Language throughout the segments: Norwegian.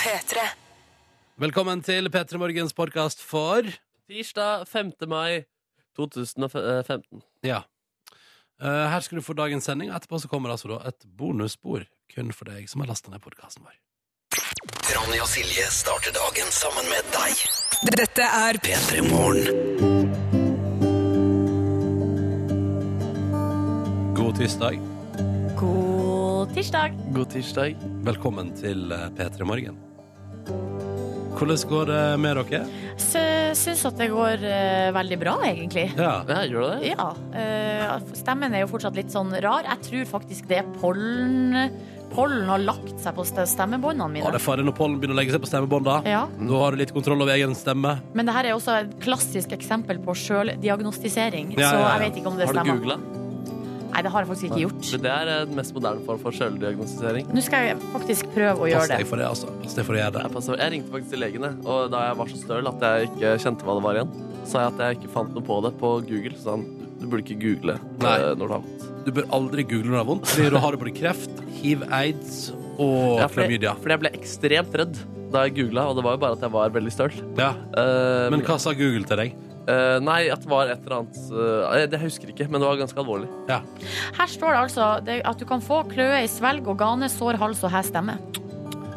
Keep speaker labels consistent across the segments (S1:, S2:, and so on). S1: P3.
S2: Velkommen til P3 Morgens podkast for
S3: Tirsdag 5. mai 2015.
S2: Ja. Eh, her skal du få dagens sending. Etterpå så kommer altså da et bonusspor kun for deg som har lasta ned podkasten vår.
S4: Ronny og Silje starter dagen sammen med deg.
S1: Dette er
S4: P3 Morgen.
S2: God tirsdag.
S5: God tirsdag.
S3: God tirsdag.
S2: Velkommen til eh, P3 Morgen. Hvordan går det med dere?
S5: Sy- Syns at det går eh, veldig bra, egentlig.
S2: Ja.
S3: Ja, gjør du det?
S5: Ja. eh, stemmen er jo fortsatt litt sånn rar. Jeg tror faktisk det er pollen Pollen har lagt seg på ste- stemmebåndene
S2: Å, det
S5: mine.
S2: er farlig når pollen begynner å legge seg på stemmebånda.
S5: Ja.
S2: Nå har du litt kontroll over egen stemme.
S5: Men det her er også et klassisk eksempel på sjøldiagnostisering,
S2: Ja,
S5: så
S2: ja, ja.
S5: jeg vet ikke om det
S3: Har du
S5: stemmer.
S3: googla?
S5: Nei, det har jeg faktisk ikke gjort.
S3: Det der er den mest moderne form for sjøldiagnostisering.
S5: Nå skal jeg faktisk prøve å
S2: Pass
S5: gjøre
S2: deg
S5: det.
S2: for det, altså. Pass deg for å gjøre
S3: Jeg,
S2: det.
S3: passer- jeg ringte faktisk til legene, og da jeg var så støl at jeg ikke kjente hva det var igjen, sa jeg at jeg ikke fant noe på det på Google. Så sa han du burde ikke google
S2: Nei.
S3: eh, når du har vondt.
S2: Du bør aldri google når det er vondt, Fordi da har du både kreft, hiv, aids og
S3: Ja, fordi,
S2: klamydia.
S3: fordi jeg ble ekstremt redd da jeg googla, og det var jo bare at jeg var veldig støl.
S2: Ja.
S3: Eh,
S2: Men hva sa Google til deg?
S3: eh, nei, at det var et eller annet eh, Det jeg husker ikke, men det var ganske alvorlig.
S2: Ja.
S5: Her står det altså det- at du kan få kløe i svelg, organer, sår, hals og hes stemme.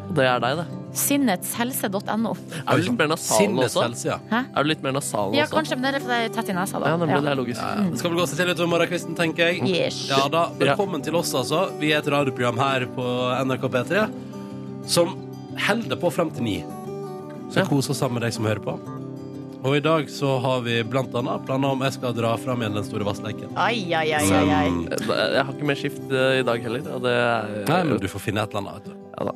S3: Og det er deg, det.
S5: Sinnetshelse.no.
S3: Er du litt mer nasalen
S2: Sinnets
S3: også?
S2: helse, ja.
S3: Er du litt mer nasalen
S5: Ja,
S3: også?
S5: kanskje, men det er fordi jeg er tett i nesa, da.
S3: Ja, nemlig. Det er logisk.
S2: Ja, Det Eh, skal vel gå seg til utover morgenkvisten, tenker jeg.
S5: Yes.
S2: Ja da, Velkommen til oss, altså. Vi er et radioprogram her på NRK P3 som holder på frem til ni. Så
S3: Ja.
S2: kos oss sammen med deg som hører på. Og i dag så har vi blant annet planer om jeg skal dra fram igjen den store vassleken.
S5: Ai, ai, ai, ai, ai.
S2: Mm.
S3: Eh, Jeg har ikke mer skift eh, i dag heller. Og det er,
S2: Nei, men du får finne et eller annet. vet du.
S3: Ja da.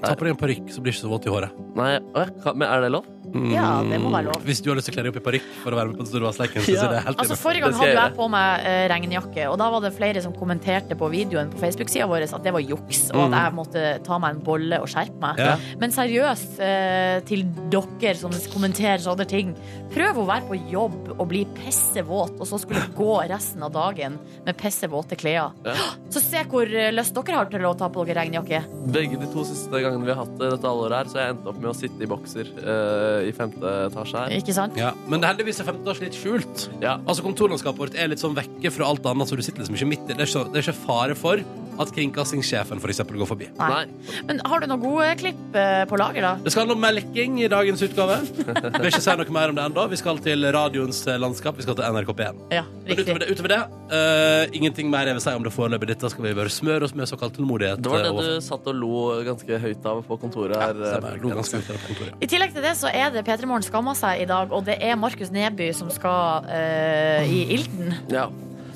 S2: Ta på deg en parykk, så blir det ikke så våt i håret.
S3: Nei, å, jeg kan- men er det lov?
S2: Mm.
S5: Ja, det må være lov.
S2: Hvis du har lyst til å kle deg opp i parykk for å være med på den store vassleken, så
S3: Ja.
S2: er det helt
S5: Altså,
S2: innenfor.
S5: forrige
S3: Det
S5: gang
S3: skal
S5: hadde
S3: jeg
S5: jeg på meg eh, regnjakke, og da var det flere som kommenterte på videoen på Facebook-sida vår at det var juks, og
S3: Mm.
S5: at jeg måtte ta meg en bolle og skjerpe meg.
S2: Ja.
S5: Men seriøst, eh, til dere som kommenterer sånne ting, prøv å være på jobb og bli pissevåt, og så skulle gå resten av dagen med pissevåte klær.
S3: Ja.
S5: Så se hvor eh, lyst dere har til å ta på dere regnjakke.
S3: Begge de to siste gangene vi har hatt det dette halvåret her, så har jeg endt opp med å sitte i bokser eh, i femte etasje her.
S5: Ikke sant?
S2: Ja. Men heldigvis er 15 års litt skjult.
S3: Ja.
S2: Altså Kontorlandskapet vårt er litt sånn vekke fra alt annet, så du sitter liksom ikke midt i det. Er ikke, det er ikke fare for at kringkastingssjefen for eksempel går forbi.
S5: Nei.
S3: Nei.
S5: Men har du noen gode klipp eh, på lager, da?
S2: Det skal handle om melking i dagens utgave. Vil ikke si noe mer om det ennå. Vi skal til radioens eh, landskap. Vi skal til NRK1.
S5: Ja,
S2: Men
S5: riktig.
S2: utover det, utover det eh, ingenting mer jeg vil si om det foreløpig. Dette skal vi bare smøre oss med såkalt tålmodighet.
S3: Det var
S2: eh,
S3: det
S2: overfor.
S3: du satt og lo ganske høyt av på kontoret
S2: Ja,
S3: her.
S2: stemmer. Jeg lo
S3: eh,
S2: ganske ut av kontoret.
S5: I tillegg til det så er det P3 Morgen skamma seg i dag, og det er Markus Neby som skal eh, i ilden.
S3: ja.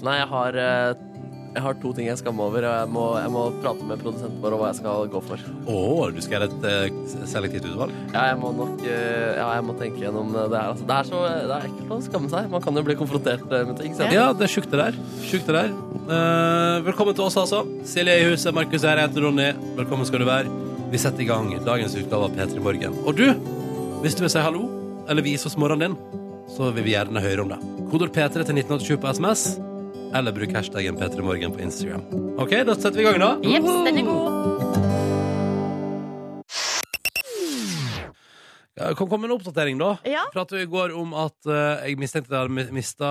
S3: Nei, jeg har, eh, jeg har to ting jeg skammer over, og jeg må, jeg må prate med produsenten vår om hva jeg skal gå for.
S2: Å, du skal gjøre et eh, selektivt utvalg?
S3: Ja, jeg må nok eh, ja, jeg må tenke gjennom det her. Altså, det, er så, det er ekkelt å skamme seg. Man kan jo bli konfrontert eh, med ting. senere.
S2: Ja, det er sjukt det der. Sjukt det der. Eh, velkommen til oss, altså. Silje i huset, Markus her, jeg heter Ronny. Velkommen skal du være. Vi setter i gang dagens utgave av P3 Morgen. Og du, hvis du vil si hallo, eller vise oss morgenen din, så vil vi gjerne høre om det. Kodord P3 til 1987 på SMS, eller bruk hashtaggen P3morgen på Instagram. OK, da setter vi i gang, da.
S5: Jepps, den er god.
S2: Ja, Kan komme med en oppdatering, da.
S5: Ja.
S2: Pratet jo i går om at eh, jeg mistenkte jeg hadde mista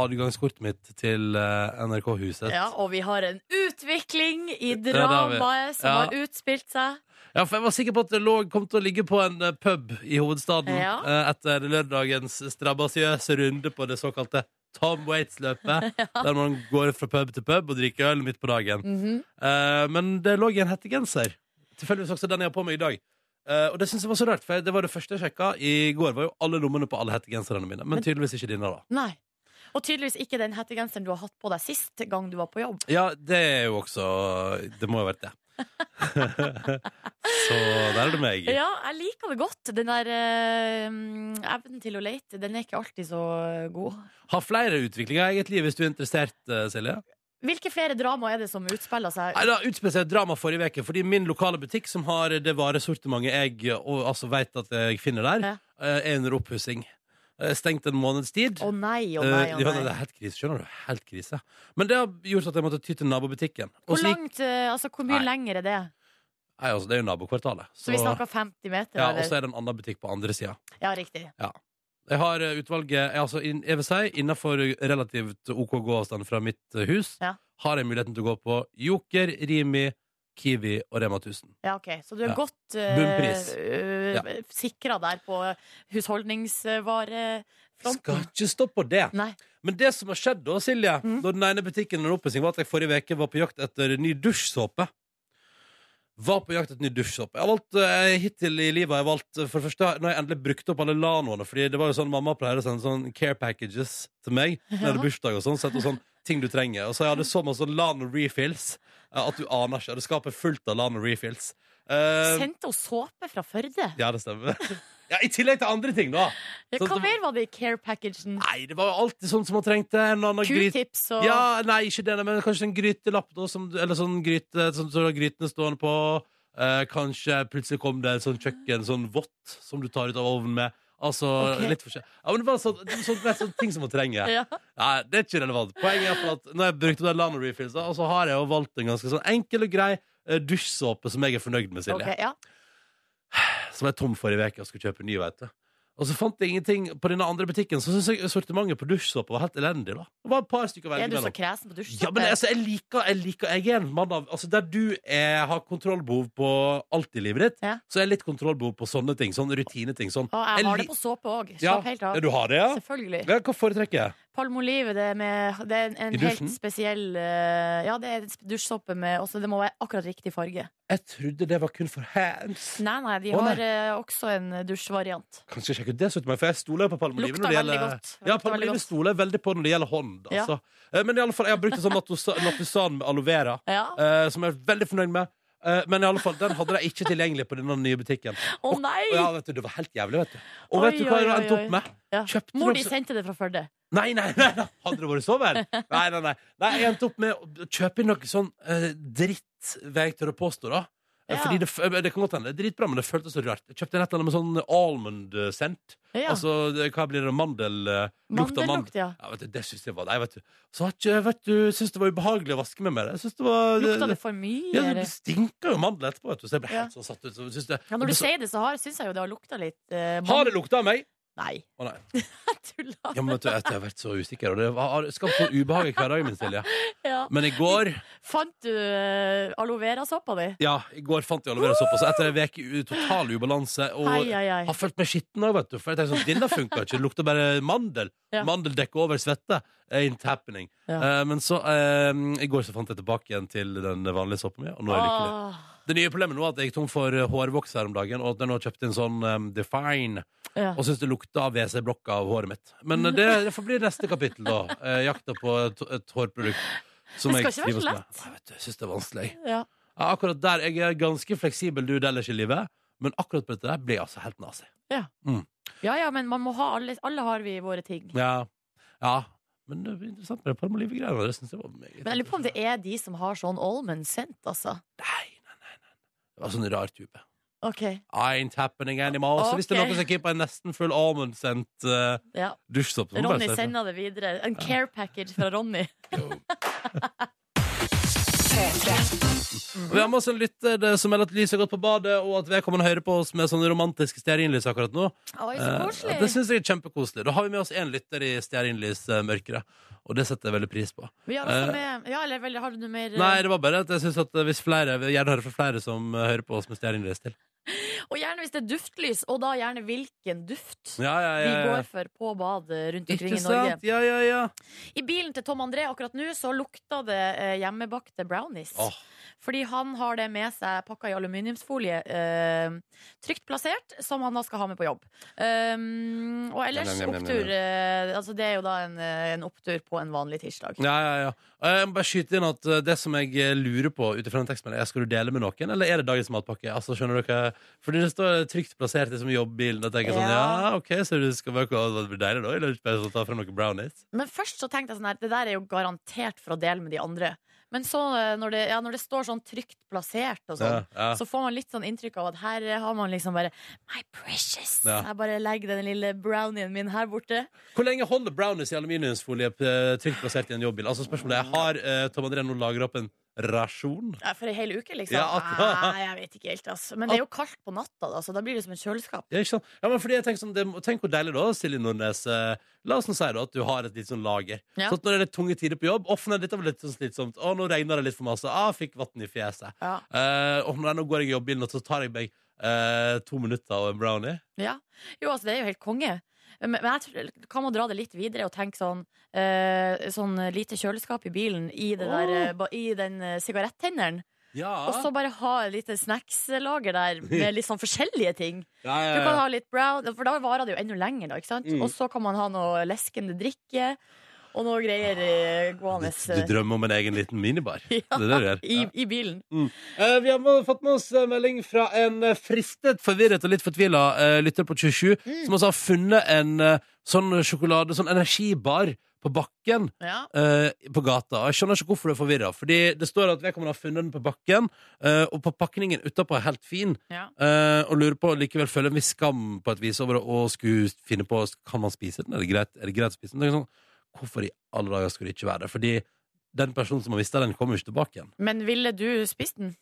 S2: adgangskortet mitt til eh, NRK-huset.
S5: Ja, og vi har en utvikling i
S2: det har vi.
S5: dramaet som
S2: Ja.
S5: har utspilt seg.
S2: Ja, for jeg var sikker på at det lå, kom til å ligge på en eh, pub i hovedstaden
S5: Ja.
S2: eh, etter lørdagens strabasiøse runde på det såkalte Tom Waits-løpet, der man går fra pub til pub og drikker øl midt på dagen.
S5: Mhm.
S2: Eh, men det lå i en hettegenser. Tilfeldigvis også den jeg har på meg i dag. Eh, og det synes jeg var så rart, for det var det første jeg sjekka. I går var jo alle lommene på alle hettegenserne mine, men tydeligvis ikke dine, da.
S5: Nei. Og tydeligvis ikke den hettegenseren du har hatt på deg sist gang du var på jobb.
S2: Ja, det er jo også Det må jo ha vært det. så der er det meg.
S5: Ja, jeg liker det godt. Den der eh, mm, evnen til å leite, den er ikke alltid så god.
S2: Har flere utviklinger i eget liv hvis du er interessert, eh, Silje?
S5: Hvilke flere drama er det som utspiller seg?
S2: Nei, da utspilte seg et drama forrige veke Fordi min lokale butikk som har det varesortimentet jeg og, altså, vet at jeg finner der,
S5: Ja.
S2: eh, er under oppussing. Eh, Stengt en måneds tid.
S5: Å nei, å
S2: Eh,
S5: nei,
S2: ja,
S5: å
S2: det
S5: nei.
S2: er helt krise, skjønner du. Helt krise. Men det har gjort at jeg måtte ty til nabobutikken. Og
S5: Hvor
S2: så gikk-
S5: langt, eh, altså hvor mye
S2: Nei.
S5: lenger er det?
S2: Nei, altså, det er jo nabokvartalet.
S5: Så vi snakker 50 meter,
S2: ja, og så
S5: eller?
S2: er det en annen butikk på andre sida.
S5: Ja, riktig.
S2: Jeg har eh, utvalget jeg, altså, inn- jeg vil si, Innenfor relativt OK gåavstand fra mitt eh, hus
S5: Ja.
S2: har jeg muligheten til å gå på Joker, Rimi, Kiwi og Rema 1000.
S5: Ja, ok. Så du er
S2: Ja.
S5: godt
S2: Bunnpris. Ja.
S5: uh, sikra der på husholdningsvarefronten.
S2: Skal ikke stå på det!
S5: Nei.
S2: Men det som har skjedd da, Silje, da den ene butikken under oppussing, var at jeg forrige uke var på jakt etter ny dusjsåpe. Var på jakt etter ny dusjsåpe. Jeg har valgt, eh, hittil i livet har jeg valgt eh, For det første, når jeg endelig brukte opp alle Lanoene Fordi det var jo sånn mamma pleier å sende sånn care packages til meg når jeg hadde bursdag og sånn. Sett og sånn ting du trenger. Og så jeg hadde så masse sånn Lano refills eh, at du aner ikke. Det skapet er fullt av Lano refills. Eh,
S5: Sendte hun såpe fra Førde?
S2: ja, det stemmer. ja, I tillegg til andre ting, da. Ah,
S5: Ja,
S2: sånn
S5: hva
S2: som-
S5: mer var det i care packagen?
S2: Nei, det var jo alltid sånn som man trengte. En eller annen gryte-
S5: Q-tips og
S2: Ja, nei, ikke det, men kanskje en grytelapp da, som, Eller sånn gryte som du har grytene stående på eh, Kanskje plutselig kom det en sånn kjøkken Sånn vått som du tar ut av ovnen med Altså,
S5: Ok.
S2: litt forskjell Ja, men det var sånn, det var sånn, det er sånn ting som man trenger
S5: Ja.
S2: Nei, det er ikke relevant Poenget er for at når jeg brukte det Lano Refills da, Og så har jeg jo valgt en ganske sånn enkel og grei eh, Dusjsåpe som jeg er fornøyd med, Silje
S5: Ok, ja.
S2: som jeg tom for i veka og skulle kjøpe ny, vet du. Og så fant jeg ingenting på denne andre butikken, så synes jeg sortimentet på dusjsåpe var helt elendig, da. Det var et par stykker å velge
S5: Er du så
S2: mellom.
S5: kresen på dusjen?
S2: Ja, men altså, jeg liker, jeg liker Jeg er en mann av Altså, der du er, har kontrollbehov på alt i livet ditt,
S5: Ja.
S2: så er jeg litt kontrollbehov på sånne ting. Sånn rutineting. Sånn.
S5: Og jeg
S2: Jeg
S5: har
S2: li-
S5: det på såpe òg.
S2: Ja,
S5: Slapp helt av.
S2: ja, du har det, ja?
S5: Selvfølgelig.
S2: ja hva foretrekker jeg?
S5: Palmolive det er, med, det er en,
S2: I
S5: en
S2: dusjen?
S5: helt spesiell eh, Ja, det er en sp- dusjsåpe med også, Det må være akkurat riktig farge.
S2: Jeg trodde det var kun for hands.
S5: Nei, nei, de
S2: Å,
S5: har
S2: nei.
S5: eh, også en dusjvariant.
S2: Kanskje sjekke ut det, Suttmann, for jeg stoler jo på palmeoliven.
S5: Lukter
S2: når det
S5: veldig
S2: gjelder-
S5: godt.
S2: Ja,
S5: Lukter veldig
S2: palmeoliven
S5: godt.
S2: stoler jeg veldig på når det gjelder hånd.
S5: Ja.
S2: Altså. Eh, Men i alle fall, jeg har brukt en sånn latosa- latosan med aloe vera.
S5: Ja. Å
S2: eh, som jeg er veldig fornøyd med. Eh, men i alle fall, den hadde de ikke tilgjengelig på denne nye butikken.
S5: nei!
S2: Og ja, vet du, Det var helt jævlig, vet du. Og
S5: Oi,
S2: vet du hva jeg
S5: oi,
S2: endte
S5: oi, oi.
S2: opp med?
S5: Ja.
S2: Kjøpte
S5: Mor
S2: du
S5: di
S2: også-
S5: sendte det fra Førde.
S2: Nei, nei, nei, nei. hadde det vært så vel? Nei, nei, nei. nei jeg endte opp med å kjøpe inn noe sånn uh, dritt, vil jeg tørre å påstå, da.
S5: Ja.
S2: Eh, Fordi det, f- eh, det kan godt hende det er dritbra, men det føltes så rart. Jeg kjøpte et eller annet med sånn almond-scent.
S5: Ja.
S2: Altså, det, hva blir det? Mandel... eh, lukt av mandel.
S5: Mandellukt, ja.
S2: Ja, vet du, det syns jeg var Nei, vet du. Så har ikke, vet du, syns det var ubehagelig å vaske meg med det. Jeg synes det var eh,
S5: Lukta det for mye?
S2: ja,
S5: eller?
S2: det stinker jo mandel etterpå, vet du. Så jeg ble
S5: Ja.
S2: helt så satt ut. Så synes det,
S5: Ja, når du
S2: så,
S5: sier det, så har- syns jeg jo det har lukta litt eh,
S2: har
S5: mandel...
S2: det lukta av meg?
S5: Nei,
S2: Å nei.
S5: jeg tulla.
S2: Ja, men vet du, jeg har vært så usikker, og det har skapt sånn ubehag i hverdagen min, Silje.
S5: Ja.
S2: Men i går
S5: Fant du eh, aloe vera-såpa di?
S2: Ja, i går fant jeg Olivera såpass etter en uke i total ubalanse. Og
S5: Ai, ai, ai.
S2: har følt meg skitten òg, vet du. For jeg tenkte sånn, denne funka ikke. Det lukter bare mandel.
S5: Ja.
S2: Mandel dekker over svette. Ain't happening.
S5: Ja.
S2: Eh, men så eh, I går så fant jeg tilbake igjen til den vanlige såpa mi, og nå er jeg lykkelig.
S5: Åh,
S2: Det nye problemet nå er at jeg gikk tom for eh, hårvoks her om dagen, og at jeg nå har kjøpt en sånn eh, Define,
S5: ja.
S2: og syns det lukta av WC-blokka av håret mitt. Men eh, det, det får bli neste kapittel, da. Eh, jakta på et, et hårprodukt. Som
S5: Det skal
S2: jeg
S5: ikke være
S2: trives
S5: så
S2: med.
S5: lett.
S2: Nei, vet du, Jeg syns det er vanskelig.
S5: Ja.
S2: Ja, akkurat der jeg er ganske fleksibel dude ellers i livet, men akkurat på dette der blir jeg altså helt nazi.
S5: ja ja, men man må ha alle, alle har vi våre ting.
S2: Ja. ja. Men det er interessant med det palmolivegreiene. Det syns jeg var meget
S5: Men jeg lurer på om det er de som har sånn almond scent, altså.
S2: Nei, nei, nei. nei. Det var sånn rar type.
S5: Ok,
S2: Ain't happening anymore. Så hvis det er
S5: Ok.
S2: noen som keeper en nesten full almond sendt eh,
S5: ja.
S2: dusjsopp så må du bare
S5: Ronny
S2: si ifra.
S5: sender det videre. En care package fra Ronny.
S2: Og Vi har med oss en lytter eh, som melder at lyset har gått på badet, og at vedkommende hører på oss med sånne romantiske stearinlys akkurat nå.
S5: Oi, så
S2: Eh,
S5: koselig.
S2: det syns jeg er kjempekoselig. Da har vi med oss én lytter i stearinlysmørket, og det setter jeg veldig pris på.
S5: Vi har også
S2: Eh.
S5: med Ja, eller vel, har du noe mer eh?
S2: Nei, det var bare at jeg synes at hvis flere Jeg vil gjerne høre fra flere som eh, hører på oss med stearinlys til.
S5: Og gjerne hvis det er duftlys, og da gjerne hvilken duft
S2: Ja, ja,
S5: vi
S2: ja, ja.
S5: går for på badet rundt omkring
S2: Eh. Ikke
S5: i Norge.
S2: sant? Ja, ja, ja.
S5: I bilen til Tom André akkurat nå så lukta det eh, hjemmebakte brownies.
S2: Åh,
S5: Fordi han har det med seg pakka i aluminiumsfolie, eh, trygt plassert, som han da skal ha med på jobb. Um, og ellers
S2: Nei, nei, nei, nei, nei.
S5: opptur eh, Altså, det er jo da en, eh, en opptur på en vanlig tirsdag.
S2: ja, ja, ja. Og Jeg må bare skyte inn at eh, det som jeg eh, lurer på ut ifra den tekstmeldingen, er skal du dele med noen, eller er det dagens matpakke? Altså, skjønner dere? Fordi det står trygt plassert liksom, i jobbbilen, og jeg tenker sånn
S5: Ja.
S2: ja, OK, så du skal bare Det blir deilig da, i lunsjpausen, å ta frem noen brownies?
S5: Men først så tenkte jeg sånn her, det der er jo garantert for å dele med de andre. Men så, eh, når det, ja, når det står sånn trygt plassert og sånn,
S2: Ja, ja.
S5: så får man litt sånn inntrykk av at her eh, har man liksom bare My precious!
S2: Ja.
S5: Jeg bare legger den lille brownien min her borte.
S2: Hvor lenge holder brownies i aluminiumsfolie eh, trygt plassert i en jobbbil? Altså spørsmålet er, Har eh, Tom André nå lagra opp en rasjon.
S5: Nei, For ei hel uke, liksom?
S2: Ja, akkurat.
S5: Nei, jeg vet ikke helt, altså. Men det er jo kaldt på natta, da, så da blir det som et kjøleskap.
S2: Ja, ikke sant? Ja, men fordi jeg tenker sånn, det, må- Tenk hvor deilig da, Silje Nordnes. Eh, la oss nå si da at du har et litt sånn lager.
S5: Ja.
S2: Sånn at når det er litt tunge tider på jobb Å, nei, dette var litt sånn slitsomt. Å, nå regner det litt for masse. Ah, fikk vann i fjeset.
S5: Ja.
S2: Eh, og nei, nå går jeg i jobbbilen, og så tar jeg meg eh, to minutter og en brownie.
S5: Ja. Jo, altså, det er jo helt konge. Men men jeg tror, kan man dra det litt videre og tenke sånn eh, Sånn lite kjøleskap i bilen i, det der, eh, ba- i den eh, sigarettenneren.
S2: Ja.
S5: Og så bare ha et lite snackslager der med litt sånn forskjellige ting.
S2: ja, ja,
S5: Du kan
S2: ja.
S5: ha litt brown, for da varer det jo enda lenger, da. ikke sant?
S2: Mm.
S5: Og så kan man ha noe leskende drikke og noe greier eh,
S2: Du,
S5: gående
S2: du drømmer om en egen liten minibar.
S5: Ja,
S2: Det er det du gjør.
S5: i, i bilen.
S2: Eh, vi har må- fått med oss eh, melding fra en eh, fristet, forvirret og litt fortvila eh, lytter på 27,
S5: Mm.
S2: som altså har funnet en eh, sånn sjokolade, sånn energibar på bakken
S5: Ja.
S2: eh, på gata. Og Jeg skjønner ikke hvorfor du er forvirra, fordi det står at vedkommende har funnet den på bakken, eh, og på pakningen utapå er helt fin,
S5: Ja.
S2: eh, og lurer på likevel føler en viss skam på et vis over å- å skulle finne på Kan man spise den, er det greit, er det greit å spise den? Det er Sånn, hvorfor i alle dager skulle det ikke være det? Fordi den personen som har mista den, kommer jo ikke tilbake igjen.
S5: Men ville du spist den?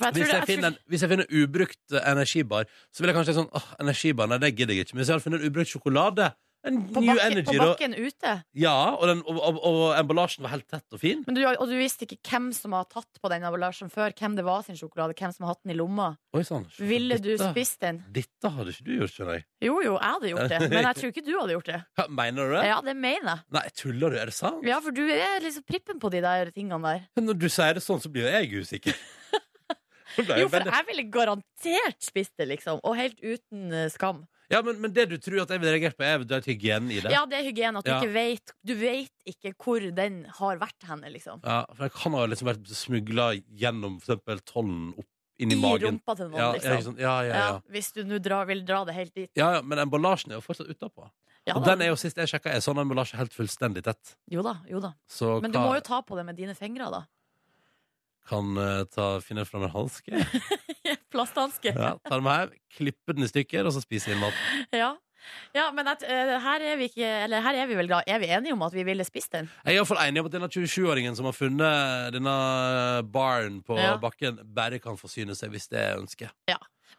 S5: For jeg tror
S2: Hvis
S5: det-
S2: jeg,
S5: jeg tror-
S2: finner, en- hvis jeg finner ubrukt eh, energibar, så vil jeg kanskje sånn Åh, energibar, nei, det gidder jeg ikke. Men hvis jeg hadde funnet ubrukt sjokolade en
S5: på,
S2: New
S5: bakken,
S2: Energy,
S5: på
S2: da.
S5: bakken ute.
S2: Ja, og, den, og, og, og emballasjen var helt tett og fin.
S5: Men du, og du visste ikke hvem som har tatt på den emballasjen før, hvem det var sin sjokolade, hvem som har hatt den i lomma.
S2: Oi sann. se,
S5: Ville du
S2: dette-
S5: spist den?
S2: Dette hadde ikke du gjort, skjønner jeg.
S5: Jo jo, jeg hadde gjort det, men jeg tror ikke du hadde gjort det.
S2: Hæ, mener du det?
S5: Ja, det mener jeg.
S2: Nei, tuller du? Er det sant?
S5: Ja, for du er liksom prippen på de der tingene der.
S2: Når du sier det sånn, så blir jo jeg usikker. Så ble jeg
S5: Jo, for
S2: veldig-
S5: jeg ville garantert spist det, liksom. Og helt uten eh, skam.
S2: ja, men, men det du tror at jeg ville reagert på, er eventuelt hygienen i det.
S5: Ja, det er hygiene at du
S2: Ja.
S5: ikke vet Du vet ikke hvor den har vært henne, liksom.
S2: Ja, for jeg kan ha liksom vært smugla gjennom for eksempel tollen opp inn i,
S5: I
S2: magen.
S5: rumpa til noen,
S2: Ja, ja, ikke
S5: liksom.
S2: sant? ja, ja, ja.
S5: Ja, hvis du nå drar- vil dra det helt dit.
S2: Ja, ja, men emballasjen er jo fortsatt utapå.
S5: Ja,
S2: og
S5: da.
S2: den er jo sist jeg sjekka, er sånn emballasje helt fullstendig tett.
S5: Jo da, jo da.
S2: Så
S5: Men du
S2: hva
S5: må jo ta på det med dine fingre, da.
S2: kan eh, ta, finne fram en hanske,
S5: Plasthanske.
S2: ja, ta den med hjem, klippe den i stykker, og så spise inn mat.
S5: Ja. ja, men at, eh, her, er vi ikke, eller her er vi vel da Er vi enige om at vi ville spist den?
S2: Jeg er iallfall enig om at denne 27-åringen som har funnet denne baren på
S5: Ja.
S2: bakken, bare kan forsyne seg hvis det er ønsket.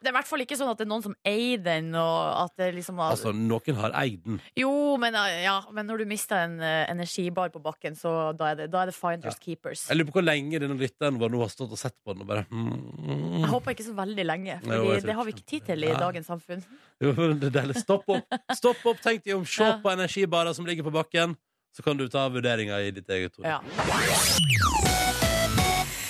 S5: Det er i hvert fall ikke sånn at det er noen som eier den. Og at det liksom var,
S2: Altså, noen har eid den.
S5: jo, men, eh, ja, men når du mister en eh, energibar på bakken, så da er det, da er det finders keepers.
S2: Jeg lurer på hvor lenge denne lytteren vår nå har stått og sett på den og bare
S5: Jeg
S2: mm,
S5: håper ikke så veldig lenge,
S2: Nei, jo,
S5: for
S2: jeg tror
S5: det har vi
S2: ikke.
S5: ikke tid til i
S2: Nei.
S5: dagens samfunn.
S2: Jo, det er deilig. Stopp opp, Stopp opp, tenk deg om. Se
S5: Ja.
S2: på energibarer som ligger på bakken, så kan du ta vurderinga i ditt eget hode.
S5: Ja.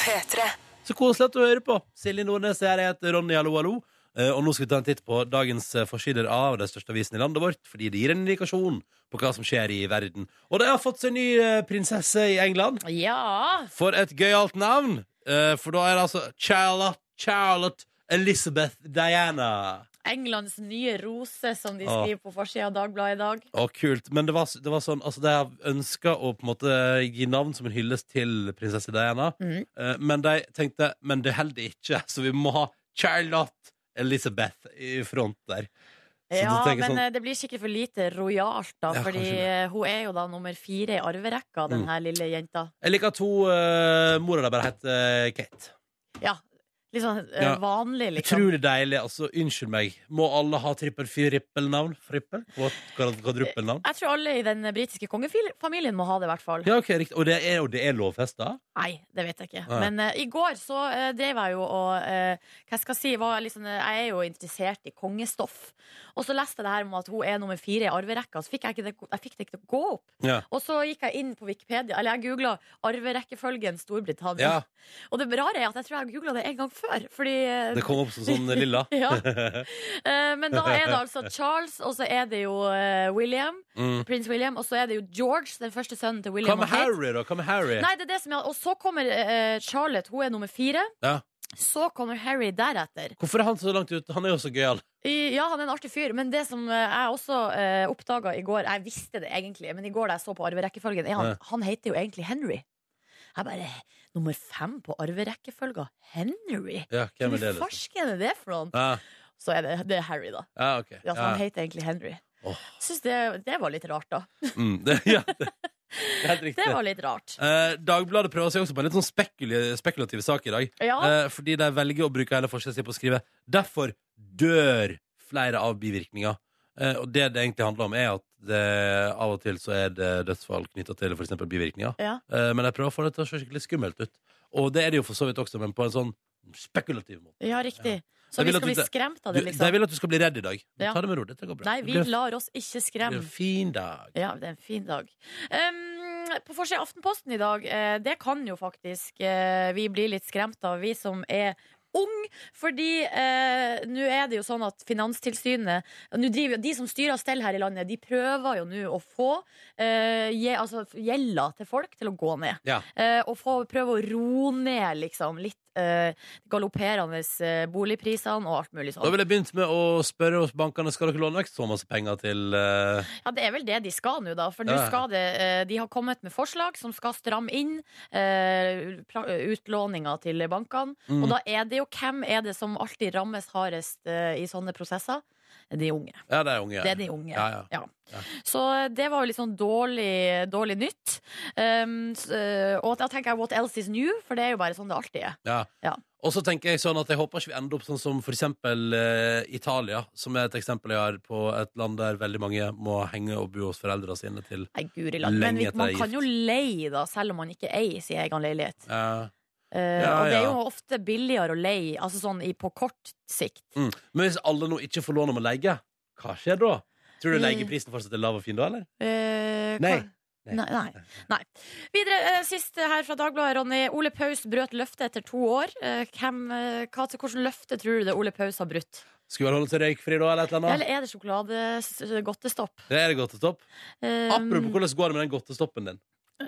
S1: P3.
S2: Så koselig at du hører på. Silje Nordnes her, jeg heter Ronny Hallo Hallo. Eh, Og nå skal vi ta en titt på dagens eh, forsider av den største avisen i landet vårt, fordi det gir en indikasjon på hva som skjer i verden. Og det har fått seg ny eh, prinsesse i England.
S5: ja.
S2: For et gøyalt navn! Eh, For da er det altså Charlotte, Charlotte Elizabeth Diana.
S5: Englands nye rose, som de
S2: Åh.
S5: skriver på forsida av Dagbladet i dag.
S2: Å, kult. Men det var, det var sånn Altså, de har ønska å på en måte gi navn som en hyllest til prinsesse Diana,
S5: Mhm.
S2: Eh, men de tenkte Men det holder ikke, så vi må ha Charlotte Elizabeth i front der. Så
S5: Ja,
S2: du tenker
S5: men
S2: sånn-
S5: eh, det blir sikkert for lite rojalt, da.
S2: Ja,
S5: fordi
S2: kanskje det.
S5: eh, hun er jo da nummer fire i arverekka, den
S2: Mm.
S5: her lille jenta.
S2: Jeg liker at hun uh, mora der bare heter eh, Kate.
S5: Ja. Litt sånn eh,
S2: Ja.
S5: vanlig, liksom.
S2: Utrolig deilig. Altså, unnskyld meg. Må alle ha trippel firippelnavn? Frippel? Kvadruppelnavn?
S5: Jeg tror alle i den britiske kongefamilien må ha det, i hvert fall.
S2: Ja, ok, riktig. Og det er, og det er lovfesta?
S5: Nei, det vet jeg ikke.
S2: Nei.
S5: Men eh, i går så uh, drev jeg jo og eh, Hva skal jeg si? Var jeg liksom, jeg er jo interessert i kongestoff. Og så leste jeg det her om at hun er nummer fire i arverekka, så fikk jeg, ikke det, jeg fikk det ikke til å gå opp.
S2: Ja.
S5: Og så gikk jeg inn på Wikipedia, eller jeg googla arverekkefølgen Storbritannia.
S2: ja.
S5: Og det rare er at jeg tror jeg googla det en gang før. Fordi eh,
S2: Det kom opp som sånn lilla.
S5: ja. Eh, Men da er det altså Charles, og så er det jo eh, William.
S2: Mm.
S5: Prins William. Og så er det jo George, den første sønnen til
S2: Hva
S5: William.
S2: med
S5: og Kate.
S2: Harry, da? Hva med Harry?
S5: Nei, det er det som er Og så kommer eh, Charlotte, hun er nummer fire.
S2: Ja.
S5: Så kommer Harry deretter.
S2: Hvorfor er han så langt ute? Han er jo så gøyal.
S5: I, ja, han er en artig fyr, men det som eh, jeg også uh, oppdaga i går Jeg visste det egentlig, men i går da jeg så på arverekkefølgen, er han,
S2: Ja.
S5: han heter jo egentlig Henry. Jeg bare Nummer fem på arverekkefølga. Henry?
S2: Ja, hvem
S5: Hvem
S2: er det?
S5: i
S2: Liksom?
S5: farsken er det for noen?
S2: Ja,
S5: Så er det, det er Harry, da.
S2: ja, ok.
S5: Ja, så
S2: Ja.
S5: Han heter egentlig Henry.
S2: Åh.
S5: Syns det, det var litt rart, da.
S2: Mm, det, ja, det. Det er helt riktig.
S5: Det var litt rart.
S2: Eh, Dagbladet prøver seg også på en litt sånn spekul spekulativ sak i dag.
S5: Ja,
S2: Eh, fordi de velger å bruke hele forsiden sin på å skrive 'Derfor dør flere av bivirkninger'. Eh, og det det egentlig handler om, er at det, av og til så er det dødsfall knytta til f.eks. bivirkninger.
S5: Ja.
S2: Eh, men de prøver å få det til å se skikkelig skummelt ut. Og det er det jo for så vidt også, men på en sånn spekulativ måte.
S5: ja riktig. Så
S2: Jeg
S5: vi
S2: vil at
S5: skal bli
S2: du-
S5: skremt av
S2: Du,
S5: det,
S2: de
S5: liksom?
S2: vil at du skal bli redd i dag. Men
S5: Ja.
S2: Ta det med ro. Dette går bra.
S5: Nei, vi
S2: det blir,
S5: lar oss ikke
S2: det blir
S5: skremme.
S2: en fin dag.
S5: Ja, det er en fin dag. Um, på forsida av Aftenposten i dag, eh, det kan jo faktisk eh, vi bli litt skremt av, vi som er ung, fordi eh, nå er det jo sånn at Finanstilsynet nå driver, jo- De som styrer og steller her i landet, de prøver jo nå å få eh, gje- altså, gjelda til folk til å gå ned.
S2: Ja.
S5: Eh, og få, prøve å roe ned liksom, litt eh, galopperende eh, boligprisene og alt mulig sånt.
S2: Da ville jeg begynt med å spørre hos bankene Skal dere låne vekk så masse penger til eh,
S5: Ja, det er vel det de skal nå, da. For nå
S2: Ja, ja.
S5: skal det, eh, de har kommet med forslag som skal stramme inn eh, pra- utlåninga til bankene.
S2: Mm.
S5: Og da er det jo hvem er det som alltid rammes hardest eh, i sånne prosesser? De unge.
S2: Ja, det er unge.
S5: Det er de unge.
S2: Ja, ja. Ja.
S5: Så det var jo litt sånn dårlig, dårlig nytt. Um, s- eh, og da tenker jeg what else is new, for det er jo bare sånn det alltid er.
S2: Ja.
S5: Ja.
S2: Og så tenker jeg sånn at jeg håper ikke vi ender opp sånn som for eksempel eh, Italia, som er et eksempel jeg har på et land der veldig mange må henge og bo hos foreldrene sine til
S5: Nei, guri land. Men
S2: Lenge
S5: vi,
S2: etter
S5: man
S2: jeg er
S5: kan jo leie, da, selv om man ikke eier sin egen leilighet.
S2: eh,
S5: Eh,
S2: Ja,
S5: og det er
S2: ja.
S5: jo ofte billigere å leie, altså sånn i, på kort sikt.
S2: mm. Men hvis alle nå ikke får lån om å leie, hva skjer da? Tror du
S5: Eh.
S2: leieprisen fortsatt er lav og fin da, eller?
S5: Eh,
S2: Nei.
S5: hva- Nei, nei. nei. Videre, eh, sist her fra Dagbladet, Ronny. Ole Paus brøt løftet etter to år. Eh, hvem, eh, hva, til hvordan løfte tror du det Ole Paus har brutt?
S2: Skulle vel holde seg røykfri da, eller et eller
S5: Eller
S2: annet?
S5: er det sjokoladegodtestopp?
S2: Det er det godtestopp.
S5: Eh,
S2: Apropos hvordan går det med den godtestoppen din?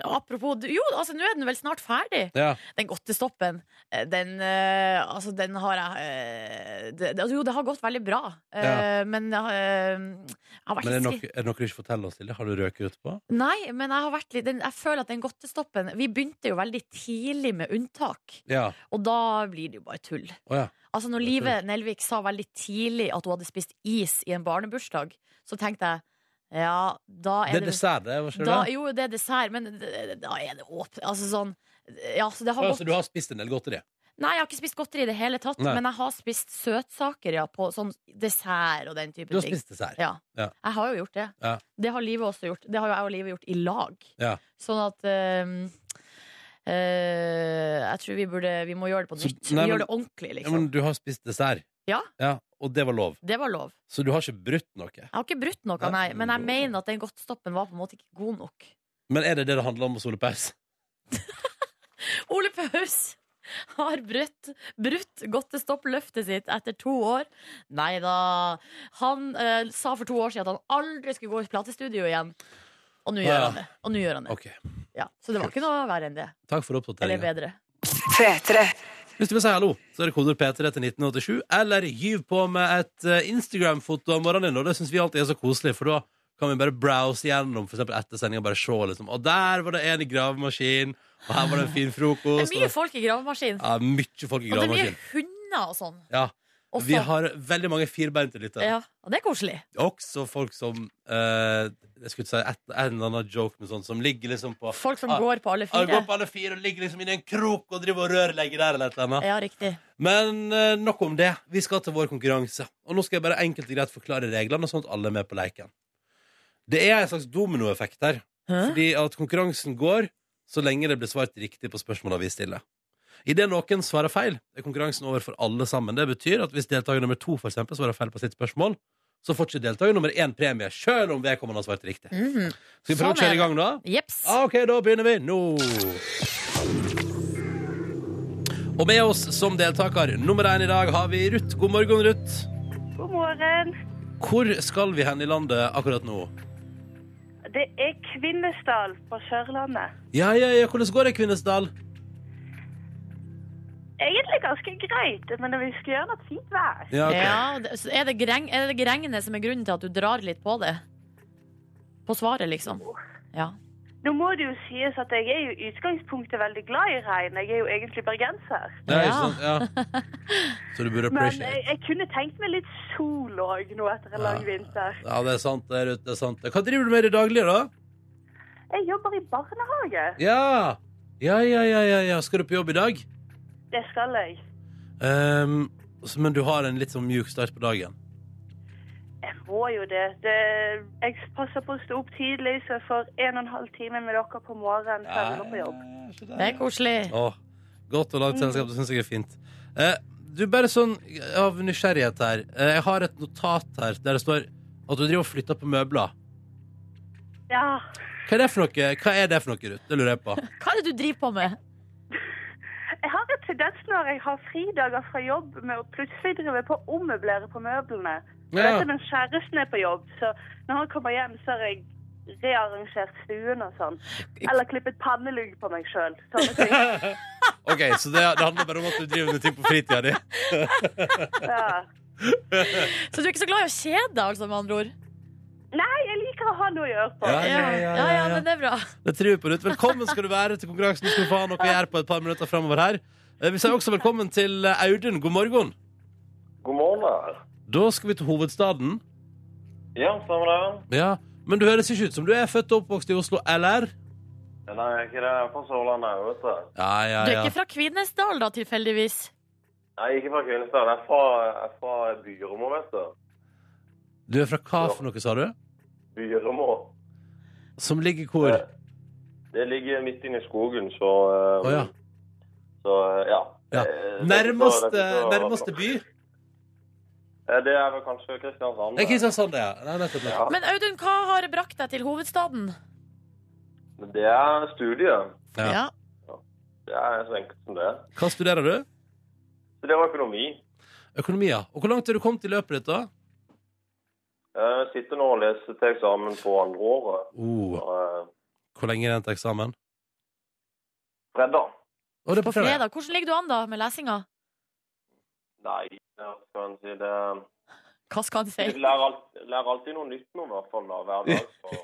S5: apropos Jo, altså, nå er den vel snart ferdig.
S2: Ja.
S5: Den godtestoppen, eh, den eh, Altså, den har jeg eh, det, det, Jo, det har gått veldig bra, eh, men eh, jeg har vært
S2: Men er det,
S5: litt
S2: noe, er det noe du ikke forteller oss til? Har du røket ut på?
S5: Nei, men jeg, har vært litt, den, jeg føler at den godtestoppen Vi begynte jo veldig tidlig med unntak,
S2: Ja.
S5: og da blir det jo bare tull.
S2: Å ja.
S5: Altså Når
S2: Det er
S5: Live Nelvik sa veldig tidlig at hun hadde spist is i en barnebursdag, så tenkte jeg ja, da
S2: Det
S5: er
S2: er
S5: det,
S2: dessert, det. Hva skjer
S5: da,
S2: det?
S5: Jo, det er dessert, men d- da er det åpent. Altså sånn Ja, så det har
S2: Å,
S5: gått
S2: så du har spist en del godteri?
S5: Nei, jeg har ikke spist godteri i det hele tatt,
S2: Nei.
S5: men jeg har spist søtsaker, ja, på sånn dessert og den type
S2: Du har
S5: ting.
S2: spist dessert?
S5: Ja.
S2: Ja.
S5: Jeg har jo gjort det.
S2: Ja.
S5: Det har livet også gjort. Det har jo jeg og livet gjort i lag.
S2: Ja.
S5: Sånn at ehm, eh, Jeg tror vi burde Vi må gjøre det på
S2: Så-
S5: nytt.
S2: nei,
S5: vi
S2: men-
S5: gjør det ordentlig,
S2: Ja,
S5: liksom.
S2: men du har spist dessert.
S5: Ja.
S2: Og det var lov.
S5: Det var lov.
S2: Så du har ikke brutt noe.
S5: Jeg har ikke brutt noe, nei,
S2: Nei,
S5: men jeg
S2: det-
S5: mener at den godtstoppen var på en måte ikke god nok.
S2: Men er det det det handler om hos Ole Paus?
S5: Ole Paus har brutt, brutt godtestoppløftet sitt etter to år. Nei da. Han eh, sa for to år siden at han aldri skulle gå i platestudio igjen. Og nå
S2: Ja.
S5: gjør han det. Og nå gjør han det.
S2: Ok.
S5: Ja. Så det var ikke noe verre enn det.
S2: Takk for
S5: Eller
S2: oppdateringen.
S5: bedre.
S1: P3.
S2: Hvis du vil si hallo, så er det kodeord P3 til 1987. Eller gyv på med et eh, Instagram-foto om morgenen. Og det syns vi alltid er så koselig, for da kan vi bare browse gjennom for eksempel etter sendinga. Bare se, liksom. Og der var det en i gravemaskin, og her var det en fin
S5: Det er
S2: frokost.
S5: mye
S2: og-
S5: folk i gravemaskinen.
S2: ja, mye folk i
S5: Og det er mye
S2: gravemaskin.
S5: hunder og sånn.
S2: Ja.
S5: Også.
S2: Vi har veldig mange firbeinte lyttere.
S5: ja, og det er koselig.
S2: Også folk som eh, Jeg skulle ikke si et, en eller annen joke, men sånn som ligger liksom på
S5: Folk som
S2: Ah,
S5: går på alle
S2: Han
S5: fire.
S2: går på alle fire og ligger liksom inni en krok og driver og rørlegger der eller et eller annet.
S5: Ja, riktig.
S2: Men eh, nok om det. Vi skal til vår konkurranse. Og nå skal jeg bare enkelt og greit forklare reglene, sånn at alle er med på leken. Det er en slags dominoeffekt her.
S5: Hæ?
S2: Fordi at konkurransen går så lenge det blir svart riktig på spørsmåla vi stiller. Idet noen svarer feil, er konkurransen over for alle sammen. Det betyr at hvis deltaker nummer to for eksempel, svarer feil på sitt spørsmål, så får ikke deltaker nummer én premie, sjøl om vedkommende har svart riktig.
S5: Mhm.
S2: Skal vi prøve
S5: Sånn
S2: å kjøre
S5: er
S2: i gang, da?
S5: Jeps.
S2: Ja, Ok, da begynner vi nå. Og med oss som deltaker nummer én i dag har vi Ruth. God morgen, Ruth.
S6: God morgen.
S2: Hvor skal vi hen i landet akkurat nå?
S6: Det er Kvinesdal på Sørlandet.
S2: Ja, ja, ja, hvordan går det, Kvinesdal?
S6: Egentlig ganske greit, men vi skal gjøre noe fint vær.
S2: Ja, ok.
S5: Ja, det- så er, det greng, er det regnet som er grunnen til at du drar litt på det? På svaret, liksom? Ja.
S6: Nå må det jo sies at jeg er jo i utgangspunktet veldig glad i regn. Jeg er jo egentlig bergenser.
S2: Det
S5: Ja.
S2: er
S5: eh,
S2: ikke sant, ja. Så du burde
S6: Men jeg,
S2: appreciate.
S6: jeg kunne tenkt meg litt sol òg nå etter en lang
S2: Ja.
S6: vinter.
S2: Ja, det er sant, det, Ruth. Det er sant. Hva driver du med i det daglige, da?
S6: Jeg jobber i barnehage.
S2: Ja. Ja, ja, ja, ja, ja. Skal du på jobb i dag?
S6: Det skal jeg.
S2: Ehm, så- men du har en litt sånn mjuk start på dagen.
S6: Jeg må jo det. det jeg passer på å stå opp tidlig, så jeg får en og en halv time med dere på morgenen før jeg går på jobb.
S5: Det er koselig.
S2: Åh, godt og langt selskap, det syns jeg er fint. Eh, du, bare sånn av nysgjerrighet her. Eh, jeg har et notat her der det står at du driver og flytter på møbler.
S6: Ja.
S2: Hva er det for noe, Hva er det for noe, Ruth? Det lurer jeg på.
S5: Hva er det du driver på med?
S6: Jeg har en tendens når jeg har fridager fra jobb med å plutselig drive på å ommøblere på møblene. Og
S2: Ja.
S6: Dette med kjæresten er på jobb, så når han kommer hjem, så har jeg rearrangert stuen og sånn. Eller klippet pannelugg på meg sjøl. Sånne ting.
S2: OK, så det, det handler bare om at du driver med ting på fritida di?
S6: Ja.
S5: Så du er ikke så glad i å kjede deg, altså, med andre ord?
S6: Nei, jeg liker å ha noe å gjøre på.
S2: Ja, ja, ja,
S5: ja,
S2: ja, ja.
S5: men det er bra.
S2: Det tror jeg på, Ruth. Velkommen skal du være til konkurransen. Skal du få ha noe å gjøre på et par minutter fremover her. Eh, Vi sier også velkommen til eh, Audun. God morgen.
S7: God morgen. da.
S2: Da skal vi til hovedstaden.
S7: Ja, stemmer det.
S2: Ja, Men du høres ikke ut som du er født og oppvokst i Oslo, eller?
S7: Nei, jeg er ikke det. Jeg er fra Sørlandet, vet du.
S2: Ja, ja,
S5: Du er
S2: ja.
S5: ikke fra Kvinesdal, da, tilfeldigvis?
S7: Nei, ikke fra Kvinesdal. Jeg er fra, jeg er fra Byremo, vet du.
S2: Du er fra hva for noe, sa du?
S7: Byremo.
S2: Som ligger hvor?
S7: Eh, Det ligger midt inne i skogen, så eh,
S2: Å ja.
S7: Så eh, ja.
S2: ja.
S7: Eh, det er ikke så-
S2: Nærmeste,
S7: det er ikke så-
S2: nærmeste by?
S7: Eh, Det er vel kanskje Kristiansand.
S2: Det er Kristiansand, ja. Nei, nettopp. nettopp.
S7: Ja.
S5: Men Audun, hva har brakt deg til hovedstaden?
S7: Men Det er studiet.
S2: Ja.
S7: Det er så enkelt som det. er.
S2: Hva studerer du?
S7: Så det var økonomi.
S2: Økonomi, ja. Og hvor langt er du kommet i løpet ditt, da?
S7: Jeg Eh, sitter nå og leser til eksamen på andre året.
S2: Oh,
S7: Eh,
S2: hvor lenge er den til eksamen?
S7: Fredag.
S2: Å, det er
S5: På
S2: på fredag.
S5: fredag. Hvordan ligger du an da med lesinga?
S7: Nei, hva skal en si det
S5: Hva skal han
S7: Jeg
S5: si?
S7: lærer, alt, lærer alltid noe nytt nå, i hvert fall. Da, hver dag. Så,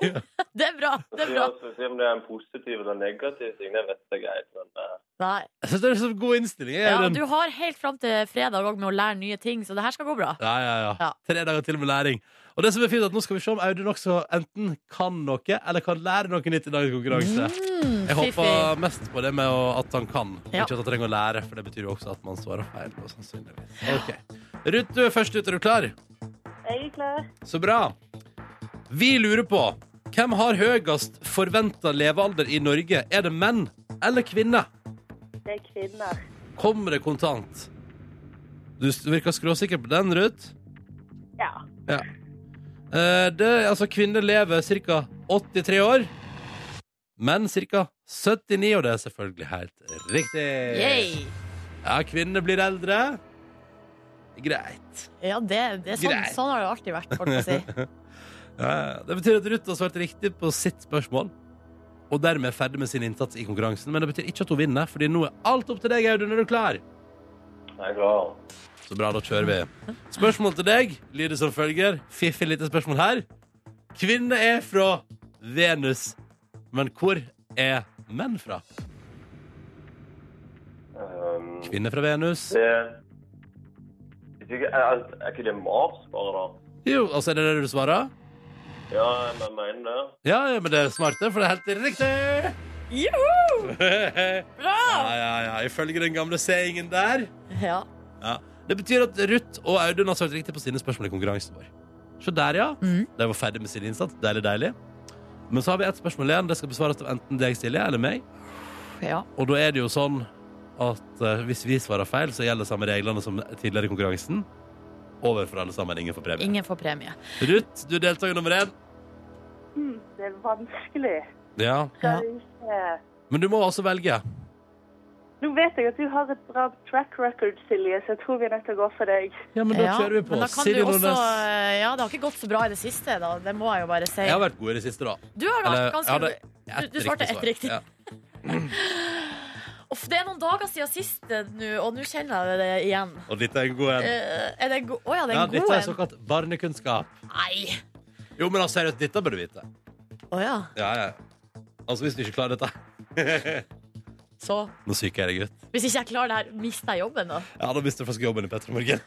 S5: Det er bra. det er bra.
S7: Så Se om det er en positiv eller negativ ting, det vet jeg greit. Men eh,
S5: Nei.
S2: Jeg synes det er en så god innstilling. Jeg,
S5: Ja,
S2: Audun.
S5: du har helt fram til fredag også med å lære nye ting, så det her skal gå bra.
S2: Ja, ja, ja.
S5: Ja.
S2: Tre dager til med læring. Og det som er fint er at Nå skal vi se om Audun også enten kan noe eller kan lære noe nytt i dagens konkurranse.
S5: Mm,
S2: Jeg
S5: fiffig.
S2: håper mest på det med å- at han kan,
S5: Ja.
S2: ikke at han trenger å lære. For det betyr jo også at man svarer feil. da, sannsynligvis. Ok. Ruth, du er først ut. Er du klar?
S6: Jeg er klar.
S2: Så bra. Vi lurer på hvem har høyest forventa levealder i Norge? Er det menn eller kvinner?
S6: Det er kvinner.
S2: Kommer det kontant? Du virker skråsikker på den, Ruth.
S6: Ja.
S2: Eh, det, altså, kvinner lever ca. 83 år, men ca. 79, og det er selvfølgelig helt riktig.
S5: Yay.
S2: Ja, kvinner blir eldre. Greit.
S5: Ja, det, det er sånn,
S2: Greit.
S5: sånn har det alltid vært, holdt jeg på å si.
S2: Ja, det betyr at Ruth har svart riktig på sitt spørsmål, og dermed er ferdig med sin innsats i konkurransen. Men det betyr ikke at hun vinner, Fordi nå er alt opp til deg, Audun. Er du klar?
S7: jeg er klar.
S2: Så bra, da kjører vi. Spørsmålet til deg lyder som følger. Fiffig lite spørsmål her. Kvinner er fra Venus, men hvor er menn fra?
S7: Um,
S2: Kvinner fra Venus.
S7: det Hvis ikke- er, er- er ikke det Mars, bare, da?
S2: Jo, altså er det det du svarer?
S7: Ja, jeg mener det.
S2: Ja, ja, men det er smart, det, for det er helt riktig.
S5: Joho!
S2: ja,
S5: Bra!
S2: ja, ja. Ifølge den gamle seingen der.
S5: Ja.
S2: Ja. Det betyr at Ruth og Audun har svart riktig på sine spørsmål i konkurransen vår. Så der, ja.
S5: Mm.
S2: De var ferdig med sin innsats. Deilig, deilig. Men så har vi ett spørsmål igjen. Det skal besvares av enten deg, Silje, eller meg.
S5: ja.
S2: Og da er det jo sånn at eh, hvis vi svarer feil, så gjelder samme reglene som tidligere i konkurransen. Over for alle sammen. Ingen får premie.
S5: Ingen får premie.
S2: Ruth, du er deltaker nummer én.
S6: Mm, det er vanskelig.
S2: Ja.
S5: Ja.
S6: Skal vi se.
S2: Men du må også velge.
S6: Nå vet jeg at du har et bra track record, Silje, så jeg tror vi er nødt til å gå for deg.
S2: Ja, men da
S5: Ja,
S2: kjører vi på.
S5: Men da kan
S2: Silje
S5: du også,
S2: Nordnes.
S5: ja, det har ikke gått så bra i det siste, da. Det må jeg jo bare si.
S2: Jeg har vært god i det siste, da.
S5: Du har vært
S2: Eller,
S5: ganske
S2: jeg hadde
S5: du- du svarte ett riktig.
S2: svar.
S5: Uff, det er noen dager siden sist eh, nå, og nå kjenner jeg det igjen.
S2: Ja. Og dette er en god en.
S5: Eh, er det en god Å ja, det er
S2: Ja,
S5: en
S2: dette
S5: god
S2: er
S5: en.
S2: såkalt barnekunnskap.
S5: Nei!
S2: Jo, men altså, seriøst, dette bør du vite.
S5: Å ja.
S2: Ja, ja. Altså, hvis du ikke klarer dette
S5: Så
S2: Nå syker jeg deg ut.
S5: hvis ikke jeg klarer det her, mister jeg jobben, da?
S2: Ja, da mister du faktisk jobben i Petter Morgen.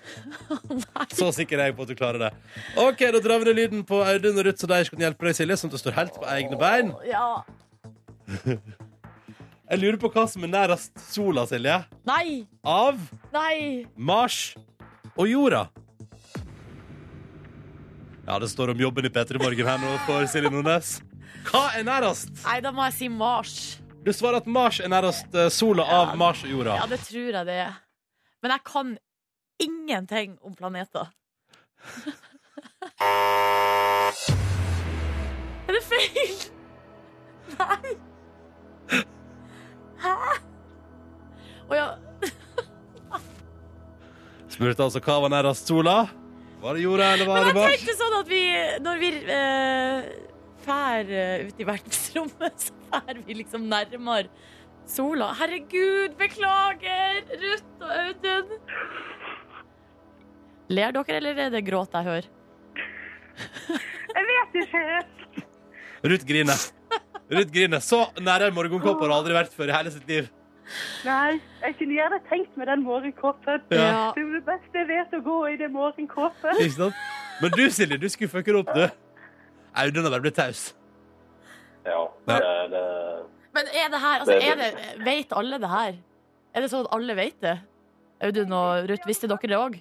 S5: Nei.
S2: Så sikker er jeg på at du klarer det. OK, da drar vi ned lyden på Audun og Ruth, så de kan hjelpe deg, Silje, sånn at du står helt på egne bein.
S5: Ja.
S2: Jeg lurer på hva som er nærest sola, Silje.
S5: Nei!
S2: Av
S5: Nei!
S2: Mars og jorda. Ja, det står om jobben i P3 Morgen her nå for Silje Nordnes. Hva er nærest?
S5: Nei, da må jeg si Mars.
S2: Du svarer at Mars er nærest eh, sola av Mars og jorda.
S5: Ja, det tror jeg det er. Men jeg kan ingenting om planeter. er det feil? Nei! Hæ? Å ja.
S2: Spurte altså hva var nærest sola. Var det jorda, eller var
S5: Men
S2: det
S5: jeg
S2: Mars?
S5: tenkte sånn at vi, når vi eh, fær eh, ut i verdensrommet, så fær vi liksom nærmere sola. Herregud, beklager, Ruth og Audun. Ler dere, eller er det gråt jeg hører?
S6: Jeg vet ikke.
S2: Ruth griner. Ruth griner. Så nære en morgenkåpe har det aldri vært før i hele sitt liv.
S6: Nei, jeg kunne gjerne tenkt meg den morgenkåpen.
S2: Ja.
S6: Det er jo det beste jeg vet, å gå i det morgenkåpet.
S2: Ikke sant? Men du, Silje, du skulle fucke det opp, du. Audun har bare blitt taus. Ja.
S7: Ja. Det, det,
S5: Men er det her, altså, er det, vet alle det her? Er det sånn at alle vet det? Audun og Ruth, visste dere det òg?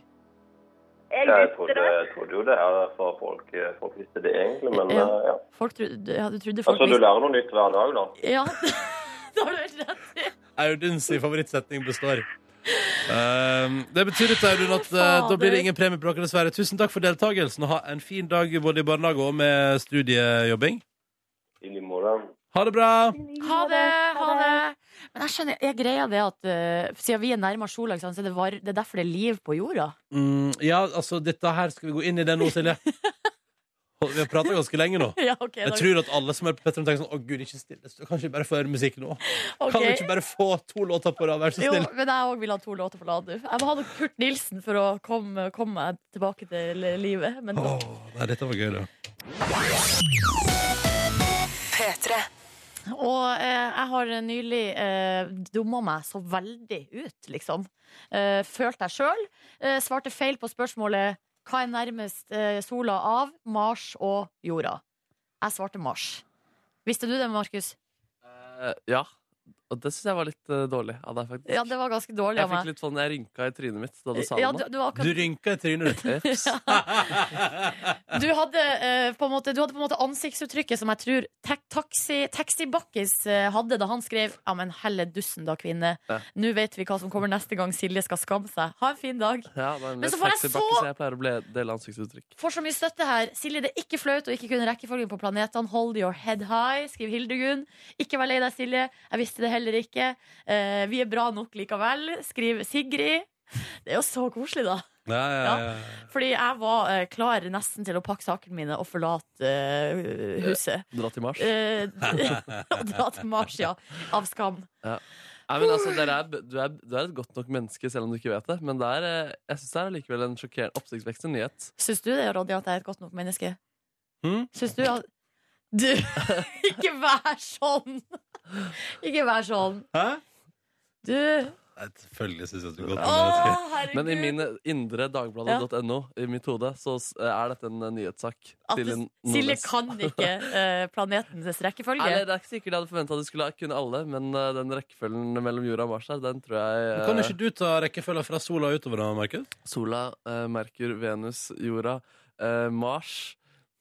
S6: Jeg
S7: jeg,
S6: visste
S7: trodde,
S6: det.
S7: jeg trodde jo det her fra folk, eh, folk visste det egentlig, men
S5: Ja.
S7: eh, ja.
S5: Folk trodde, ja, du trodde folk
S7: Altså, du
S5: visste
S7: lærer noe nytt hver dag, da.
S5: Ja, det har du helt rett i.
S2: Auduns favorittsetning består. Ehm, det betyr litt, Audun, at eh, da blir det ingen premie på dere, dessverre. Tusen takk for deltakelsen, og ha en fin dag både i barnehage og med studiejobbing.
S7: I like måte.
S2: Ha det bra!
S5: Ha det, ha det. Men jeg skjønner, jeg greier det at eh, siden vi er nærmere sola, ikke sant, så er det, var, det er derfor det er liv på jorda.
S2: Mm, ja, altså, dette her skal vi gå inn i det nå, Silje. Og Vi har prata ganske lenge nå.
S5: Ja, ok.
S2: Jeg tror at alle som er på Petter, tenker sånn Å, gud, ikke stille. Kan ikke bare få høre musikk nå? Kan vi ikke bare få to låter på rad, vær så
S5: Jo,
S2: snill?
S5: men jeg òg vil ha to låter på Ladu. Jeg må ha noe Kurt Nilsen for å komme, komme meg tilbake til livet. Men
S2: Åh, nei, dette var gøy, da.
S1: P3.
S5: Og eh, jeg har nylig eh, dumma meg så veldig ut, liksom. Eh, følt deg sjøl. Eh, svarte feil på spørsmålet hva er nærmest eh, sola av Mars og jorda. Jeg svarte Mars. Visste du det, Markus?
S3: Eh, ja. Og det syns jeg var litt eh, dårlig av deg, faktisk.
S5: Ja, det var ganske dårlig
S3: jeg
S5: av
S3: fikk
S5: meg.
S3: litt sånn, jeg rynka i trynet mitt da du sa
S5: Ja, du,
S3: det.
S5: du, var
S2: Du
S5: akkurat,
S2: rynka i trynet ditt.
S3: Eps.
S5: du, hadde, eh, på en måte, du hadde på en måte ansiktsuttrykket som jeg tror ta taxi, taxi Bakkis eh, hadde da han skrev Ja, men helle dussen da, kvinne.
S3: Ja.
S5: Nå vet vi hva som kommer neste gang Silje skal skamme seg. Ha en fin dag.
S3: Ja, det er
S5: Men
S3: mer
S5: så får jeg
S3: sexy
S5: så-
S3: bakke, så jeg pleier å ble- dele ansiktsuttrykk.
S5: Får så mye støtte her. Silje, det er ikke flaut å ikke kunne rekkefølgen på planetene. Hold your head high, skriver Hildegunn. Ikke vær lei deg, Silje. Jeg visste det heller ikke. Eh, vi er bra nok likevel, skriver Sigrid. Det er jo så koselig, da.
S2: Ja, ja, ja.
S5: Fordi jeg var eh, klar nesten til å pakke sakene mine og forlate eh, huset.
S3: Dra til Mars.
S5: Eh, og dra til Mars, ja. Av skam.
S3: Nei, men altså, dere er, du, er, du er et godt nok menneske, selv om du ikke vet det. Men det er, eh, jeg syns det er likevel en sjokkerende oppsiktsvekkende nyhet.
S5: Syns du det, Ronny, at jeg er et godt nok menneske?
S2: Hm?
S5: Syns du at Du, ikke vær sånn! Ikke vær sånn.
S2: Hæ?
S5: Du
S2: Nei, Selvfølgelig syns jeg at du godt
S5: Å,
S2: kan
S5: herregud.
S3: Men i min indre dagbladet.no, i mitt hode, så s- er dette en eh, nyhetssak.
S5: At
S3: til
S5: det-
S3: en
S5: Silje
S3: nordnes.
S5: kan ikke eh, planetens rekkefølge.
S3: Eller, det er ikke sikkert jeg hadde forventa du skulle kunne alle, men eh, den rekkefølgen mellom jorda og Mars her, den tror jeg
S2: Men
S3: eh,
S2: Kan ikke du ta rekkefølgen fra sola og utover da, Markus?
S3: Sola, eh, Merkur, Venus, jorda, eh, Mars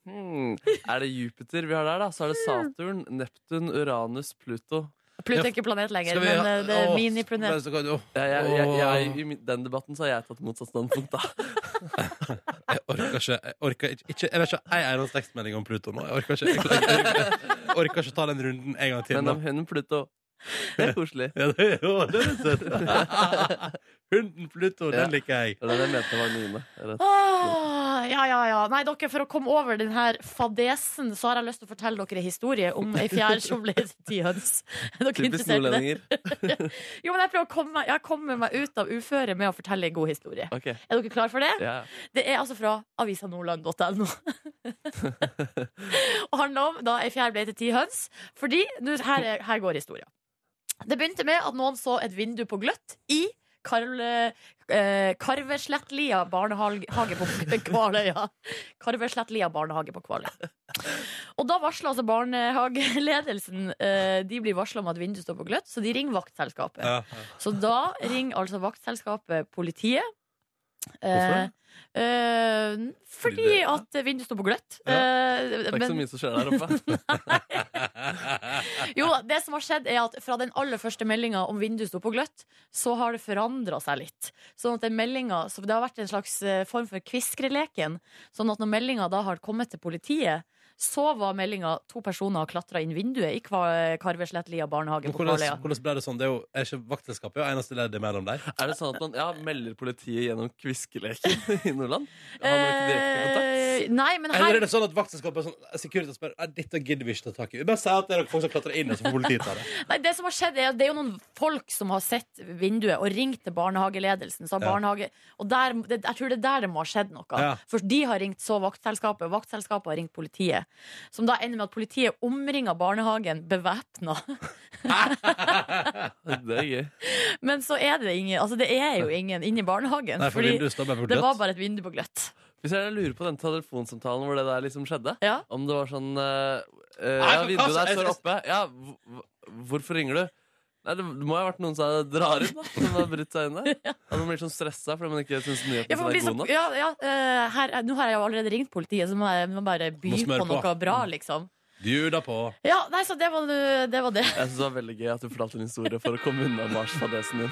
S3: hmm. Er det Jupiter vi har der, da? Så er det Saturn, Neptun, Uranus, Pluto.
S5: Pluto er ikke planet lenger,
S2: Skal vi
S5: men
S2: ha-
S5: eh, det er
S2: Åh,
S5: miniplanet.
S2: men så kan du- åh,
S3: Jeg, jeg, jeg, jeg, I min- den debatten så har jeg tatt motsatt standpunkt, da.
S2: Jeg orker ikke. Jeg, orker ikke, ikke, jeg vet ikke ei eneste tekstmelding om Pluto nå. Jeg orker ikke, jeg, orker ikke- jeg, orker ikke ta den runden en gang til.
S3: Men
S2: Nå.
S3: om hunden Pluto Det er koselig.
S2: eh, Ja, det, jo, det er litt søtt. Hunden Pluto,
S3: Ja.
S2: den liker jeg.
S3: Det er det jeg mente var Nine. Eller-
S5: Åh, Ah, ja, ja, ja. Nei, dere, for å komme over denne fadesen, så har jeg lyst til å fortelle dere en historie om ei fjær som ble til høns. Er dere
S3: Typisk
S5: interessert i det?
S3: nordlendinger.
S5: Jo, men jeg prøver å komme meg, jeg kommer meg ut av uføret med å fortelle en god historie.
S3: Ok,
S5: Er dere klar for det?
S3: ja.
S5: Det er altså fra avisanordland.no. og handler om da ei fjær ble til ti høns. Fordi nu, her, er- her går historia. Det begynte med at noen så et vindu på gløtt i Karl- eh, Karveslettlia barnehage på Kvaløya. Karveslettlia barnehage på Kvaløya. Og da varsler altså barnehageledelsen eh, De blir varsla om at vinduet står på gløtt, så de ringer vaktselskapet.
S2: Ja.
S5: Så da ringer altså vaktselskapet politiet.
S3: Hvorfor
S5: Eh, eh, fordi
S2: Fordi det-
S5: at vinduet står på gløtt.
S2: Ja.
S5: Eh,
S3: Det er ikke så mye som skjer der oppe.
S5: jo, det som har skjedd er at Fra den aller første meldinga om vinduet sto på gløtt, så har det forandra seg litt. Sånn at den meldingen, så Det har vært en slags eh, form for kviskreleken. Sånn at når meldinga da har kommet til politiet, så var meldinga to personer har klatra inn vinduet i Kva- Karveslettlia barnehage
S2: Men
S5: på
S2: hvordan,
S5: Kvaløya.
S2: hvordan ble det sånn? Det er jo er ikke vaktselskapet jo eneste leddet mellom der.
S3: Er det sånn at man ja, melder politiet gjennom kviskeleken i Nordland? Har man ikke direkte
S5: Eh, nei, men
S2: Eller
S5: her
S2: er det sånn at vaktselskapet er sånn Securitas spør «Nei, dette gidder vi ikke ta tak i. Vi Bare si at det er folk som klatrer inn, og så får politiet ta det.
S5: Nei, det som har skjedd er at det er jo noen folk som har sett vinduet og ringt til barnehageledelsen. Så har
S2: Ja.
S5: barnehage, og der, det, jeg tror det er der det må ha skjedd noe.
S2: Ja.
S5: For de har ringt så vaktselskapet, og vaktselskapet har ringt politiet. Som da ender med at politiet omringer barnehagen bevæpna. Eh.
S3: kontakt? Det er gøy.
S5: Men så er det ingen Altså det er jo ingen inne i barnehagen.
S2: Nei, for
S5: fordi
S2: vinduet står bare på
S5: det var
S2: gløtt.
S5: bare et vindu på gløtt.
S3: Hvis jeg lurer på den telefonsamtalen hvor det der liksom skjedde
S5: Ja.
S3: Om det var sånn eh, eh,
S2: Nei, for
S3: Ja, vinduet
S2: hva-
S3: der står oppe. Ja, hv- hv- hvorfor ringer du? Nei, Det må ha vært noen som drar inn, da. Som har brutt seg inn der. At man blir sånn stressa fordi man ikke syns
S5: Ja,
S3: nyheten
S5: for liksom- man blir så,
S3: er god nok.
S5: ja, ja, eh, her, nå har jeg jo allerede ringt politiet, så må jeg må bare by
S2: Må smøre
S5: på noe
S2: på. Mm.
S5: bra, liksom.
S2: Bjuda på.
S5: Ja, nei, så det var det. Var det.
S3: Jeg synes det var veldig gøy at du fortalte en historie for å komme unna Mars-fadesen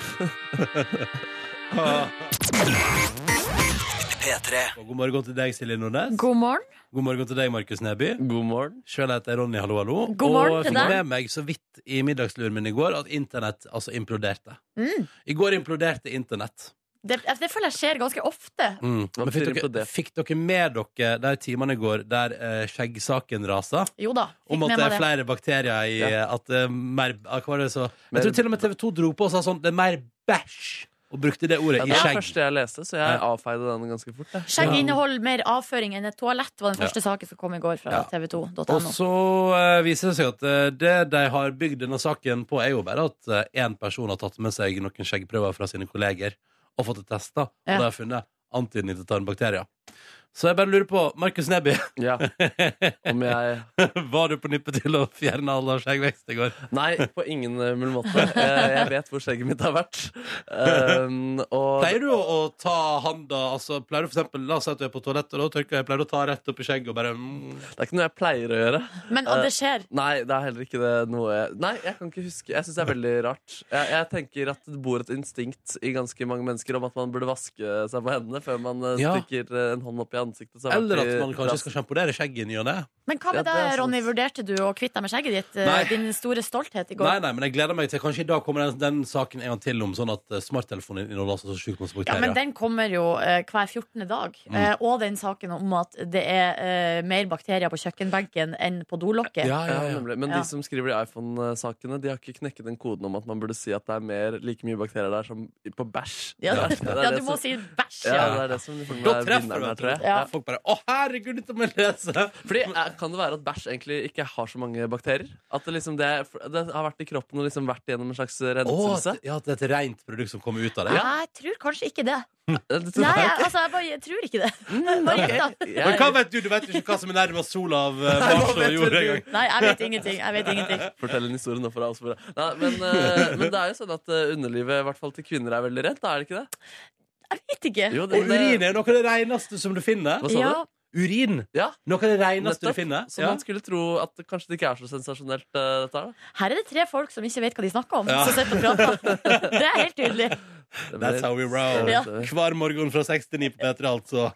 S3: din.
S4: P3.
S2: Og god morgen til deg, Silje Nordnes. God,
S5: God morgen.
S2: morgen til deg, Markus Neby.
S3: God morgen.
S2: Sjøl heter jeg Ronny Hallo Hallo.
S5: God morgen
S2: og
S5: til
S2: jeg
S5: deg.
S2: fikk med meg så vidt i middagsluren min i går at internett altså imploderte.
S5: Mm.
S2: I går imploderte internett.
S5: Det, det føler jeg skjer ganske ofte.
S2: Mm.
S3: Hva
S2: Men fikk
S3: betyr
S2: dere,
S3: implodert?
S2: fikk dere med dere de timene i går der eh, skjeggsaken rasa?
S5: Jo da. Fikk
S2: Om at
S5: med
S2: det
S5: meg
S2: er flere bakterier i eh, At det er mer ah, Hva var det så Jeg
S3: Mer-
S2: tror til og med TV 2 dro på og sa sånn Det er mer bæsj Og brukte det ordet
S3: Ja,
S2: i
S3: det var det
S2: skjegg
S3: første jeg leste, så jeg avfeide den ganske fort. jeg.
S5: Skjegg inneholder mer avføring enn et toalett, var den første saken som kom i går fra
S2: Ja.
S5: tv2.no.
S2: Og så eh, viser det seg at eh, Det de har bygd denne saken på Er jo bare at eh, En person har tatt med seg Noen skjeggprøver fra sine kolleger Og fått det testet Og
S5: Ja.
S2: de har funnet antydning til tarmbakterier Så jeg bare lurer på Markus Neby
S3: Ja, om jeg
S2: Var du på nippet til å fjerne all av skjeggvekst i går?
S3: Nei, på ingen eh, mulig måte. Eh, Jeg vet hvor skjegget mitt har vært. Um, og
S2: Pleier du å, å ta handa altså, Pleier du for eksempel La oss si at du er på toalettet Og da tørker jeg Pleier du å ta rett opp i skjegg Og bare mm,
S3: det er ikke noe jeg pleier å gjøre.
S5: Men og det skjer.
S3: Nei, det er heller ikke det noe jeg Nei, jeg kan ikke huske. Jeg syns det er veldig rart. Jeg, jeg tenker at det bor et instinkt i ganske mange mennesker om at man burde vaske seg på hendene før man eh,
S2: Ja.
S3: stikker eh, en hånd opp i ansiktet. som har
S2: Eller
S3: vært
S2: at
S3: i
S2: man kanskje
S3: rassen.
S2: skal sjamponere skjegget i ny og ne.
S5: Men hva
S3: Ja,
S5: med
S3: det
S5: deg,
S3: er sant.
S5: Ronny? Vurderte du å kvitte deg med skjegget ditt? eh,
S2: Nei.
S5: Din store stolthet i går?
S2: Nei, nei, men jeg gleder meg til Kanskje i dag kommer den, den saken en gang til om sånn at eh, smarttelefonen inneholder altså så sjukt masse
S5: Ja, men
S2: bakterier.
S5: Den kommer jo eh, hver 14. dag. Eh, og den saken om at det er eh, mer bakterier på kjøkkenbenken enn på dolokket.
S2: ja, ja,
S3: Ja,
S2: ja.
S3: nemlig. Men
S5: Ja.
S3: de som skriver de iPhone-sakene, De har ikke knekket den koden om at man burde si at det er mer, like mye bakterier der som på bæsj.
S5: Ja,
S3: Det er- det er
S5: Ja,
S3: det
S5: du må
S3: som-
S5: si bæsj.
S3: ja,
S5: Ja.
S3: det er det som liksom
S2: Da
S3: er
S2: treffer
S3: vinneren
S2: du,
S3: her, tror jeg.
S2: vet du.
S5: Ja.
S2: Folk bare 'Å, herregud, dette må jeg lese'.
S3: Fordi eh, Kan det være at bæsj egentlig ikke har så mange bakterier? At det, liksom, det, det har vært i kroppen og liksom vært gjennom en slags
S2: Å,
S3: renselse?
S2: at- ja, at det er et rent produkt som kommer ut av det.
S5: Nei, jeg tror kanskje ikke det.
S3: Eh, det-
S5: Nei, jeg, altså, jeg, bare, jeg tror ikke det. Bare gjett, da.
S3: Jeg-
S2: Men hva vet du? Du vet jo ikke hva som er nærmest sola av eh, Mars og
S3: vet
S2: jord
S3: du.
S2: engang.
S5: Nei, jeg vet ingenting. Jeg vet ingenting.
S3: Fortell en historie nå for deg. Også, Nei, men, eh, men det er jo sånn at eh, underlivet i hvert fall til kvinner er veldig rent, da, er det ikke det?
S5: Jeg vet ikke.
S3: Jo,
S2: Og
S3: det,
S2: urin er noe av det reneste som du finner.
S3: eh, Hva sa
S5: ja,
S3: du?
S2: Urin.
S3: Ja,
S2: Noe av det reneste
S3: nettopp.
S2: du finner.
S3: Så
S2: Ja.
S3: man skulle tro at det kanskje det ikke er så sensasjonelt, eh, dette her. da.
S5: Her er det tre folk som ikke vet hva de snakker om.
S2: Ja.
S5: Som sitter og prater. Det er helt tydelig.
S3: Det blir-
S2: That's how we roll.
S5: Ja.
S2: Hver morgen fra seks til ni på P3, altså.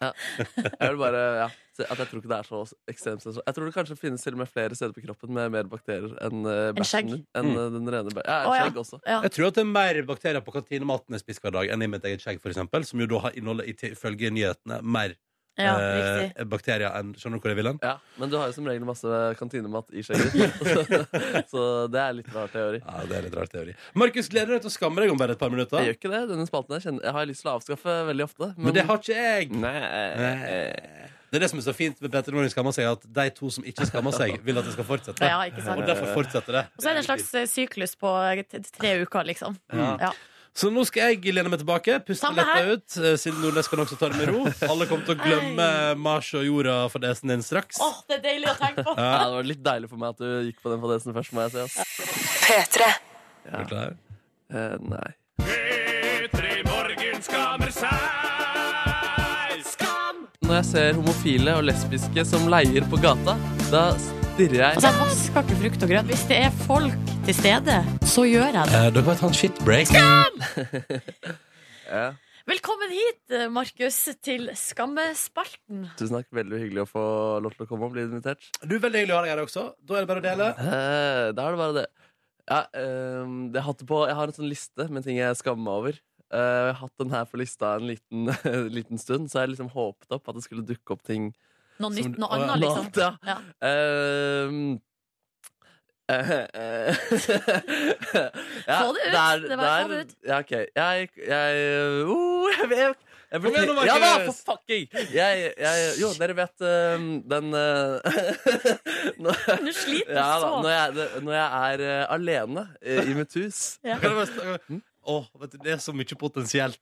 S3: Jeg vil bare, ja, se- at jeg tror ikke det er så ekstremt sensasjonelt. Jeg tror det kanskje finnes til og med flere steder på kroppen med mer bakterier enn eh,
S5: skjegg.
S3: bæsjen din. Enn eh, den rene bæ- Ja,
S5: Å, ja.
S3: skjegg også.
S5: Ja.
S2: Jeg tror at det er mer bakterier på kantinematen jeg spiser hver dag enn i mitt eget skjegg, for eksempel, som jo da har inneholder, i til- ifølge nyhetene, mer
S5: Ja,
S2: eh,
S5: riktig.
S2: bakterier enn Skjønner du hvor jeg vil hen?
S3: Ja, Men du har jo som regel masse kantinemat i skjegget. ditt. så det er litt rar teori.
S2: Ja, det er litt rar teori. Markus, gleder du deg til å skamme deg om bare et par minutter?
S3: Jeg gjør ikke det. Denne spalten her kjenner, jeg har jeg lyst til å avskaffe veldig ofte.
S2: Men det har ikke jeg!
S3: Nei, eh,
S2: Nei. Det er det som er så fint med Petter Norling skammer seg, at de to som ikke skammer seg, vil at det skal fortsette.
S5: Ja, ikke sant.
S2: Og derfor fortsetter det.
S5: Og så er det en slags eh, syklus på eh, t- tre uker, liksom.
S2: Ja.
S5: Ja.
S2: Så nå skal jeg lene meg tilbake, puste
S5: Samme
S2: letta
S5: her.
S2: ut, eh, siden Nordnes kan også ta det med ro. Alle kommer til å glemme Mars og jorda for desen din straks.
S5: Åh, det er deilig å tenke på.
S3: Ja, det var litt deilig for meg at du gikk på den fadesen først, må jeg si. ass.
S1: P3.
S2: Er du klar?
S3: Eh, nei. Når jeg ser homofile og lesbiske som leier på gata, da stirrer jeg
S5: Altså, jeg vasker ikke frukt og grønt. Hvis det er folk til stede, så gjør jeg det.
S2: Eh, dere må ta en shitbreak.
S3: ja,
S5: Velkommen hit, eh, Markus, til Skammespalten.
S3: Tusen takk. Veldig hyggelig å få lov til å komme og bli invitert.
S2: Du, Veldig hyggelig å ha deg her også. Da er det bare å dele.
S3: Eh, da er det bare det. Ja, ehm, jeg, har hatt på, jeg har en sånn liste med ting jeg skammer meg over. Eh, og jeg har hatt den her på lista en liten, liten stund, så jeg liksom håpet opp at det skulle dukke opp ting
S5: Noe
S2: Som-
S5: nytt, noe
S2: Å, ja.
S5: annet, liksom.
S3: Noe annet,
S5: Ja.
S3: Ehm, eh, eh, ja,
S5: Få det ut. Det var- få det ut.
S3: Ja, ok. Jeg Jeg oh, jeg, vet- jeg burde-
S2: Kom igjen nå,
S3: Ja da, for
S2: Markus!
S3: fucking! Jeg, jeg, jo, dere vet ehm, den eh, når-
S5: Nå sliter du
S3: ja, da,
S5: så.
S3: når, jeg, det- når jeg er eh, alene eh, i mitt hus
S5: Ja.
S2: Kan jeg bare
S3: Mm?
S2: snakke- Åh, vet du, det er så mye potensielt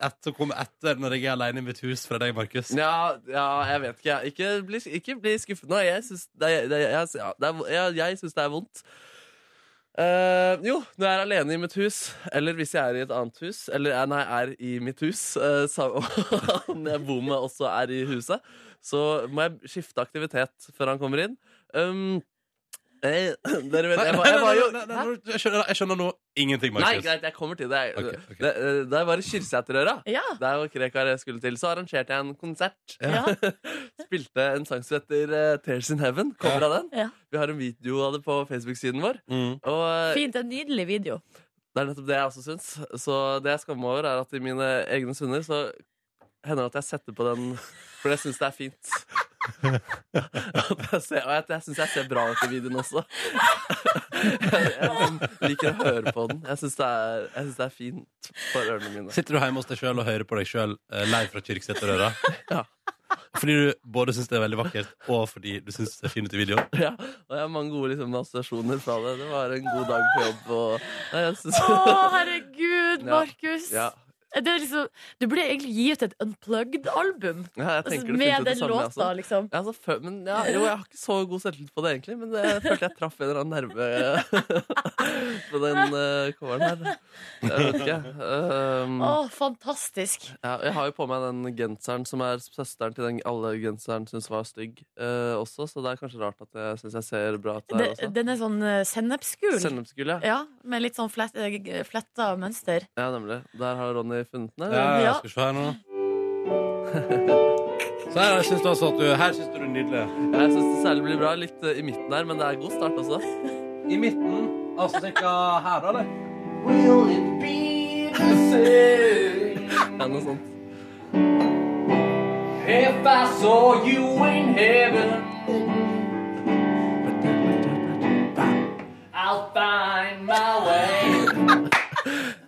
S2: et- som kommer etter når jeg er alene i mitt hus fra deg, Markus.
S3: Ja, ja, jeg vet ikke. jeg. Ikke bli, ikke bli skuffet nå. Jeg syns det, er- det, er- jeg, ja, det, er- jeg, jeg synes det er vondt. Eh, jo, når jeg er alene i mitt hus, eller hvis jeg er i et annet hus Eller eh, nei, er i mitt hus, eh, sa- og han jeg bor med, også er i huset, så må jeg skifte aktivitet før han kommer inn. Um, eh, dere vet
S2: Nei, nei,
S3: Jeg, var- jeg var jo
S2: nei, nei, nei, nå- jeg skjønner, jeg skjønner nå ingenting,
S3: Nei,
S2: Markus.
S3: greit, jeg kommer til det.
S2: Ok, ok.
S3: Det, eh, Da jeg var i Kyrksæterøra,
S5: Ja.
S3: der hvor Krekar skulle til, så arrangerte jeg en konsert.
S5: Ja.
S3: Spilte en sang som heter eh, Tears in Heaven. Cover av den.
S5: Ja.
S3: Vi har en video av det på Facebook-siden vår.
S2: Mm.
S3: Og eh,
S5: Fint. En nydelig video.
S3: det er nettopp det jeg også syns. Så det jeg skammer meg over, er at i mine egne stunder så hender det at jeg setter på den For jeg syns det er fint. At jeg ser, og jeg, jeg syns jeg ser bra ut i videoen også. Jeg, jeg liker å høre på den. Jeg syns det, er- jeg synes det er fint for ørene mine.
S2: Sitter du hjemme hos deg sjøl og hører på deg sjøl live fra Kyrksæterøra?
S3: Ja.
S2: Fordi du både syns det er veldig vakkert, og fordi du syns det ser fin ut i videoen?
S3: Ja, og jeg har mange gode liksom, assosiasjoner fra det. Det var en god dag på jobb. Og, Nei, jeg synes,
S5: Å, herregud,
S3: Ja.
S5: Markus.
S3: ja.
S5: Det er liksom, du burde egentlig gi ut et unplugged-album
S3: ja, jeg
S5: altså,
S3: tenker det
S5: med
S3: finnes jo det
S5: den
S3: samme.
S5: låta,
S3: Altså.
S5: liksom.
S3: Ja, altså, før, men, ja, jo, jeg har ikke så god selvtillit på det, egentlig, men jeg følte jeg traff en eller annen nerve på den uh, coveren her. Jeg vet ikke. Um,
S5: Å, fantastisk.
S3: ja, jeg har jo på meg den genseren som er søsteren til den alle genseren syns var stygg, eh, også, så det er kanskje rart at jeg syns jeg ser bra ut der
S5: Det,
S3: også.
S5: den er sånn eh, sennepsgul.
S3: Sennepsgul, ja.
S5: Ja, med litt sånn flett, eh, fletta mønster.
S3: ja. Nemlig. Der har Ronny funnet den. eller?
S5: Ja.
S2: Ja, skal vi se her nå. Så her syns du altså at du Her syns du du er nydelig.
S3: Jeg syns det særlig blir bra litt eh, i midten her, men det er god start også.
S2: I midten, altså cirka her, da, eller?
S3: Ja, noe sånt.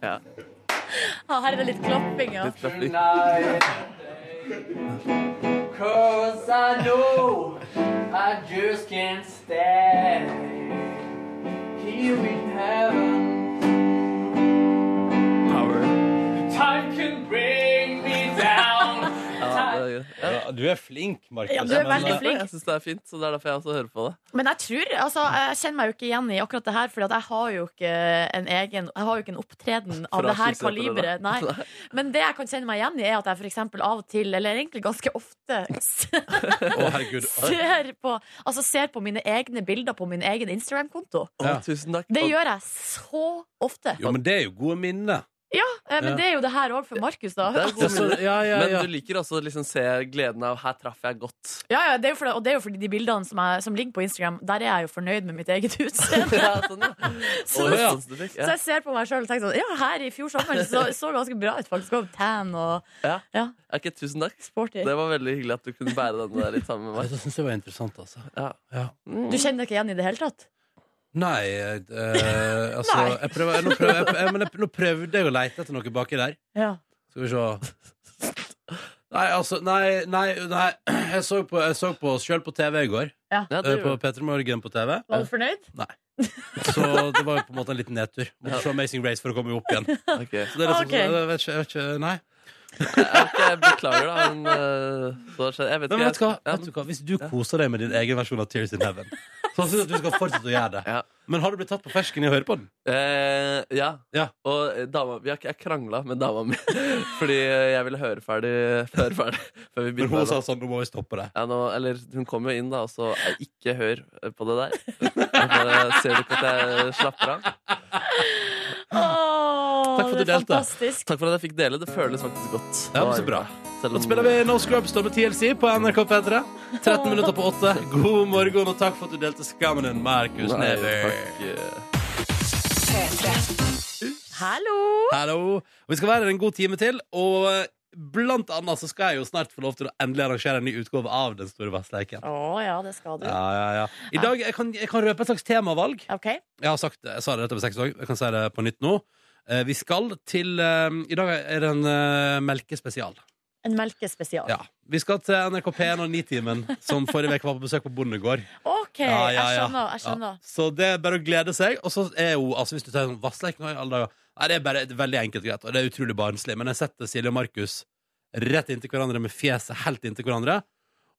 S5: Ja, her er det litt klapping, ja.
S3: Litt klapping. Power. Ja, det er gøy. Ja,
S2: Ja, du er flink, Markus.
S5: Ja, du er
S2: Men,
S5: veldig
S2: eh,
S5: flink.
S3: Jeg syns det er fint, så det er derfor jeg også hører på det.
S5: Men jeg tror, altså, jeg kjenner meg jo ikke igjen i akkurat det her, for jeg har jo ikke en egen Jeg har jo ikke en opptreden av
S3: Fra
S5: det her
S3: Kyrksæterøra.
S5: kaliberet. Nei. Men det jeg kan kjenne meg igjen i, er at jeg for eksempel av og til, eller egentlig ganske ofte,
S2: Å, herregud.
S5: ser på, altså, ser på mine egne bilder på min egen Instagram-konto.
S3: Å,
S2: Ja.
S3: tusen takk.
S5: Det
S3: Og-
S5: gjør jeg så ofte.
S2: Jo, men det er jo gode minner.
S5: Eh, Men
S2: Ja.
S5: det er jo det her òg for Markus, da.
S3: Det er gode minner.
S2: ja, ja,
S3: Men du liker også å liksom se gleden av 'her traff jeg godt'.
S5: Ja, ja, det er jo fordi, og det er jo fordi de bildene som, jeg, som ligger på Instagram, der er jeg jo fornøyd med mitt eget utseende.
S3: Ja, sånn, ja.
S5: Så,
S3: Å, ja, sånn som du fikk,
S5: så
S3: ja.
S5: jeg ser på meg sjøl og tenker sånn Ja, her i fjor sommer så, så ganske bra ut, faktisk. Og tan og
S3: Ok, tusen takk.
S5: sporty.
S3: Det var veldig hyggelig at du kunne bære den der litt sammen med meg.
S2: Det syns jeg var interessant, altså.
S3: Ja.
S2: Ja.
S5: Du kjenner deg ikke igjen i det hele tatt?
S2: Nei, eh, altså
S5: Nei.
S2: Jeg prøver, nå, prøver, jeg, jeg, men jeg, nå prøvde jeg å leite etter noe baki der.
S5: Ja.
S2: Skal vi se Nei, altså Nei, nei, nei. Jeg så på, jeg så på oss sjøl på TV i går.
S3: Ja,
S2: eh,
S3: det
S2: På
S3: gjør du.
S2: P3 Morgen på TV.
S5: Var du fornøyd?
S2: Nei. Så det var jo på en måte en liten nedtur. Måtte se Amazing Race for å komme opp igjen.
S3: Ok.
S2: Så det er liksom,
S5: Ah, Ok.
S2: jeg vet ikke, jeg vet ikke, nei.
S3: Ok, jeg beklager, da. Men, eh, så har det skjedd. jeg vet
S2: Men
S3: ikke.
S2: vet du, hva?
S3: Ja,
S2: vet du hva? Hvis du koser deg med din egen versjon av Tears in Heaven, så synes jeg at du skal fortsette å gjøre det.
S3: Ja.
S2: Men har du blitt tatt på fersken i å høre på den?
S3: Eh, ja.
S2: Ja.
S3: Og eh, dama vi har, ikke- Jeg krangla med dama mi fordi eh, jeg ville høre ferdig før, ferdig, før vi
S2: Men hun
S3: begynte.
S2: sa sånn, nå må vi stoppe det.
S3: Ja, nå, eller hun kom jo inn, da, og så eh, Ikke hør på det der. Jeg bare ser du ikke at jeg slapper av?
S5: Åh,
S2: Takk for at du
S5: det er
S2: delte.
S5: fantastisk.
S3: Takk for at jeg fikk dele. Det føles faktisk godt.
S2: Ja, men så bra.
S3: Selv
S2: Da
S3: om-
S2: spiller vi No Scrubs da med TLC på NRK P3. 13 minutter på 8. God morgen, og takk for at du delte skammen din, Markus
S3: Nei,
S2: Neby.
S3: takk, eh.
S5: Hallo!
S2: Hallo. Vi skal være her en god time til, og eh, blant annet så skal jeg jo snart få lov til å endelig arrangere en ny utgave av Den store vestleiken.
S5: Å ja, det skal du.
S2: Ja, ja, ja. I dag, jeg kan, jeg kan røpe et slags temavalg.
S5: OK.
S2: Jeg har sagt det, jeg sa det rett over seks år, jeg kan si det på nytt nå. Eh, Vi skal til eh, I dag er det en eh, melkespesial.
S5: En melkespesial.
S2: Ja. Vi skal til NRK P1 og Nitimen, som forrige uke var på besøk på Bondegård.
S5: OK,
S2: Ja, ja,
S5: jeg
S2: ja.
S5: skjønner. Jeg skjønner.
S2: Ja. Så det er bare å glede seg. Og så er jo, altså hvis du tar sånn vassleik nå i alle dager Nei, det er bare veldig enkelt og greit, og det er utrolig barnslig. Men jeg setter Silje og Markus rett inntil hverandre med fjeset helt inntil hverandre.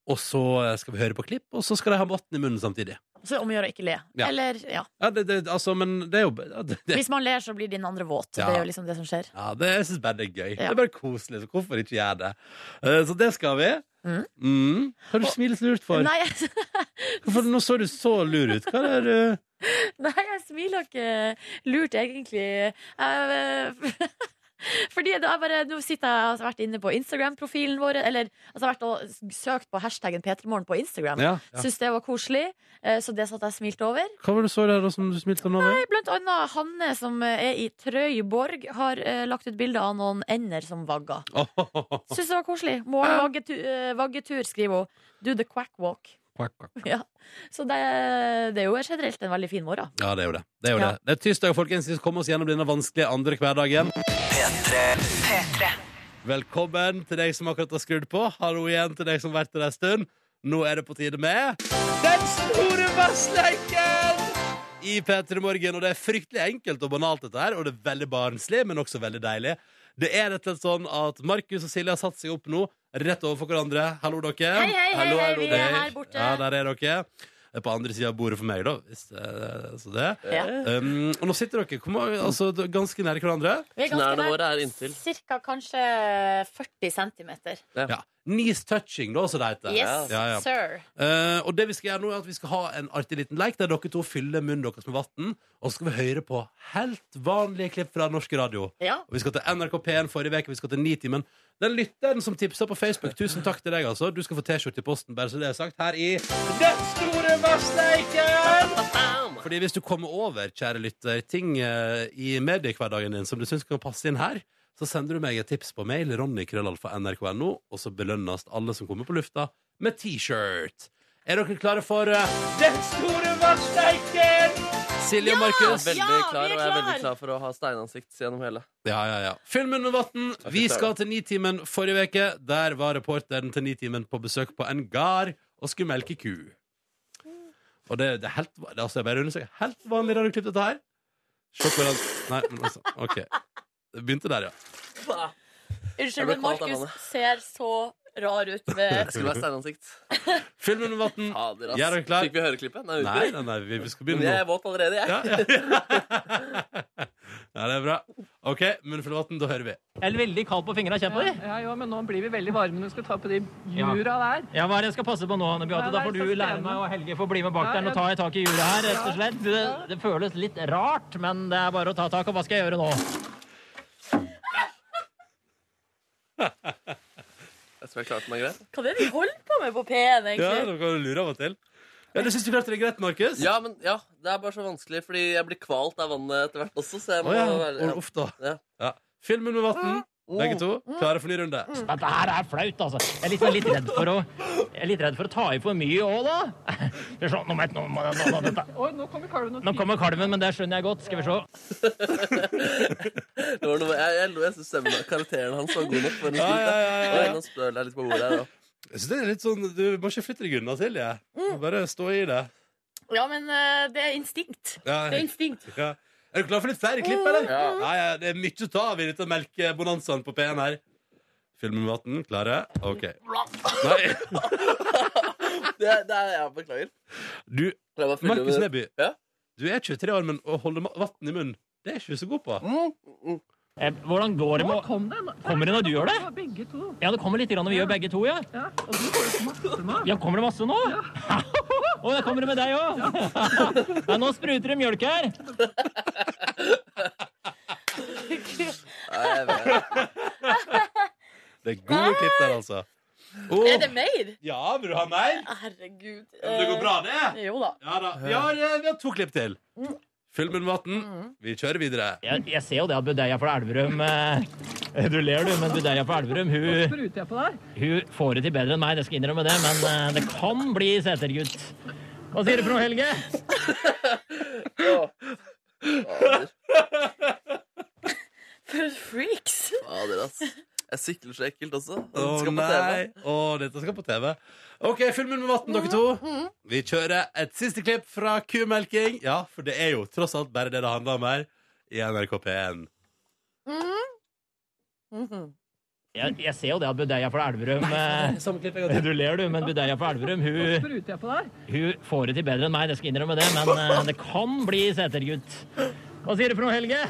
S2: Og så eh, skal vi høre på klipp, og så skal de ha votten i munnen samtidig.
S5: Så om å gjøre å ikke le.
S2: Ja.
S5: Eller, ja.
S2: Ja, det, det, altså, men det er jo ja, det, det,
S5: Hvis man ler, så blir den andre våt.
S2: Ja.
S5: Det er jo liksom det som skjer.
S2: ja, det, Jeg syns bare det er gøy. Det
S5: Ja.
S2: er bare koselig, så hvorfor ikke gjøre det? Eh, så det skal vi.
S5: Mhm.
S2: Mm. Hva er det du smiler så lurt for?
S5: Nei,
S2: Hvorfor, nå så du så lur ut. Hva er det du
S5: nei, jeg smiler ikke lurt, egentlig. Jeg, fordi det er bare, Nå sitter jeg og har vært inne på Instagram-profilen vår. Eller altså, jeg har vært og søkt på hashtaggen P3morgen på Instagram.
S2: ja, ja.
S5: Syns det var koselig, eh, så det satt jeg smilte over.
S2: Hva var det du så der da, som du smilte av nå? Nei,
S5: Nei, Blant annet Hanne, som eh, er i Trøyborg, har eh, lagt ut bilde av noen ender som vagger. Syns det var koselig. Morgenvaggetur, eh, vaggetur, skriver hun. Do the quack walk.
S2: Kvakk, kvakk.
S5: Ja. Så det, det er jo generelt en veldig fin morgen.
S2: Ja, det er jo det. Det er, jo
S5: Ja.
S2: det. det er tirsdag, folkens. Vi skal komme oss gjennom denne vanskelige andre hverdagen. Velkommen til deg som akkurat har skrudd på. Hallo igjen til deg som har vært der en stund. Nå er det på tide med Den store vassleiken! I P3 Morgen. Og det er fryktelig enkelt og banalt, dette her. Og det er veldig barnslig, men også veldig deilig. Det er rett og slett sånn at Markus og Silje har satt seg opp nå, rett overfor hverandre. Hallo, dere.
S5: Hei, hei, hei,
S2: Hallo,
S5: hei,
S2: hallo,
S5: vi er
S2: dere.
S5: her borte.
S2: Ja, der er dere. Det er På andre sida av bordet for meg, da. Hvis, eh, så det.
S5: Ja.
S2: Um, og nå sitter dere hvor mange- altså, d- ganske nære hverandre.
S5: Vi er
S3: Knærne våre er inntil.
S5: Cirka kanskje 40 cm.
S2: Ja. Knees touching, da, som det heter.
S5: Yes,
S2: Ja, ja.
S5: sir.
S2: Eh, og det vi skal gjøre nå, er at vi skal ha en artig liten leik der dere to fyller munnen deres med vann. Og så skal vi høre på helt vanlige klipp fra norsk radio.
S5: Ja.
S2: Og vi skal til NRK P1 forrige uke, vi skal til Nitimen. Den lytteren som tipsa på Facebook, tusen takk til deg, altså. Du skal få T-skjorte i posten, bare så det er sagt, her i Den store vassleiken! Fordi hvis du kommer over, kjære lytter, ting eh, i mediehverdagen din som du syns kan passe inn her, så sender du meg et tips på mail, ronnykrøllalfa.nrk.no, og så belønnes alle som kommer på lufta, med T-shirt. Er dere klare for eh, Den store vassleiken? Silje og Markus.
S3: Veldig
S5: Ja, vi er
S3: klar, og jeg er veldig
S5: klar.
S3: klar for å ha steinansikt gjennom hele.
S2: Ja, ja, ja. Fyll munnen med vann. Vi skal til Nitimen forrige uke. Der var reporteren til Nitimen på besøk på en gard og skulle melke ku. Og det, det er helt, det er altså, jeg bare undersøker, helt vanlig radioklipp, dette her. Se hvordan Nei, men altså, OK. Det begynte der, ja.
S5: Unnskyld,
S3: ble
S5: men
S3: kalt av
S5: Markus
S3: Hanne.
S5: ser så rar ut med
S3: Det skulle være steinansikt.
S2: Fyll munnen med vann.
S3: Fader,
S2: Ja, er
S3: ass.
S2: du klar?
S3: Fikk vi høre klippet? Nei, vi
S2: Nei, nei, nei, vi skal
S3: Men
S2: begynne
S3: jeg er
S2: nå.
S3: våt allerede, jeg.
S2: Ja, ja. ja, det er bra. OK, munn full av vann. Da hører vi.
S8: Jeg er veldig kald på fingrene, kjenn på de.
S9: Ja, ja, men nå blir vi veldig varme når vi skal ta på de jura der.
S8: Ja, hva er det jeg skal passe på nå, Hanne Beate?
S9: Nei,
S8: Da
S9: nei,
S8: får
S9: så
S8: du lære
S9: spennende.
S8: meg, og Helge får bli med bak
S9: Ja,
S8: der. Nå
S9: ja.
S8: tar jeg tak i hjulet her, rett og slett. Det, det føles litt rart, men det er bare å ta tak, og hva skal jeg gjøre nå?
S3: Jeg tror jeg klarte meg greit.
S5: Hva er det de holder på med på P1,
S2: Ja,
S5: egentlig?
S2: da kan du lure av og til. Ja, Du syns du klarte det greit, Markus?
S3: Ja, men ja, det er bare så vanskelig, fordi jeg blir kvalt av vannet etter hvert også, så jeg
S2: Å
S3: må
S2: ja.
S3: være ja.
S2: Og uff, da.
S3: Ja.
S2: Ja. Mm. Fyll munnen med vann. Begge to. Klare for ny runde.
S8: Dette her er flaut, altså. Jeg er litt, litt, redd, for å, jeg er litt redd for å ta i for mye òg, da. Skal vi se, Nå, må jeg- nå, må jeg- nå, nå, dette-
S9: Oi, nå kommer kalven og
S8: nå kommer kalven, men det skjønner jeg godt. Skal vi se.
S3: Det var noe, jeg jeg, lo, jeg syns stemmen karakteren hans var god nok. For en
S2: Ja, ja, ja, ja, ja.
S3: Og nå spør jeg litt på ordet her, da.
S2: Jeg synes det er litt sånn, Du må ikke flytte deg unna, Silje. Bare stå i det.
S5: Ja, men eh, det er instinkt.
S2: Ja.
S5: Det er instinkt.
S2: Ja. Er du klar for litt flere
S5: Mm.
S2: klipp, eller? Ja. ja, det er mye å ta av i dette melkebonanzaen på P1 her. Filmen med vann, klare? OK. Nei,
S3: Det, det er, jeg beklager.
S2: du,
S3: La meg fylle
S2: Markus
S3: med-
S2: Neby.
S3: Ja?
S2: Du er 23 år, men å holde ma- vann i munnen, det er ikke du så god på.
S8: Eh, Hvordan går det
S9: Nå
S8: med
S9: kom det. nå-
S8: Kommer det når du gjør det?
S9: Ja, Begge to.
S8: Ja, det kommer litt grann når vi gjør begge to, ja.
S9: Ja, og du får jo så masse mat.
S8: Ja, kommer det masse nå? Og det kommer det med deg òg! Nei, nå spruter det mjølk her.
S3: Nei, jeg vet.
S2: Det er gode klipp der, altså. Åh,
S5: Er det mer?
S2: ja, vil du ha mer?
S5: Herregud.
S2: Det går bra, det.
S5: Eh, Jo da.
S2: Ja da. Vi har, eh, vi har to klipp til.
S5: Mm.
S2: Filmen med vann. Vi kjører videre.
S8: Jeg, jeg ser jo det at Budeia fra Elverum eh, Du ler, du, men Budeia fra Elverum hun,
S9: Spruter jeg på deg?
S8: hun får det til bedre enn meg, det skal jeg innrømme det, men eh, det kan bli setergutt. Hva sier du for noe, Helge?
S5: For freaks.
S3: Fader, ass. Jeg sikler så ekkelt også.
S2: Å
S3: Den skal på
S2: nei!
S3: TV.
S2: Å, dette skal på TV. OK, filmen med vann, dere to. Vi kjører et siste klipp fra kumelking. Ja, for det er jo tross alt bare det det handler om her i NRK P1.
S8: Jeg, jeg ser jo det at Budeia fra Elverum eh, Du ler, du, men Budeia fra Elverum hun,
S9: Spruter jeg på deg?
S8: hun får det til bedre enn meg, det skal jeg innrømme det, men eh, det kan bli setergutt. Hva sier du for noe, Helge?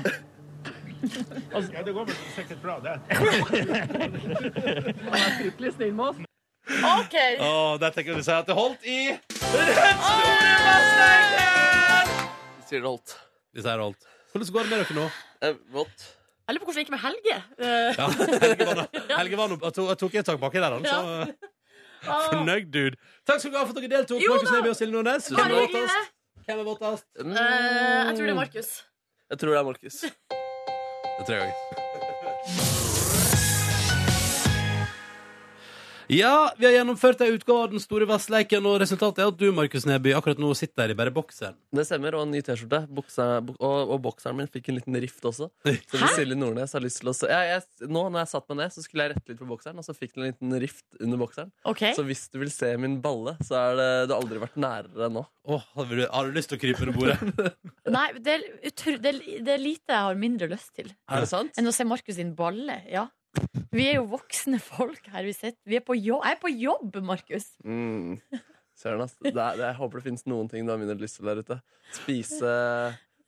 S10: Ja, det går vel sikkert bra, det.
S9: Han er fryktelig snill med oss.
S5: OK.
S2: Å, der tenker jeg å si at det holdt i
S3: Sier det holdt.
S2: Hvis jeg har holdt. Hvordan går det med dere nå?
S3: Eh, vått.
S5: Jeg lurer på hvorfor det gikk med Helge. Eh,
S2: Ja, Helge var nå- Helge var nå Jeg tok- jeg tok et tak baki der, han. Så
S5: ah.
S2: fornøyd, dude. Takk skal du ha for at dere deltok.
S5: Jo da.
S2: Markus Neby og Silje Nordnes.
S5: Bare
S2: Hvem er
S5: hyggelig,
S2: våtest?
S5: det.
S2: Hvem er våtest?
S3: Mm.
S5: Eh, jeg tror det er Markus.
S3: Jeg tror det er Markus.
S2: Det tror jeg òg. Ja, vi har gjennomført ei utgave av Den store vestleiken, og resultatet er at du, Markus Neby, akkurat nå sitter der i bare bokseren.
S3: Det stemmer. Og en ny T-skjorte. Buksa- buk- Og, og bokseren min fikk en liten rift også. Så hvis Silje Nordnes har lyst til å så, jeg, jeg, Nå når jeg satt meg ned, så skulle jeg rette litt på bokseren, og så fikk den en liten rift under bokseren.
S5: OK.
S3: Så hvis du vil se min balle, så er det, det har aldri vært nærere enn nå.
S2: Åh, har du- har du lyst til å krype under bordet?
S5: Nei, det er, utro- det, er, det er lite jeg har mindre lyst til
S3: Er det sant?
S5: enn å se Markus sin balle. Ja. Vi er jo voksne folk her. Vi, sitter. vi er på jobb. Jeg er på jobb, Markus.
S3: Mm. Søren, ass. Det er, det, jeg håper det finnes noen ting du har mindre lyst til der ute. Spise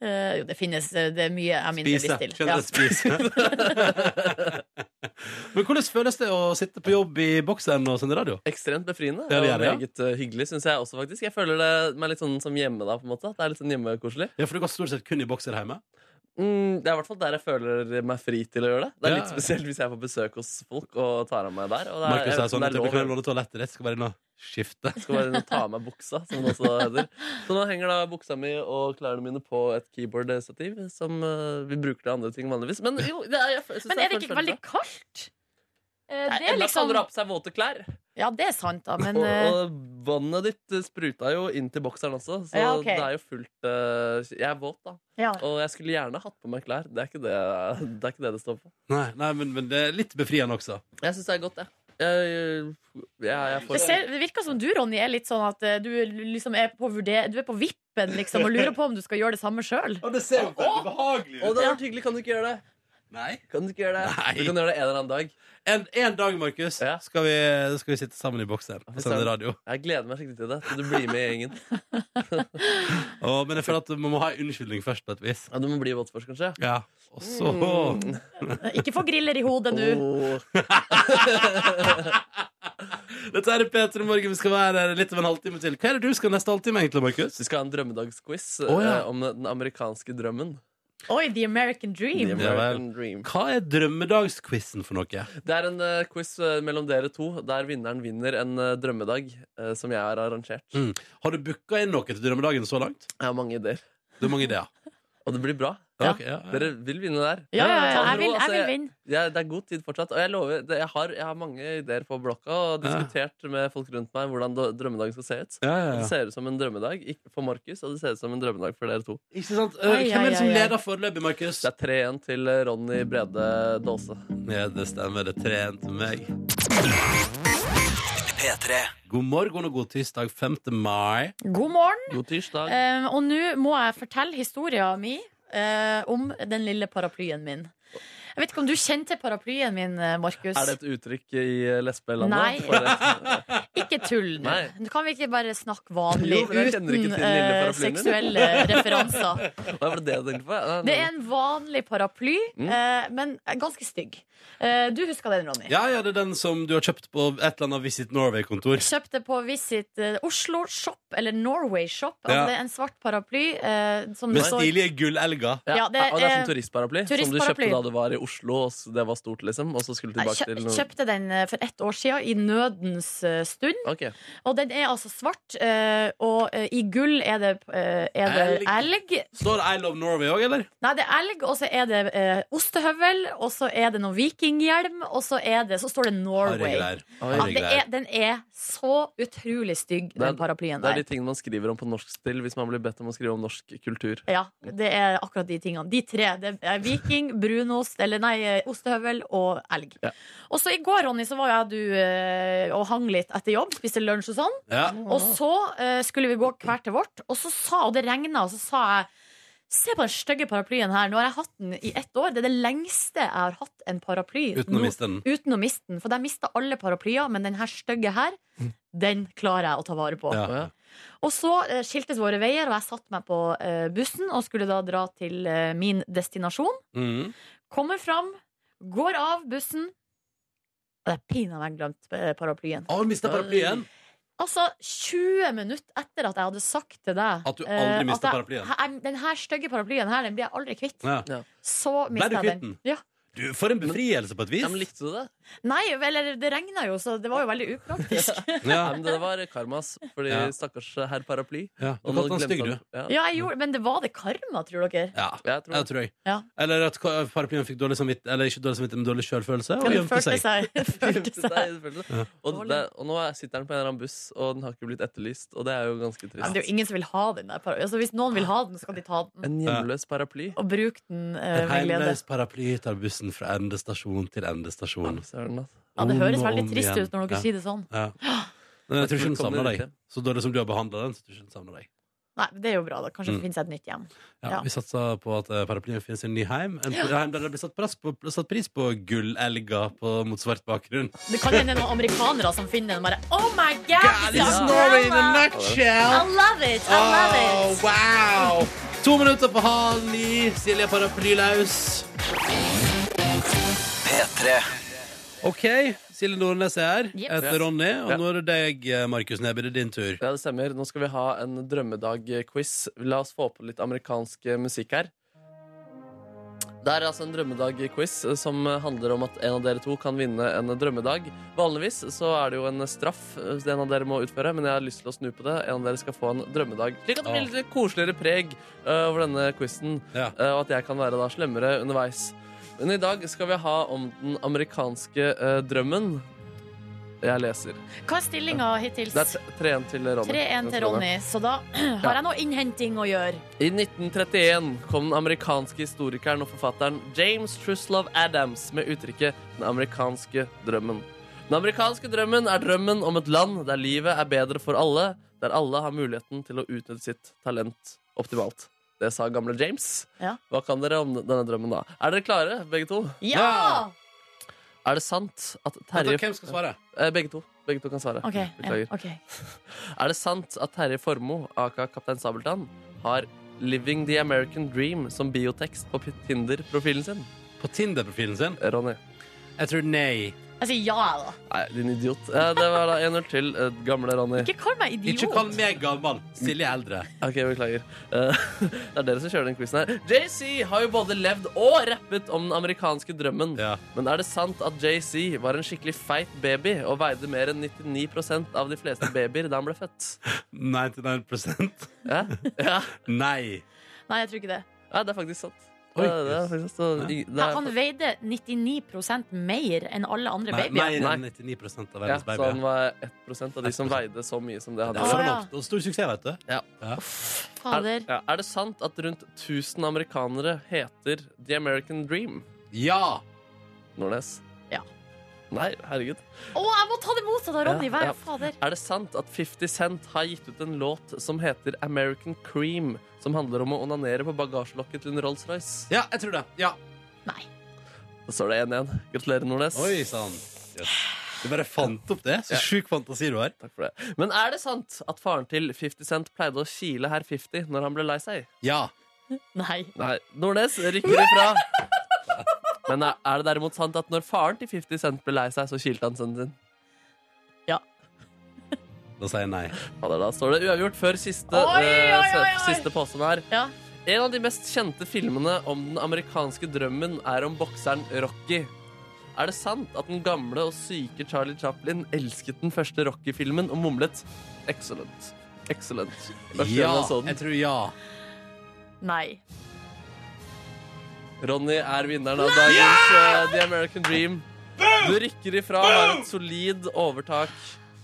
S5: Eh, jo, det finnes eh, det er mye jeg har mindre
S2: Spise.
S5: lyst til.
S2: Skjønner du? Spise. Men hvordan føles det å sitte på jobb i bokseren og sende radio?
S3: ekstremt befriende.
S2: Ja, det er
S3: og
S2: det, ja.
S3: meget eh, hyggelig, syns jeg også, faktisk. Jeg føler det meg litt sånn som hjemme da, på en måte. At Det er litt sånn hjemmekoselig.
S2: Ja, for du går stort sett kun i bokser hjemme.
S3: Mm, det er i hvert fall der jeg føler meg fri til å gjøre det. Det er
S2: Ja.
S3: litt spesielt hvis jeg får besøk hos folk og tar av meg der. Og det er,
S2: Markus er
S3: jeg vet ikke om
S2: sånn at
S3: det
S2: jeg
S3: er
S2: kan
S3: lov.
S2: låne toalettet ditt, skal bare inn og skifte.
S3: Jeg Skal bare inn og ta av meg buksa, som det også heter. Så nå henger da buksa mi og klærne mine på et keyboard-stativ, som eh, vi bruker til andre ting vanligvis. Men jo, det er, jeg, jeg synes
S5: Men
S3: jeg
S5: er det
S3: føler-
S5: ikke veldig kaldt? Eh,
S3: Nei,
S5: det er
S3: Ella
S5: liksom
S3: kaller det opp seg våte klær.
S5: Ja, det er sant, da, men
S3: Og,
S5: eh,
S3: og vannet ditt eh, spruta jo inn til bokseren også, så
S5: Ja, ok.
S3: det er jo fullt eh, Jeg er våt, da.
S5: ja.
S3: Og jeg skulle gjerne hatt på meg klær. Det er ikke det det, er ikke det, det står på.
S2: Nei, nei men, men det er litt befriende også.
S3: Jeg syns det er godt, jeg. Jeg, jeg, jeg er
S5: Det,
S3: for
S5: ser, det virker som du, Ronny, er litt sånn at eh, du liksom er på, vurder, du er på vippen liksom, og lurer på om du skal gjøre det samme sjøl.
S2: Og det ser jo veldig behagelig
S3: Å, det hadde vært hyggelig. Kan du ikke gjøre det?
S2: Nei.
S3: Kan Du ikke gjøre det?
S2: Nei.
S3: Du kan gjøre det en eller annen dag.
S2: En, en dag, Markus,
S3: Ja.
S2: skal, vi, skal vi sitte sammen i bokseren og
S3: Hvis
S2: sende
S3: det-
S2: radio.
S3: Jeg gleder meg skikkelig til det. Så du blir med i gjengen.
S2: Å, men jeg føler at man må ha en unnskyldning først, på et vis.
S3: Ja, du må bli våt først, kanskje.
S2: Ja. Og så
S3: Mm.
S5: Ikke få griller i hodet nå.
S3: Åh.
S2: Dette er P3 Morgen. Vi skal være her litt om en halvtime til. Hva er det du skal neste halvtime, egentlig, Markus?
S3: Vi skal ha en drømmedagsquiz
S2: Å, ja.
S3: eh, om den amerikanske drømmen.
S5: Oi, the American
S3: The
S5: dream.
S2: Ja, vel.
S3: American dream.
S2: Hva er drømmedagsquizen for noe?
S3: Det er en eh, quiz eh, mellom dere to, der vinneren vinner en eh, drømmedag eh, som jeg har arrangert.
S2: Mm. Har du booka inn noe til drømmedagen så langt?
S3: Jeg har mange ideer.
S2: Det er mange ideer.
S3: Og det blir bra.
S2: Ja, ok, ja, ja.
S3: Dere vil vinne der.
S5: Ja, ja, ja,
S3: Ta
S5: jeg
S3: det med
S5: vil,
S3: ro,
S5: jeg
S3: altså,
S5: vil
S3: jeg-
S5: vinne.
S3: jeg- det er god tid fortsatt. Og jeg lover, det, jeg, har, jeg har mange ideer på blokka og
S2: Ja.
S3: diskutert med folk rundt meg hvordan da- drømmedagen skal se ut.
S2: Ja,
S3: Det ser ut som en drømmedag ikke for Markus, og det ser ut som en drømmedag for dere to.
S2: Ikke sant? Eh,
S5: Ai,
S2: Hvem er
S5: ai,
S2: det som
S5: ai, ai.
S2: leder foreløpig, Markus?
S3: Det er 3-1 til eh, Ronny Brede Daase.
S2: Ja, det stemmer. Det er trent meg.
S4: P3.
S2: God morgen og god tirsdag 5. mai.
S5: God morgen.
S3: God tirsdag.
S5: Eh, og nå må jeg fortelle historien min eh, om den lille paraplyen min. Jeg vet ikke om du kjenner til paraplyen min, eh, Markus?
S3: Er det et uttrykk i eh, lesbelandet?
S5: Nei.
S3: For det-
S5: Ikke tull nå.
S3: Nei.
S5: Nå Kan vi ikke bare snakke vanlig
S3: Jo, men jeg kjenner ikke til
S5: uten
S3: den lille
S5: eh,
S3: paraplyen din.
S5: seksuelle referanser?
S3: Hva var det det du tenkte på? Ja,
S5: Det er en vanlig paraply,
S2: Mm.
S5: eh, men ganske stygg. Eh, du husker den, Ronny?
S2: Ja, ja, det er den som du har kjøpt på et eller annet Visit Norway-kontor.
S5: Kjøpte på Visit eh, Oslo Shop, eller Norway Shop. Altså,
S2: Ja.
S5: Det er en svart paraply. eh, som
S2: Med
S5: det står-
S2: stilige gullelger.
S3: Ja,
S5: Ja, det
S3: og det er
S5: er-
S3: sånn turistparaply, som du
S5: turistparaply.
S3: kjøpte da du var i Oslo, og s- det var stort, liksom, og så skulle du
S5: Jeg
S3: tilbake
S5: kjøp,
S3: til noe-
S5: kjøpte den eh, for ett år siden, i nødens eh, stund.
S3: Ok.
S5: Og den er altså svart, eh, og eh, i gull er det, eh, er det elg.
S2: Står det I Love Norway òg, eller?
S5: Nei, det er elg, og så er det eh, ostehøvel, og så er det noe vikinghjelm, og så, er det, så står det Norway.
S3: Herregler.
S5: Ja, det
S3: Herregler.
S5: er, den er så utrolig stygg,
S3: Det er-
S5: den paraplyen
S3: Det er
S5: der.
S3: de tingene man skriver om på norsk stil hvis man blir bedt om å skrive om norsk kultur.
S5: Ja, det er akkurat de tingene. De tre. Det er viking, brunost, eller nei, eh, ostehøvel og elg. Og så i går, Ronny, så var jeg og du eh, og hang litt etter jobb, spiste lunsj og sånn.
S2: Ja.
S5: Og så eh, skulle vi gå hver til vårt, og så sa, og det regna, og så sa jeg Se på den stygge paraplyen her. Nå har jeg hatt den i ett år. Det er det lengste jeg har hatt en paraply.
S2: Uten å
S5: nå-
S2: miste den.
S5: Uten å miste den. For jeg mista alle paraplyer, men den her stygge her, den klarer jeg å ta vare på.
S2: Mm. Ja.
S5: Og så eh, skiltes våre veier, og jeg satte meg på eh, bussen og skulle da dra til eh, min destinasjon.
S2: Mm.
S5: Kommer fram, går av bussen. Og det er pinadø meg glemt eh, paraplyen.
S2: Å, mistet paraplyen?
S5: Altså, 20 minutter etter at jeg hadde sagt til deg
S2: At du aldri
S5: eh, at
S2: mistet
S5: jeg-
S2: paraplyen.
S5: Her, den her stygge paraplyen her, den blir jeg aldri kvitt.
S2: Ja.
S5: Så
S2: Ble du
S5: mista jeg
S2: kvitt
S5: den.
S2: den?
S5: Ja.
S2: Du, for en befrielse, på et vis.
S3: likte du det?
S5: Nei, eller det regna jo, så det var jo veldig upraktisk.
S3: Ja. men det var karmas, fordi
S2: Ja.
S3: stakkars herr Paraply.
S2: Ja, du
S3: Og
S2: kalte
S3: nå
S2: han
S3: glemte
S2: stygg, du.
S3: han- Ja.
S5: ja, jeg gjorde, men det var det karma, tror dere?
S2: Ja,
S3: jeg
S2: tror, jeg tror jeg.
S5: Ja.
S2: Eller at ka- paraplyen fikk dårlig samvitt, eller ikke dårlig samvitt, men dårlig sjølfølelse,
S5: Ja,
S2: og
S5: det
S2: gjemte
S5: følte
S2: seg.
S5: seg. det følte
S3: Det
S5: seg.
S3: er- det føles det. Og, det, og nå er- sitter den på en eller annen buss, og den har ikke blitt etterlyst. Og det er jo ganske
S5: Ja, det er
S3: trist.
S5: jo ingen som vil ha den der paraplyen. Altså, hvis noen vil ha den, så skal de ta den.
S3: En hjemløs paraply.
S5: Og bruke den eh,
S2: En
S5: med glede.
S2: heimløs paraply tar bussen fra endestasjon til endestasjon.
S5: Ja, det
S2: Om
S5: høres
S2: og
S5: veldig
S2: om
S5: trist
S2: igjen.
S5: ut når dere
S2: Ja.
S5: sier det sånn.
S2: Ja. Men jeg tror ikke
S3: tror
S2: hun
S3: det kommer
S2: savner deg.
S3: ut,
S2: Så dårlig som du har behandla den, så tror jeg ikke hun savner deg.
S5: Nei, men Det er jo bra. da Kanskje
S2: Mm.
S5: det finnes et nytt hjem.
S2: Ja,
S5: Ja.
S2: Vi satser på at eh, paraplyen finnes i en ny heim. En heim der det blir satt pris på, satt pris på gullelger på- mot svart bakgrunn.
S5: Det kan hende noen amerikanere som finner den og bare Oh my god!
S2: God, this
S5: it's
S2: is
S5: an
S2: Norway in a
S5: umbrella!"
S2: nutshell.
S5: I love it! I love it!
S2: Oh, wow! To minutter på halv ni. Silje paraplylaus.
S4: P3.
S2: OK, Silje Nordnes er her.
S3: Yep.
S2: Jeg heter Ronny, og nå er det deg, eh, Markus Neby. Det er din tur.
S3: Ja, det stemmer. Nå skal vi ha en drømmedag-quiz. La oss få på litt amerikansk eh, musikk her. Det er altså en drømmedag-quiz eh, som handler om at en av dere to kan vinne en drømmedag. Vanligvis så er det jo en straff eh, en av dere må utføre, men jeg har lyst til å snu på det. En av dere skal få en drømmedag. Slik at det blir litt koseligere preg eh, over denne quizen, eh, og at jeg kan være da slemmere underveis. Men i dag skal vi ha om den amerikanske eh, drømmen. Jeg leser.
S5: Hva er stillinga
S3: Det er
S5: hittils?
S3: t- 3-1 til Ronny.
S5: 3-1 til Ronny, så da har jeg noe innhenting å gjøre.
S3: I 1931 kom den amerikanske historikeren og forfatteren James Truslov Adams med uttrykket 'den amerikanske drømmen'. Den amerikanske drømmen er drømmen om et land der livet er bedre for alle, der alle har muligheten til å utnytte sitt talent optimalt. Det sa gamle James.
S5: Ja.
S3: Hva kan dere om denne drømmen, da? Er dere klare, begge to?
S5: Ja!
S3: Er det sant at Terje
S2: Vent, Hvem skal svare?
S3: Eh, Begge to. Begge to kan svare.
S5: OK. Ja,
S3: Beklager.
S5: ok.
S3: Er det sant at Terje Formoe, aka Kaptein Sabeltann, har 'Living the American Dream' som biotekst på Tinder-profilen sin?
S2: På Tinder-profilen sin?
S3: Ronny.
S2: Jeg tror nei.
S5: Jeg sier ja, jeg, da.
S3: Nei, din idiot. Eh, Det var da 1-0 til eh, gamle Ronny.
S5: Ikke kall meg idiot.
S2: Ikke kall meg gammel. Silje er eldre.
S3: Ok, beklager. Eh, Det er dere som kjører den quizen her. JC har jo både levd og rappet om den amerikanske drømmen. Men er det sant at JC var en skikkelig feit baby og veide mer enn 99 av de fleste babyer da han ble født?
S2: 99
S3: Ja? ja.
S2: Nei.
S5: Nei, jeg tror ikke det.
S3: Nei, det er faktisk sant.
S2: Oi.
S3: Ja, det er faktisk sant. Det er-
S5: Han veide 99 mer enn alle andre
S2: Nei, sånn
S5: babyer.
S2: mer enn 99 av
S3: Ja,
S2: verdens
S3: så han
S2: babyer.
S3: var 1 av de som veide så mye som det han
S2: Det er for
S5: Å, ja.
S2: nok. Og stor suksess, vet du.
S3: Ja.
S2: Ja.
S3: Er,
S5: Fader.
S3: ja, er det sant at rundt 1000 amerikanere heter The American Dream?
S2: Ja!
S3: Nordnes?
S5: Ja.
S3: Nei, herregud.
S5: Å, jeg må ta det motsatte av Ronny!
S3: Ja,
S5: Hver
S3: ja.
S5: fader.
S3: Er det sant at 50 Cent har gitt ut en låt som heter American Cream, som handler om å onanere på bagasjelokket til en Rolls-Royce?
S2: Ja, jeg tror det. Ja.
S5: Nei.
S3: Da står det 1-1. Gratulerer, Nordnes.
S2: Oi sann. Yes. Du bare fant opp det. Så sjuk fantasi du har.
S3: Takk for det. Men er det sant at faren til 50 Cent pleide å kile herr 50 når han ble lei seg?
S2: Ja.
S5: Nei.
S3: Nei, Nordnes rykker ifra. Men er, er det derimot sant at når faren til 50 Cent ble lei seg, så kilte han sønnen sin?
S2: Da sier jeg nei.
S3: Fader, da står det uavgjort før siste,
S5: Oi, oi,
S3: eh,
S5: oi, oi.
S3: siste påstand her.
S5: Ja.
S3: En av de mest kjente filmene om den amerikanske drømmen er om bokseren Rocky. Er det sant at den gamle og syke Charlie Chaplin elsket den første Rocky-filmen og mumlet 'excellent'? Excellent. Første
S2: Ja,
S3: gang han så den.
S2: jeg sånn. tror ja.
S5: Nei.
S3: Ronny er vinneren av dagens eh, The American Dream. Du rykker ifra, har et solid overtak.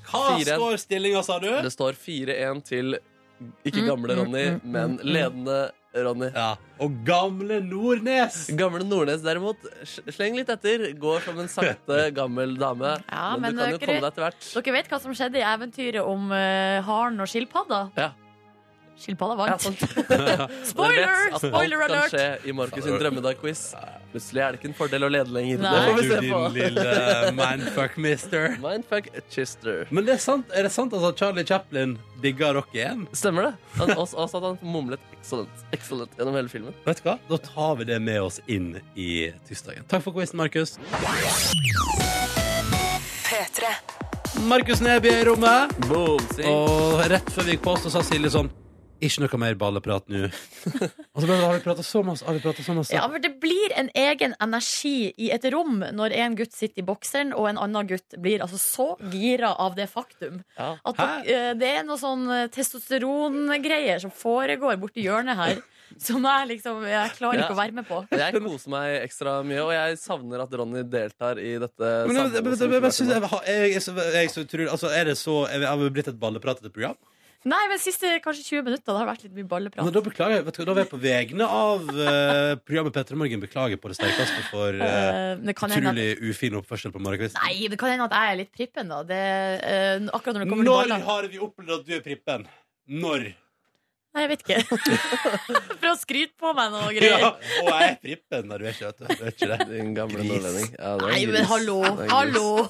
S2: Hva
S3: Fire.
S2: står stillinga, sa du?
S3: Det står 4-1 til
S5: Mm,
S3: ikke gamle Ronny, men ledende Ronny.
S2: Ja. Og gamle Nordnes!
S3: Gamle Nordnes derimot, s- sleng litt etter. Går som en sakte, gammel dame.
S5: Ja,
S3: men, du
S5: men
S3: kan jo
S5: dere-
S3: komme deg etter hvert.
S5: Dere vet hva som skjedde i eventyret om eh, haren og skilpadda?
S3: Ja.
S5: Skilpadda
S3: Ja,
S5: vant.
S3: sant. Dere
S5: Spoiler!
S3: vet at
S5: Spoiler
S3: Alt kan
S5: alert!
S3: skje i Markus sin drømmedag-quiz. Plutselig er det ikke en fordel å lede lenger.
S5: Nei.
S3: Det får
S2: Du,
S3: vi se
S2: din
S3: på.
S2: lille manfuck mister.
S3: Mindfuck Chister.
S2: Men det er, sant, er det sant altså, at Charlie Chaplin digga Rocky 1?
S3: Stemmer det. Han, også, også at han mumlet 'excellent', 'excellent' gjennom hele filmen.
S2: Vet du hva? Da tar vi det med oss inn i tirsdagen. Takk for quizen, Markus.
S1: P3.
S2: Markus Neby er i rommet.
S3: Boom, sing.
S2: Og rett før vi gikk på oss, så sa Silje sånn Ikke noe mer balleprat nå. og så bare, har vi prata så masse. Har vi pratet så masse.
S5: Ja, for det blir en egen energi i et rom når en gutt sitter i bokseren, og en annen gutt blir altså så gira av det faktum.
S3: Ja.
S5: At dere- eh, det er noe sånn eh, testosterongreier som foregår borti hjørnet her, som jeg liksom jeg klarer
S3: Ja.
S5: ikke å være med på.
S3: Jeg koser meg ekstra mye, og jeg savner at Ronny deltar i dette.
S2: Men, men, men,
S3: samholdet
S2: men,
S3: som
S2: men,
S3: vi
S2: men,
S3: skulle
S2: synes
S3: vært
S2: jeg, jeg, er så- jeg er så utrolig Altså, er det så er vi- Har vi blitt et ballepratete program?
S5: Nei, men siste kanskje 20 minutter Det har vært litt mye
S2: Men
S5: balleprat.
S2: da beklager jeg. Vet du, hva, da var jeg på vegne av eh, programmet Petter i Morgen beklager på det sterkeste for eh,
S5: Eh, det kan hende at,
S2: utrolig ufin oppførsel på morgenkvisten.
S5: nei, det kan hende at jeg er litt prippen, da. Det, eh, akkurat når det kommer til
S2: Når
S5: baller.
S2: har vi opplevd at du er prippen? Når?
S5: Nei, jeg vet ikke. For å skryte på meg noe greier.
S2: Ja, og jeg er prippen. Nei, du er ikke, vet du. du er ikke det.
S3: på. Din gamle
S2: Gris.
S3: nordlending. Ja, det er en
S5: Nei, men
S3: gris.
S5: hallo,
S3: Det er en gris.
S5: hallo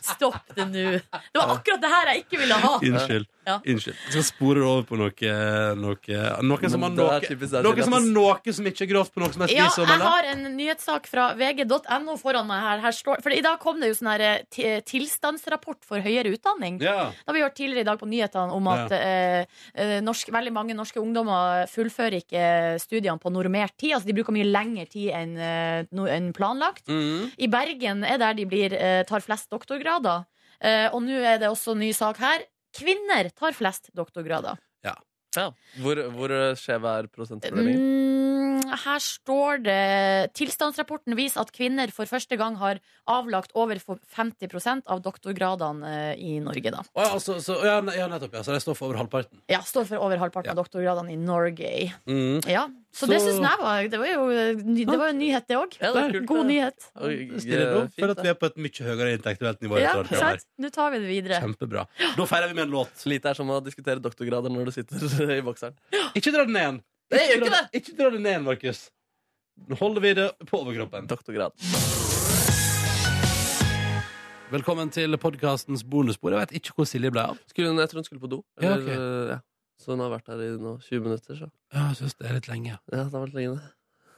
S5: Stopp det nå Det var akkurat det her jeg ikke ville ha
S2: Unnskyld.
S5: Ja.
S2: Unnskyld. Jeg skal spore det over på noe Noe, noe som har
S3: Men det
S2: noe
S3: er typisk deg,
S2: Noe som har
S3: Silas.
S2: noe som ikke er grovt på noe som er
S5: ja,
S2: spise og
S5: jeg
S2: melde.
S5: har en nyhetssak fra vg.no foran meg her, her står, For i dag kom det jo sånn her eh, ti- tilstandsrapport for høyere utdanning
S2: Ja.
S5: Da vi hørt tidligere i dag på nyhetene om at eh, eh, norsk, veldig mange norske ungdommer fullfører ikke studiene på normert tid. Altså de bruker mye lengre tid enn eh, no, enn planlagt. I Bergen er der de blir, eh, tar flest doktorgrader. Eh, og nå er det også ny sak her. Kvinner tar flest doktorgrader.
S3: Ja. Hvor, hvor skjev er prosentfordelingen?
S5: Mm, her står det Tilstandsrapporten viser at kvinner for første gang har avlagt over 50 av doktorgradene eh, i Norge. Da.
S2: Å, ja, altså, så, ja, ne- ja, nettopp. Ja. Så de står for over halvparten.
S5: Ja, står for over halvparten av doktorgradene i Norge.
S2: Mm.
S5: Ja, så,
S2: Så-
S5: det syns jeg var Det var jo eh, ny- det var jo en nyhet, det òg.
S3: Ja, det er kult,
S5: God
S3: det.
S5: nyhet.
S2: Mm.
S3: Oi,
S2: Stille nå,
S3: eh, fint,
S2: for at
S3: da.
S2: vi er på et mye høyere intellektuelt nivå.
S5: Ja,
S2: etter hvert,
S5: sant? Nå tar vi det
S2: her.
S5: videre.
S2: Kjempebra. Da feirer vi med en låt.
S3: Lite er som å diskutere doktorgrader når du sitter i bokseren.
S2: Ikke dra den ned igjen.
S3: Jeg gjør
S2: Ikke
S3: ikke
S2: dra- Ikke dra den ned igjen, Markus. Nå holder vi det på overkroppen.
S3: Doktorgrad.
S2: Velkommen til podkastens bonusbord. Jeg vet ikke hvor Silje ble av.
S3: Skulle hun, jeg tror hun skulle på do.
S2: Ja,
S3: Eller, eh, ja. Så hun har vært her i nå 20 minutter, så.
S2: Ja, jeg syns det er litt lenge.
S3: Ja, det har vært lenge, det.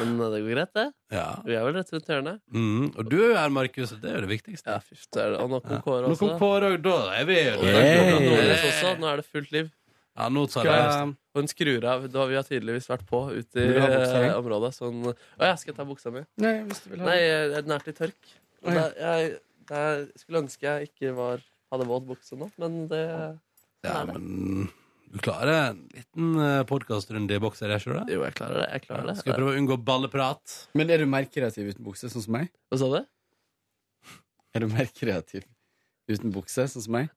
S3: Men eh, det går greit, det.
S2: Ja.
S3: Vi er vel rett rundt hjørnet.
S2: Mm. Og du er her, Markus. Det er jo det viktigste.
S3: Ja, fy søren. Og nå
S2: Ja.
S3: kom Kåre
S2: Nå
S3: også.
S2: kom Kåre, og da er vi
S3: Og det er klokka Nordnes også. Nå er det fullt liv.
S2: Ja, nå tar jeg
S3: Skal- Og hun skrur av. Da har vi har tydeligvis vært på ute i
S2: Vil du ha buksa
S3: eh,
S2: di?
S3: området. Sånn Å ja, skal jeg ta buksa mi?
S2: Nei, hvis du vil
S3: Nei, eh, den er til tørk. Og
S2: Å, ja.
S3: da- jeg, jeg skulle ønske jeg ikke var, hadde våt bukse nå, men det sånn
S2: Ja, men du klarer en liten eh, podkastrunde i bokser, jeg skjønner det.
S3: Jo, jeg klarer det. Jeg klarer det.
S2: Skal vi prøve å unngå balleprat?
S11: Men er du mer kreativ uten bukse, sånn som meg?
S3: Hva sa du?
S11: Er du mer kreativ uten bukse, sånn som meg?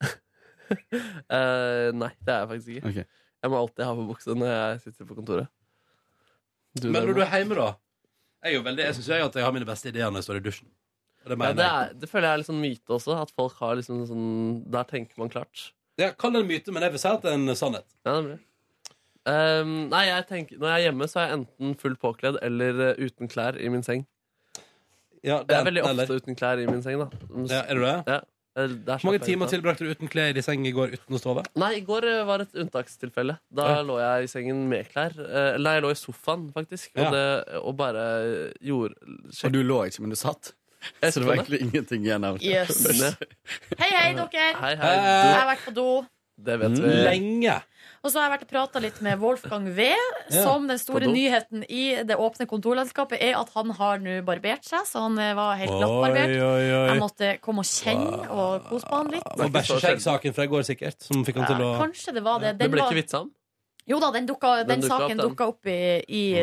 S3: Eh, nei, det er jeg faktisk ikke.
S11: Ok.
S3: Jeg må alltid ha på bukse når jeg sitter på kontoret. Du,
S2: Men
S3: derimot?
S2: når du er hjemme, da? Jeg, er jo veldig- jeg syns jeg at jeg har mine beste ideer når jeg står i dusjen. Og det
S3: Ja,
S2: mener
S3: det,
S2: jeg.
S3: er, det føler jeg er litt sånn myte også. At folk har liksom sånn Der tenker man klart.
S2: Ja, Kall det en myte, men jeg vil si at det er en sannhet.
S3: Ja, det er bra. Ehm, nei, jeg tenker, når jeg er hjemme, så er jeg enten fullt påkledd eller eh, uten klær i min seng. jeg er veldig ofte uten klær i min seng, da.
S2: Ja, er du det?
S3: Ja. Eh, der
S2: Hvor mange
S3: slapp jeg
S2: timer
S3: ut, da.
S2: tilbrakte du uten klær i seng i går uten å sove?
S3: Nei, i går eh, var et unntakstilfelle. Da
S2: Ja.
S3: lå jeg i sengen med klær. Eh, Eller nei, jeg lå i sofaen, faktisk.
S11: Ja.
S3: Og, det, og bare gjorde
S11: Og du lå ikke, men du satt.
S3: Jeg
S11: Så det var
S3: så det.
S11: egentlig ingenting igjen av det.
S5: Yes. Hei, hei, dere.
S3: Hei, hei, du.
S5: Jeg har vært på do.
S3: Det vet vi.
S2: Lenge.
S5: Og så har jeg vært og prata litt med Wolfgang V,
S3: Ja,
S5: som den
S3: på
S5: store
S3: do.
S5: nyheten i det åpne kontorlandskapet er at han har nå barbert seg, så han eh, var helt
S2: Oi,
S5: glattbarbert.
S2: oi, oi.
S5: Jeg måtte komme og kjenne og kose på han litt.
S2: Og bæsjeskjeggsaken fra i går, sikkert. Som fikk han til å
S5: Ja, kanskje det var det.
S2: Det ble
S5: var-
S2: ikke vitsa
S3: om?
S5: Jo da, den, dukka, den,
S2: Den dukka opp,
S5: saken
S2: den.
S5: dukka opp i, i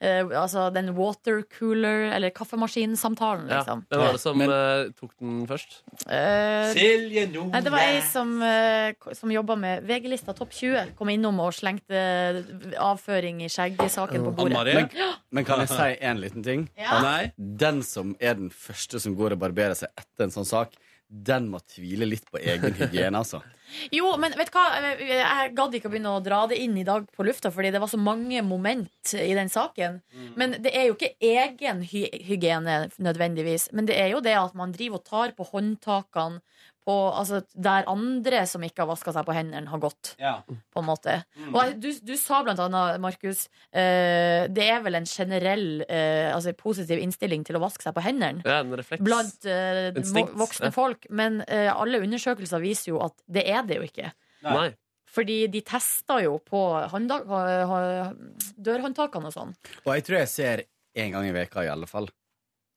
S5: eh, altså, den watercooler- eller kaffemaskinsamtalen,
S3: Ja.
S5: liksom.
S3: Hvem var det som eh, tok den først?
S5: Eh,
S2: Silje Nordnes.
S5: Nei, det var ei som, eh, ko- som jobba med VG-lista Topp 20. Kom innom og slengte avføring i skjeggsaken på bordet.
S11: Men,
S5: Ja.
S11: men kan jeg si en liten ting?
S5: Ja.
S2: Nei.
S11: Den som er den første som går og barberer seg etter en sånn sak, den må tvile litt på egen hygiene, altså.
S5: Jo, men vet du hva? Jeg gadd ikke å begynne å dra det inn i dag på lufta, fordi det var så mange moment i den saken. Men det er jo ikke egen hy hygiene nødvendigvis. Men det er jo det at man driver og tar på håndtakene på, altså, der andre som ikke har vaska seg på hendene, har gått. På en måte. Og jeg- du, du sa blant annet, Markus, eh, det er vel en generell eh, altså, positiv innstilling til å vaske seg på hendene.
S3: Ja, en refleks.
S5: Blant eh,
S3: Instinkt,
S5: vo- voksne
S3: ja.
S5: folk. Men eh, alle undersøkelser viser jo at det er det jo ikke.
S3: Nei.
S5: Fordi de tester jo på håndda- ha- ha- dørhåndtakene og sånn.
S11: Og jeg tror jeg ser en gang i veka i alle fall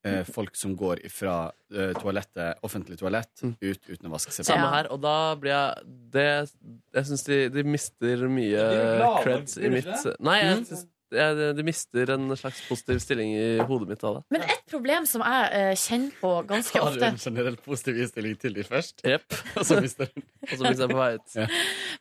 S11: eh, folk som går fra toalettet, offentlig toalett ut uten å vaske seg.
S3: Samme her, og da blir jeg det, Jeg syns de, de mister mye
S11: blir glad,
S3: creds
S11: blir
S3: i
S11: de
S3: mitt
S11: ikke det?
S3: Nei, jeg
S11: Mm.
S3: synes, jeg, de mister en slags positiv stilling i hodet mitt av det.
S5: Men et problem som jeg eh, kjenner på ganske
S11: Har du
S5: ofte
S11: en generelt positiv innstilling til de først?
S3: Jepp.
S11: og så mister du
S3: Og så mister jeg på vei ut.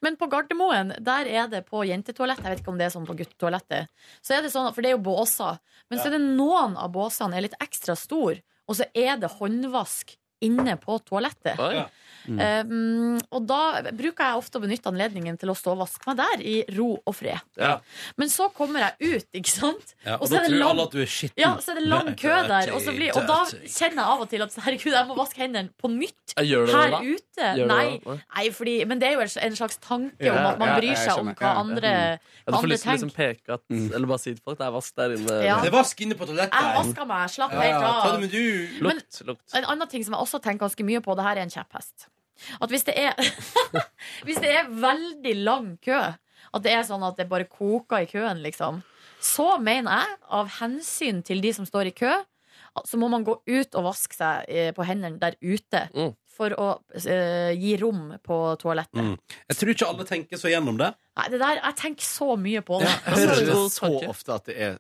S5: Men på Gardermoen, der er det på jentetoalett Jeg vet ikke om det er sånn på guttetoalettet Så er det sånn, for det er jo båser Men så er det noen av båsene er litt ekstra stor Og så er det håndvask inne på toalettet
S12: Oi. Mm.
S5: Eh, mm, Og da bruker jeg ofte å benytte anledningen til å stå og vaske meg der I ro og fred Men så kommer jeg ut, ikke sant?
S2: Ja, og,
S5: Og så
S2: da
S5: er det
S2: tror
S5: lang-
S2: alle at du er skitten.
S5: Ja, så er det lang
S2: Nei,
S5: kø der, og, så blir, og da
S2: dirty.
S5: kjenner jeg av og til at herregud, jeg må vaske hendene på nytt
S2: Ja, gjør du det
S5: her
S2: da?
S5: ute.
S2: Gjør du det
S5: Nei,
S2: da? Nei.
S5: nei fordi, men det er jo en slags tanke
S3: Ja,
S5: om at man
S3: ja,
S5: bryr
S3: jeg
S5: seg om
S3: skjønner.
S5: hva
S3: Ja, ja.
S5: andre,
S2: Mm.
S3: Ja, du får
S5: andre
S3: lyst til å liksom
S5: tenker.
S3: peke at, eller bare si til folk det er vask der inne.
S5: Ja. Det er
S2: vask inne på toalettet.
S5: Jeg vaska meg, slapp helt av. Men
S3: Lukt, lukt.
S5: en annen ting som jeg også tenker ganske mye på, det her er en kjepphest. At hvis det er, hvis det er veldig lang kø, at det er sånn at det bare koker i køen, liksom, så mener jeg, av hensyn til de som står i kø, at- så må man gå ut og vaske seg eh, på hendene der ute. For å eh, gi rom på toalettet.
S2: Mm. Jeg tror ikke alle tenker så gjennom det.
S5: Nei, det der, Jeg tenker så mye på det.
S11: Jeg hører det så ofte at det er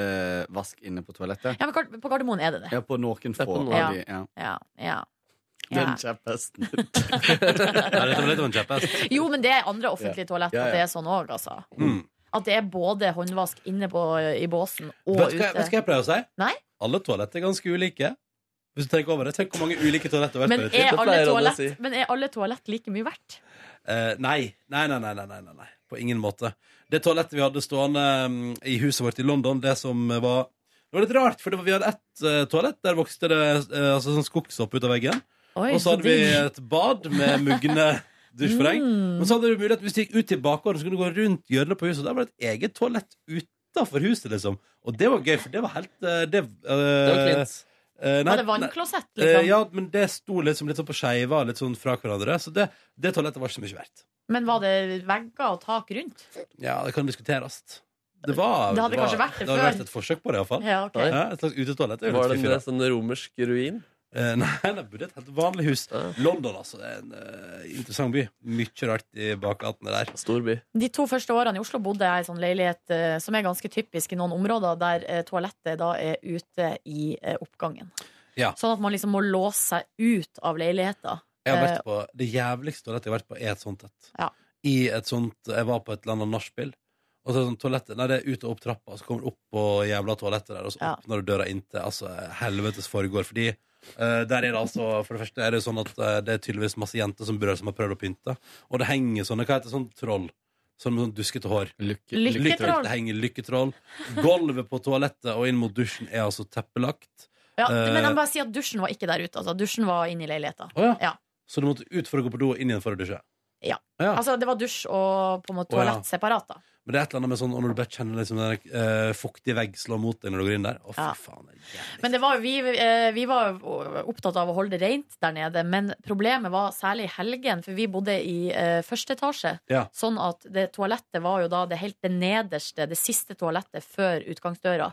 S11: eh, vask inne på toalettet.
S5: Ja, men Gard- På Gardermoen er det det.
S11: Ja, på noen få
S5: noen.
S11: av de. Ja.
S5: Ja, ja.
S11: Den kjepphesten.
S2: Nei, dette var litt av en kjepphest.
S5: Jo, men det er andre offentlige
S2: Ja.
S5: toalett
S2: Ja, ja.
S5: at det er sånn òg, altså.
S2: Mm.
S5: At det er både håndvask inne på, i båsen og
S2: Vet du hva
S5: ute.
S2: vet du hva jeg pleier å si?
S5: Nei?
S2: Alle toaletter er ganske ulike. Hvis du tenker over det, Tenk hvor mange ulike toaletter har vært
S5: Men
S2: på
S5: er, alle
S2: toalett?
S5: toalett, men er alle toalett like mye verdt?
S2: Eh, nei. Nei, nei, nei, nei, nei, nei, nei. På ingen måte. Det toalettet vi hadde stående mm, i huset vårt i London, det som eh, var Det var litt rart, for det var, vi hadde ett eh, toalett. Der vokste det eh, altså, sånn skogshopp ut av veggen.
S13: Oi,
S2: og så
S13: så
S2: hadde vi
S13: digg.
S2: et bad med mugne dusjforheng.
S13: Mm.
S2: Men så hadde du mulighet hvis du gikk ut til bakgården, så kunne du gå rundt hjørnet på huset. og Der var det et eget toalett utafor huset, liksom. Og det var gøy, for det var helt eh, Det,
S5: var
S2: klint.
S5: cleant. Var det vannklosett, liksom?
S2: Eh, ja, men det sto liksom litt sånn på skeiva, litt sånn fra hverandre. Så det, det toalettet var ikke så mye verdt.
S5: Men var det vegger og tak rundt?
S2: Ja, det kan diskuteres. Det, var,
S5: Det hadde
S2: var,
S5: kanskje vært det
S2: hadde
S5: før.
S2: vært et forsøk på det, iallfall.
S5: Ja, ok.
S2: et slags utetoalett. er jo
S3: Var
S2: litt
S3: det
S2: fiffig,
S3: en
S2: da.
S3: sånn romersk ruin?
S2: Eh, nei, det bodde i et helt vanlig hus. London, altså. Det er en eh, interessant by. Mye rart i bakgatene der.
S3: Stor by.
S5: De to første årene i Oslo bodde jeg i en sånn leilighet eh, som er ganske typisk i noen områder, der eh, toalettet da er ute i eh, oppgangen.
S2: Ja.
S5: Sånn at man liksom må låse seg ut av leiligheten.
S2: Jeg har
S5: Eh,
S2: vært på Det jævligste toalettet jeg har vært på, er et sånt et.
S5: Ja.
S2: I et sånt Jeg var på et eller annet nachspiel. Og så er det sånn toalettet Nei, det er ut og opp trappa, og så kommer du opp på jævla toalettet der, og så åpner du døra inntil Altså, helvetes foregår. Fordi Eh, der er det altså, for det første er det sånn at eh, det er tydeligvis masse jenter som brød som har prøvd å pynte. Og det henger sånne, hva heter det, sånn troll? Sånn med sånn duskete hår.
S5: Lykketroll. lykketroll.
S2: Det henger lykketroll. Gulvet på toalettet og inn mot dusjen er altså teppelagt.
S5: Ja,
S2: Eh,
S5: men jeg må bare si at dusjen var ikke der ute. Altså. Dusjen var inne i leiligheta.
S2: Å ja.
S5: Ja.
S2: Så du måtte ut for å gå på do og inn igjen for å dusje.
S5: Ja.
S2: Ja.
S5: Altså, det var dusj og på en måte
S2: Å, ja.
S5: toalett separat. Da.
S2: Men det er et eller annet med sånn, og når du bare kjenner liksom den eh, fuktige vegg slå mot deg når du går inn der. Å, fy
S5: Ja.
S2: faen.
S5: Men det var, vi, eh, vi var jo opptatt av å holde det rent der nede, men problemet var særlig i helgen, for vi bodde i eh, første etasje.
S2: Ja.
S5: Sånn at det toalettet var jo da det helt det nederste, det siste toalettet før utgangsdøra.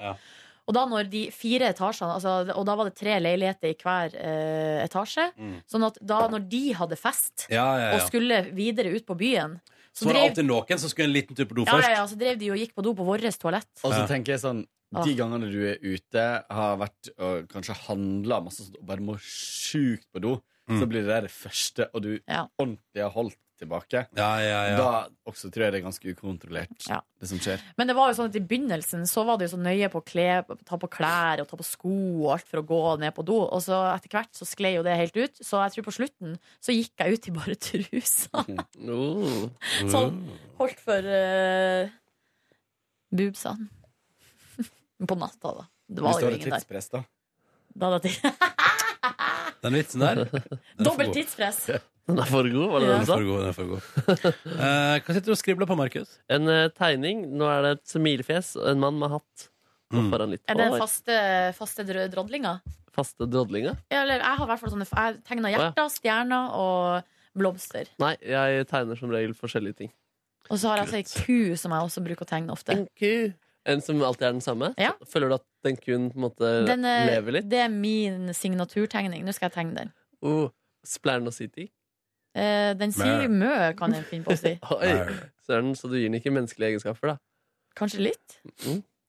S5: Og da når de fire etasjene, altså, og da var det tre leiligheter i hver eh, etasje,
S2: Mm.
S5: sånn at da når de hadde fest
S2: Ja, ja, ja.
S5: og skulle videre ut på byen,
S2: Så var det alltid noen som skulle en liten tur på do
S5: ja,
S2: først.
S5: ja, ja, så drev de og gikk på do på vårt toalett.
S11: Og så tenker jeg sånn De
S5: Ah.
S11: gangene du er ute, har vært og kanskje handla masse sånt, og bare må sjukt på do, så blir det der det første, og du ordentlig har holdt tilbake. Da også tror jeg det er ganske ukontrollert, det som skjer.
S5: Men det var jo sånn at i begynnelsen så var det jo så nøye på å kle, ta på klær og ta på sko og alt for å gå ned på do. Og så etter hvert så sklei jo det helt ut. Så jeg tror på slutten så gikk jeg ut i bare trusa.
S3: Oh.
S5: Sånn holdt for eh, boobsene. På natta, da. Det var
S11: Hvis du
S5: jo
S11: har et
S5: ingen der.
S11: tidspress, da.
S5: Da hadde jeg tid-
S2: Den vitsen der. den er for
S5: Dobbelt
S2: god.
S5: tidspress.
S3: Den er for god, var det
S5: Ja.
S3: det du sa?
S2: Den er for god, den er for god. Eh, hva sitter du og skribler på, Markus?
S3: En eh, tegning. Nå er det et smilefjes og en mann med hatt.
S2: Mm.
S3: Nå får han litt
S5: Er det
S3: hår.
S5: faste, faste drø- drodlinger?
S3: faste drodlinga?
S5: Eller jeg har i hvert fall sånne Jeg tegner hjerter, stjerner og blomster.
S3: Nei, jeg tegner som regel forskjellige ting.
S5: Og så har jeg altså ei ku som jeg også bruker å tegne ofte.
S3: En ku. En som alltid er den samme? Føler du at den kuen på en måte
S5: Den eh, er,
S3: lever litt?
S5: det er min signaturtegning. Nå skal jeg tegne den.
S3: Oh, Splern og City?
S5: Eh, den sier mø, kan jeg finne på å si.
S3: Oi, Søren, så du gir den ikke menneskelige egenskaper, da?
S5: Kanskje litt?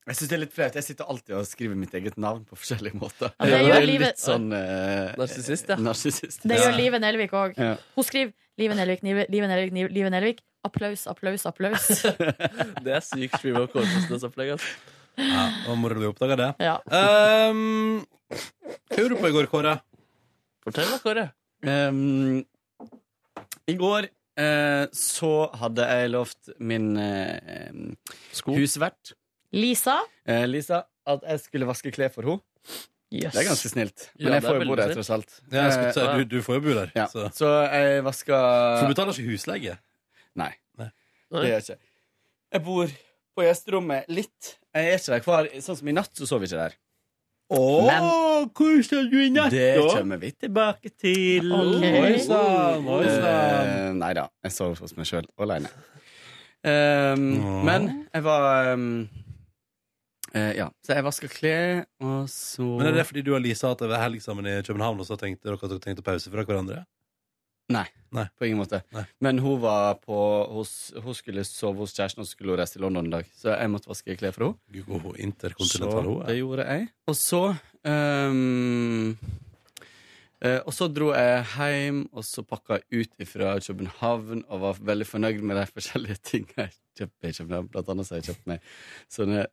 S11: Jeg syns det er litt flaut. Jeg sitter alltid og skriver mitt eget navn på forskjellige måter.
S5: Ja, det gjør
S11: er
S5: livet-
S11: litt sånn eh,
S3: Narsissist, ja.
S11: narsissist.
S5: Det gjør Live Nelvik òg.
S11: Ja.
S5: Hun skriver Live Nelvik, Nive- Live Nelvik, Nive- Live Nelvik. Applaus, applaus, applaus.
S3: Det er sykt stream of consciousness-opplegg. ass.
S2: Ja, og moro du oppdaga det.
S5: Ja.
S2: Um, hva gjorde du på i går, Kåre?
S3: Fortell da, Kåre.
S11: Um, I går eh, så hadde jeg lovt min eh, em, husvert,
S5: Lisa.
S11: eh, Lisa, at jeg skulle vaske klær for henne.
S3: Yes.
S11: Det er ganske snilt.
S2: Ja,
S11: Men jeg
S2: det er
S11: får jo bo
S2: veldig
S11: der,
S2: snilt.
S11: tross alt.
S2: Ja, jeg skulle
S11: Eh,
S2: si, du, du får jo bo der.
S11: ja.
S2: Så.
S11: Så jeg vaska
S2: For du betaler ikke husleie?
S11: Nei.
S2: Nei.
S11: Det gjør jeg ikke. Jeg bor på gjesterommet litt. Jeg er ikke der hver Sånn som i natt, så sov vi ikke der. Men- Det kommer vi tilbake til.
S2: Ok. Oi sann, oi sann.
S11: Eh, Nei da, jeg sov hos meg sjøl aleine. Um, Men jeg var um, eh, Ja, så jeg vaska klær, og så
S2: Men er det fordi du og Lisa hatt over helg sammen i København, og så tenkte dere at dere tenkte pause fra hverandre?
S11: Nei, på ingen måte. Men hun var på hos, Hun skulle sove hos kjæresten, og så skulle hun reise til London en dag. Så jeg måtte vaske klær for henne.
S2: Gud, hun interkontinental,
S11: Så
S2: hun, ja.
S11: det gjorde jeg. Og så ehm, eh, Og så dro jeg hjem, og så pakka jeg ut fra København og var veldig fornøyd med de forskjellige tingene jeg kjøpte i København. Blant annet så har jeg kjøpt meg sånne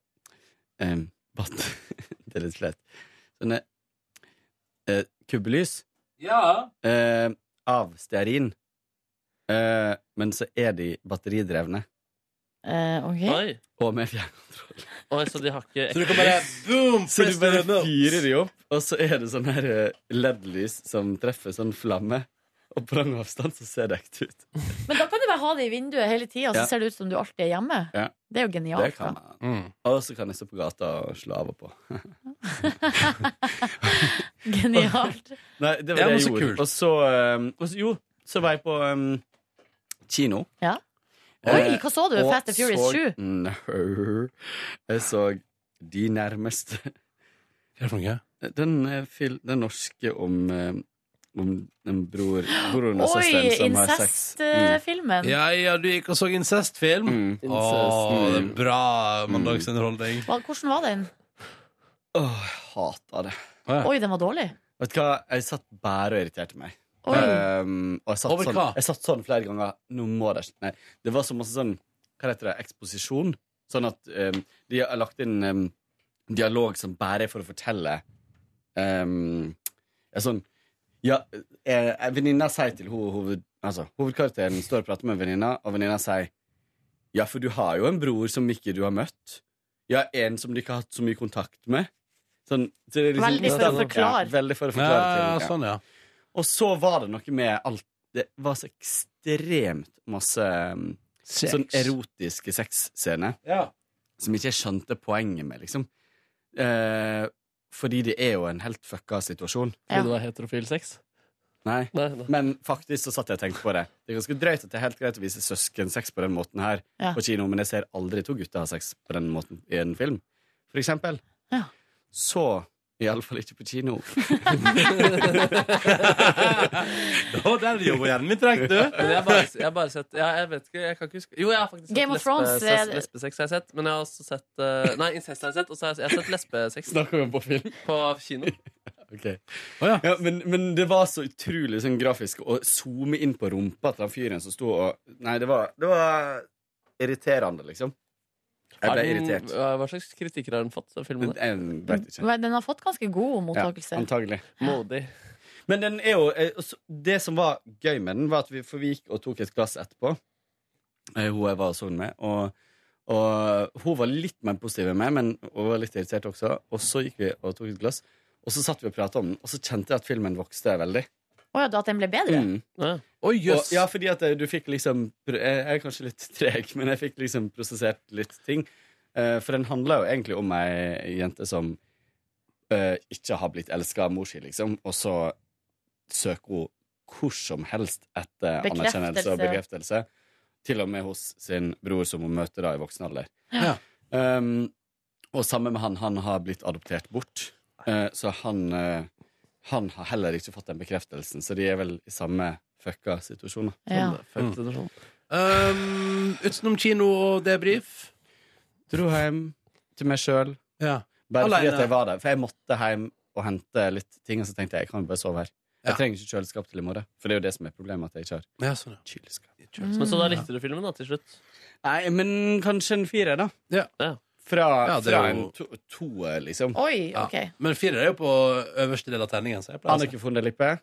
S11: um, bat Det er litt flaut. Sånne eh, kubbelys.
S2: Ja.
S11: Eh, av stearin. Eh, men så er de batteridrevne.
S5: Eh,
S3: Uh, Oi.
S11: Og med fjernkontroll.
S3: Oi, så de har ikke
S2: Så du kan bare boom,
S11: Så du
S2: press
S11: bare
S2: the remote.
S11: fyrer de opp, og så er det sånn her eh, LED-lys som treffer sånn flamme. Og på lang avstand så ser det ekte ut.
S5: Men da kan du bare ha det i vinduet hele tida, så
S11: Ja.
S5: ser det ut som du alltid er hjemme.
S11: Ja.
S5: Det er jo
S11: Det
S5: genialt.
S11: kan
S5: da.
S11: man. Og så kan jeg stå på gata og slå av og på.
S5: Genialt.
S11: Nei, det
S5: Ja,
S11: var det
S5: men
S11: jeg
S5: så
S11: gjorde.
S5: kult.
S11: Og så, eh, og så Jo, så var jeg på eh, kino.
S5: Ja.
S11: Eh,
S5: Oi, hva så du?
S11: og
S5: Fast and Furious
S11: så-
S5: 7?
S11: Nei. Mm, Jeg så De nærmeste.
S2: Hva er det for noe?
S11: Den, eh, fil- den norske om, eh, om en bror, broren og søsteren
S5: Oi, eh,
S11: som har sex. Mm.
S5: incest-filmen.
S2: Ja, ja, du gikk og så incestfilm? Å, det er bra mandagsunderholdning.
S5: Hvordan var den?
S11: Åh, jeg hata det.
S5: Oi, den var dårlig.
S11: Vet du hva, jeg satt bare og irriterte meg.
S5: Oi.
S11: Ehm, og jeg satt,
S2: Over
S11: sånn,
S2: hva?
S11: jeg satt sånn flere ganger. Nå må det Nei, det var så masse sånn Hva heter det? Eksposisjon. Sånn at ehm, de har lagt inn ehm, dialog som bare er for å fortelle ehm, er sånn ja, eh, eh, Venninna sier til ho- hoved, altså, hovedkarakteren står og prater med venninna, og venninna sier Ja, for du har jo en bror som ikke du har møtt. Ja, en som du ikke har hatt så mye kontakt med. Sånn, så det er liksom,
S5: Veldig for å
S11: Ja,
S5: forklare.
S11: veldig for å forklare
S2: Ja, ja,
S11: ting,
S2: sånn, ja.
S11: Og så var det noe med alt Det var så ekstremt masse um,
S2: Sex.
S11: sånn erotiske sexscener
S2: Ja.
S11: som ikke jeg skjønte poenget med, liksom. Eh, fordi det er jo en helt fucka situasjon.
S3: Fordi Ja. det var heterofil sex?
S11: Nei. Men faktisk så satt jeg og tenkte på det. Det er ganske drøyt at det er helt greit å vise søskensex på den måten her
S5: Ja.
S11: på kino, men jeg ser aldri to gutter ha sex på den måten i en film, for eksempel.
S5: Ja.
S11: Så iallfall ikke på kino.
S2: Og der jobber hjernen min tregt, du.
S3: Men jeg har bare, jeg har bare sett ja, Jeg vet ikke, jeg kan ikke huske Jo, jeg har faktisk
S5: Game of
S3: sett
S5: Thrones,
S3: lesbe-
S5: eh,
S3: ses- lesbesex har jeg sett. Men jeg har også sett eh, Nei, incest har jeg sett. Og så har jeg, jeg har sett lesbesex.
S11: Snakker vi om på film?
S3: På kino.
S11: Ok. ja, men, men det var så utrolig sånn grafisk å zoome inn på rumpa til han fyren som sto og Nei, det var, det var irriterende, liksom. Jeg
S3: Er
S11: ble
S3: den-
S11: irritert.
S3: Hva hva slags kritikker har den fått? den Filmen der?
S11: Jeg vet ikke.
S5: Men Den har fått ganske god mottakelse.
S11: Ja, antagelig.
S3: Modig.
S11: Men den er jo eh, også- Det som var gøy med den, var at vi, for vi gikk og tok et glass etterpå. Eh, Hun jeg var og sovnet med. Og, og hun var litt mer positiv enn meg, men hun var litt irritert også. Og så gikk vi og tok et glass, og så satt vi og prata om den, og så kjente jeg at filmen vokste veldig.
S5: Å ja, da at den ble bedre?
S11: Mm.
S3: Oi,
S11: jøss. Ja, fordi at eh, du fikk liksom pro- Jeg jeg er kanskje litt treg, men jeg fikk liksom prosessert litt ting. Eh, For den handla jo egentlig om ei jente som eh, ikke har blitt elska av mor si, liksom. Og så søker hun hvor som helst etter
S12: Bekreftelse.
S11: anerkjennelse og bekreftelse. Til og med hos sin bror, som hun møter da i voksen alder.
S2: Ja.
S11: Um, og samme med han. Han har blitt adoptert bort. Eh, så han, eh, han har heller ikke fått den bekreftelsen, så de er vel i samme fucka situasjon. da.
S2: Ja.
S11: Samme fucka
S3: situasjon.
S2: Um, utenom kino og debrief.
S11: Dro hjem til meg sjøl. Bare fordi
S2: Alene.
S11: at jeg var der. For jeg måtte hjem og hente litt ting, og så tenkte jeg jeg kan jo bare sove her. Jeg trenger ikke kjøleskap til i morgen, for det er jo det som er problemet. at jeg ikke har
S2: Ja, sånn,
S11: ja. kjøleskap.
S5: Mm.
S3: Men Så da likte du filmen da, til slutt?
S11: Nei, men kanskje en firer, da.
S2: Ja.
S11: Fra,
S2: Ja, det er
S11: fra
S2: jo-
S11: en to- toer, liksom.
S5: Oi, ok.
S2: Men firer er jo på øverste del av terningen. Så jeg pleier å si.
S11: Annike von der Lippe,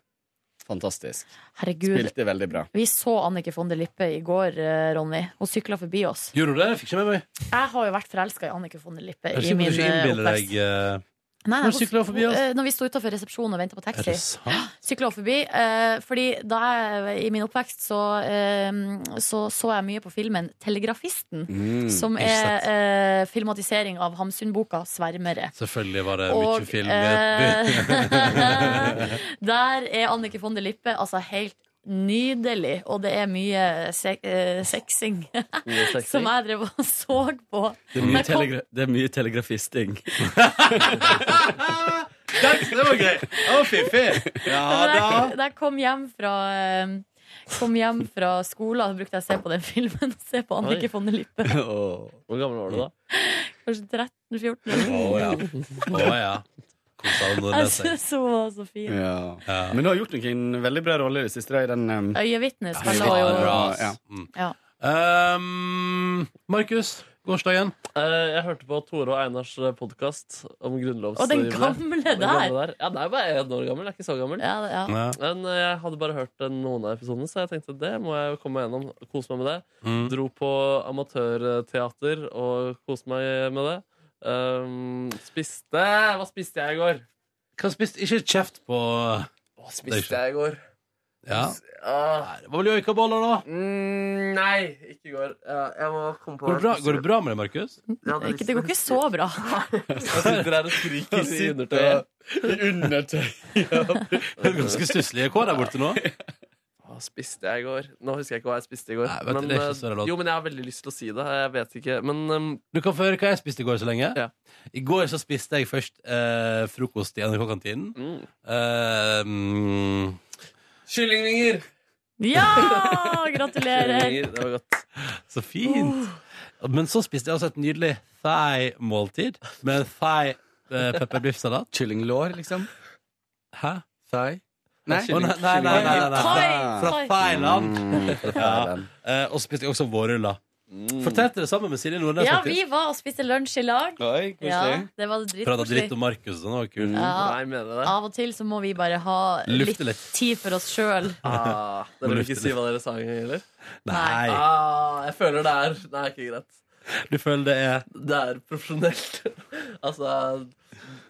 S11: fantastisk.
S5: Herregud.
S11: Spilte veldig bra.
S5: Vi så Annike von der Lippe i går, eh, Ronny. Hun sykla forbi oss.
S2: Gjorde du det? Fikk ikke med meg.
S5: Jeg har jo vært forelska i Annike von der Lippe
S2: Jeg
S5: i
S2: husker
S5: min
S2: ikke
S5: eh,
S2: innbiller
S5: oppvekst.
S2: deg eh,
S5: Nei, nei,
S2: Når syklet hun forbi oss?
S5: eh, Når vi sto utenfor resepsjonen og venta på
S2: Er
S5: taxi.
S2: det sant?
S5: Sykla hun forbi. eh, fordi da jeg, i min oppvekst så, eh, så så jeg mye på filmen 'Telegrafisten',
S2: Mm,
S5: som
S2: ikke
S5: er
S2: sant.
S5: eh, filmatisering av Hamsun-boka 'Svermere'.
S2: Selvfølgelig var det
S5: Og,
S2: mye film.
S5: eh, Der er Annike von der Lippe altså helt nydelig, og det er mye se eh, sexing
S11: sexing.
S5: som jeg drev og så på.
S11: Det er mye,
S5: Jeg kom-
S11: telegra det er mye telegrafisting.
S2: det var gøy! Det var fiffig! Ja
S11: Ah,
S5: da jeg, da jeg kom hjem fra eh, Kom hjem fra skolen, brukte jeg å se på den filmen. Se på Annike
S3: Oi.
S5: von der Lippe.
S3: Hvor gammel var du da?
S5: Kanskje 13-14.
S2: Å ja. Å, ja. Kosa hun
S5: Jeg
S2: Nordnes seg.
S5: syns hun var så fin.
S11: Ja. Men du har gjort noen veldig bra roller i det siste. Da, i den, um,
S5: Øyevitne
S11: Ja,
S5: spiller hun jo.
S11: bra, ja.
S5: Ja.
S2: Um, Mm. Markus, gårsdagen?
S3: Eh, jeg hørte på Tore og Einars podkast om grunnlovsrivene.
S5: Og den gamle
S3: Og den
S5: der.
S3: Ja, den er jo bare ett år gammel. Jeg er ikke så gammel.
S5: Ja, det- ja.
S2: Ja.
S3: Men eh, jeg hadde bare hørt den noen av episodene, så jeg tenkte det må jeg jo komme meg gjennom. Kose meg med det.
S2: Mm.
S3: Dro på amatørteater og koste meg med det. Um, spiste Hva spiste jeg i går?
S2: Hva spiste Ikke kjeft på
S3: Hva spiste jeg i går?
S2: Ja.
S3: Ah.
S2: Det var vel joikaboller, da?
S3: Mm, nei, ikke i går. Ja, jeg må komme på
S2: Går det bra, går det bra med deg, Markus?
S5: Ikke, det går ikke så bra.
S3: Jeg sitter her og skriker i undertøyet.
S11: I undertøy.
S2: Ganske stusslige kår der borte nå.
S3: Hva spiste jeg i går? Nå husker jeg ikke hva jeg spiste i går.
S2: vet du, det er ikke så
S3: eh,
S2: relevant.
S3: jo, men jeg har veldig lyst til å si det. Jeg vet ikke. Men um,
S2: Du kan få høre hva jeg spiste i går så lenge. I går så spiste jeg først eh, frokost i NRK-kantinen.
S3: Mm.
S2: Eh, mm,
S3: Kyllingvinger!
S5: Ja! Gratulerer.
S3: Det var godt.
S2: Så fint! Men så spiste jeg også et nydelig thai-måltid med thai eh, pepperbiffsalat.
S11: Kyllinglår, liksom?
S2: Hæ?
S11: Thai?
S2: Nei.
S11: Kylling-
S2: Å, nei, nei, nei, nei, nei, nei.
S11: Thai,
S2: Fra
S11: thai.
S2: Thailand.
S11: Mm, fra
S2: ja.
S11: Thailand.
S2: eh, og så spiste jeg også vårruller Fortalte det sammen med Silje Nordnes.
S5: Ja,
S2: faktisk.
S5: vi var og spiste lunsj i lag.
S2: Oi, koselig.
S5: Ja, det var
S2: Prata dritt
S5: dritkoselig.
S2: om Markus. og sånn, Det var kult.
S5: Ja.
S3: Nei, mener dere det?
S5: Av og til så må vi bare ha litt
S2: Lufte litt.
S5: tid for oss sjøl.
S3: Ah, dere vil
S2: Lufte
S3: ikke si hva dere sa engang, eller?
S2: Nei.
S3: Ah, jeg føler det er Det er ikke greit.
S2: Du føler det er
S3: Det er profesjonelt. altså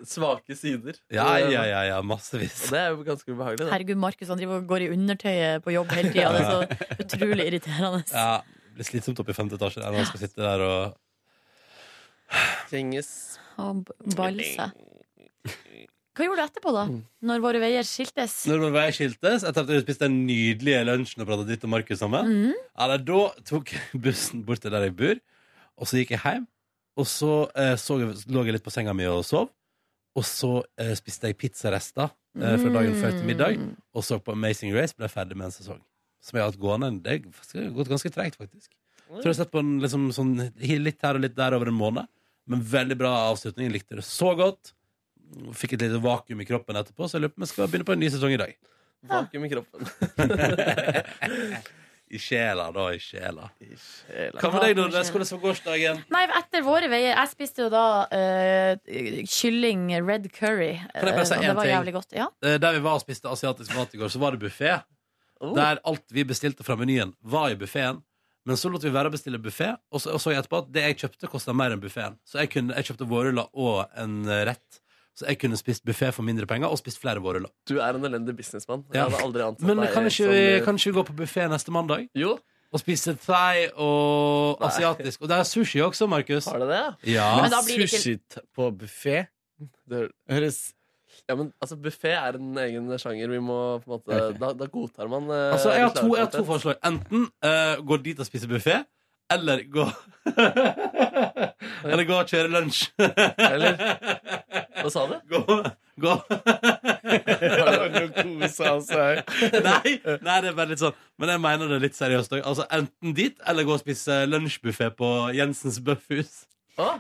S3: svake sider.
S2: Ja, ja, ja, ja massevis.
S3: Og det er jo ganske ubehagelig. Det.
S5: Herregud, Markus han driver og går i undertøyet på jobb hele tida. Det er så utrolig irriterende.
S2: Ja, det blir slitsomt oppe i femte etasje der når man skal sitte der og
S3: Kjenges.
S5: Og b- balle seg. Hva gjorde du etterpå, da?
S2: Mm.
S5: Når våre veier skiltes?
S2: Når vår vei skiltes, etter at vi spiste den nydelige lunsjen og prata dritt om Markus sammen,
S5: Mhm.
S2: ja, nei, da tok jeg bussen bort til der jeg bor, og så gikk jeg hjem, og så, eh, så jeg, lå jeg litt på senga mi og sov, og så eh, spiste jeg pizzarester eh, fra dagen før til middag, og så på Amazing Race, ble ferdig med en sesong. Som jeg har hatt gående, det er faktisk- det har gått ganske tregt faktisk. Tror jeg har sett på en liksom, sånn, litt her og litt der over en måned, men veldig bra avslutning, jeg likte det så godt. Fikk et lite vakuum i kroppen etterpå, så jeg lurer på om jeg skal begynne på en ny sesong i dag.
S3: Vakuum i kroppen.
S2: I sjela, da. I sjela. Hva med deg, Nordnes? Hvordan var gårsdagen?
S5: Nei, etter våre veier Jeg spiste jo da eh, kylling red curry.
S2: Kan jeg bare si
S5: eh, og
S2: en
S5: det var
S2: ting?
S5: jævlig godt. Ja.
S2: Eh, Der vi var og spiste asiatisk mat i går, så var det buffé.
S3: Oh.
S2: Der alt vi bestilte fra menyen, var i buffeen. Men så lot vi være å bestille buffé, og så og så etterpå at det jeg kjøpte, kosta mer enn buffeen. Så jeg, kunne, jeg kjøpte vårruller og en eh, rett. Så jeg kunne spist buffé for mindre penger, og spist flere vårruller.
S3: Du er en elendig businessmann. Jeg
S2: Ja.
S3: hadde aldri antatt
S2: Men
S3: deg
S2: kan
S3: som- eh,
S2: ikke, vi, kan ikke vi gå på buffé neste mandag?
S3: Jo.
S2: Og spise thai og asiatisk. Og det er sushi også, Markus.
S3: Har det det?
S2: Ja.
S5: Men da blir det ikke- Sushi
S3: på buffé? Det høres Ja, men altså, buffé er en egen sjanger. Vi må på en måte
S2: Ok.
S3: da, da godtar man eh,
S2: Altså, jeg har to, jeg har to
S3: reklamekontent.
S2: forslag. Enten eh, gå dit og spise buffé, eller gå Eller gå og kjøre lunsj.
S3: Eller Hva sa du?
S2: Gå, gå. nei, nei, det er bare litt sånn. Men jeg mener det litt seriøst òg. Altså, enten dit, eller gå og spise lunsjbuffé på Jensens Bøffhus.
S3: Å?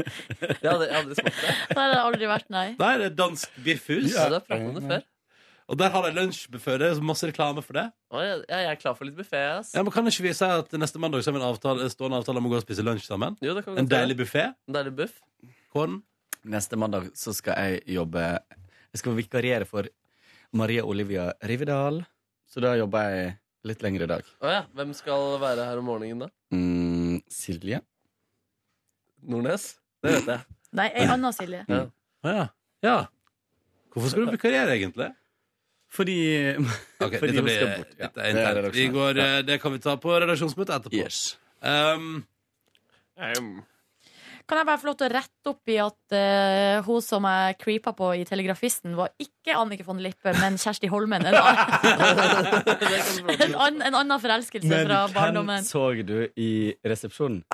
S3: Jeg hadde, jeg hadde smakt det.
S5: Det har det aldri vært, nei.
S2: Nei, det er dansk biffhus.
S3: Ja, du har pratet om det før.
S2: Og der har de lunsjbuffé. Det er så masse reklame for det.
S3: Å, jeg, jeg er klar for litt buffé. ass.
S2: Ja, men Kan ikke vi si at neste mandag så har vi en avtale, stående avtale om å gå og spise lunsj sammen?
S3: Jo, det kan vi
S2: En
S3: godt gjøre.
S2: deilig buffé.
S3: En deilig buff.
S2: Kåren?
S11: Neste mandag så skal jeg jobbe Jeg skal vikariere for Maria Olivia Rivedal. Så da jobber jeg litt lengre dag.
S3: Å ja. Hvem skal være her om morgenen, da?
S11: Mm, Silje?
S3: Nordnes? Det vet jeg.
S5: Nei, ei anna Silje.
S11: Ja.
S2: Å ja. ja. Hvorfor skal du vikariere, egentlig?
S11: Fordi,
S2: Ok, dette
S11: fordi hun
S2: blir,
S11: skal bort. Ja.
S2: dette er
S11: Det er
S2: internt. Vi
S11: redaksjonen.
S2: går,
S11: Ja.
S2: eh, det kan vi ta på redaksjonsmøtet etterpå. Um,
S5: Kan jeg bare få lov til å rette opp i at eh, hun som jeg creepa på i Telegrafisten, var ikke Annike von Lippe, men Kjersti Holmen. En, an- en, an, en annen forelskelse
S11: Men
S5: fra
S11: hvem
S5: barndommen.
S11: så du i resepsjonen?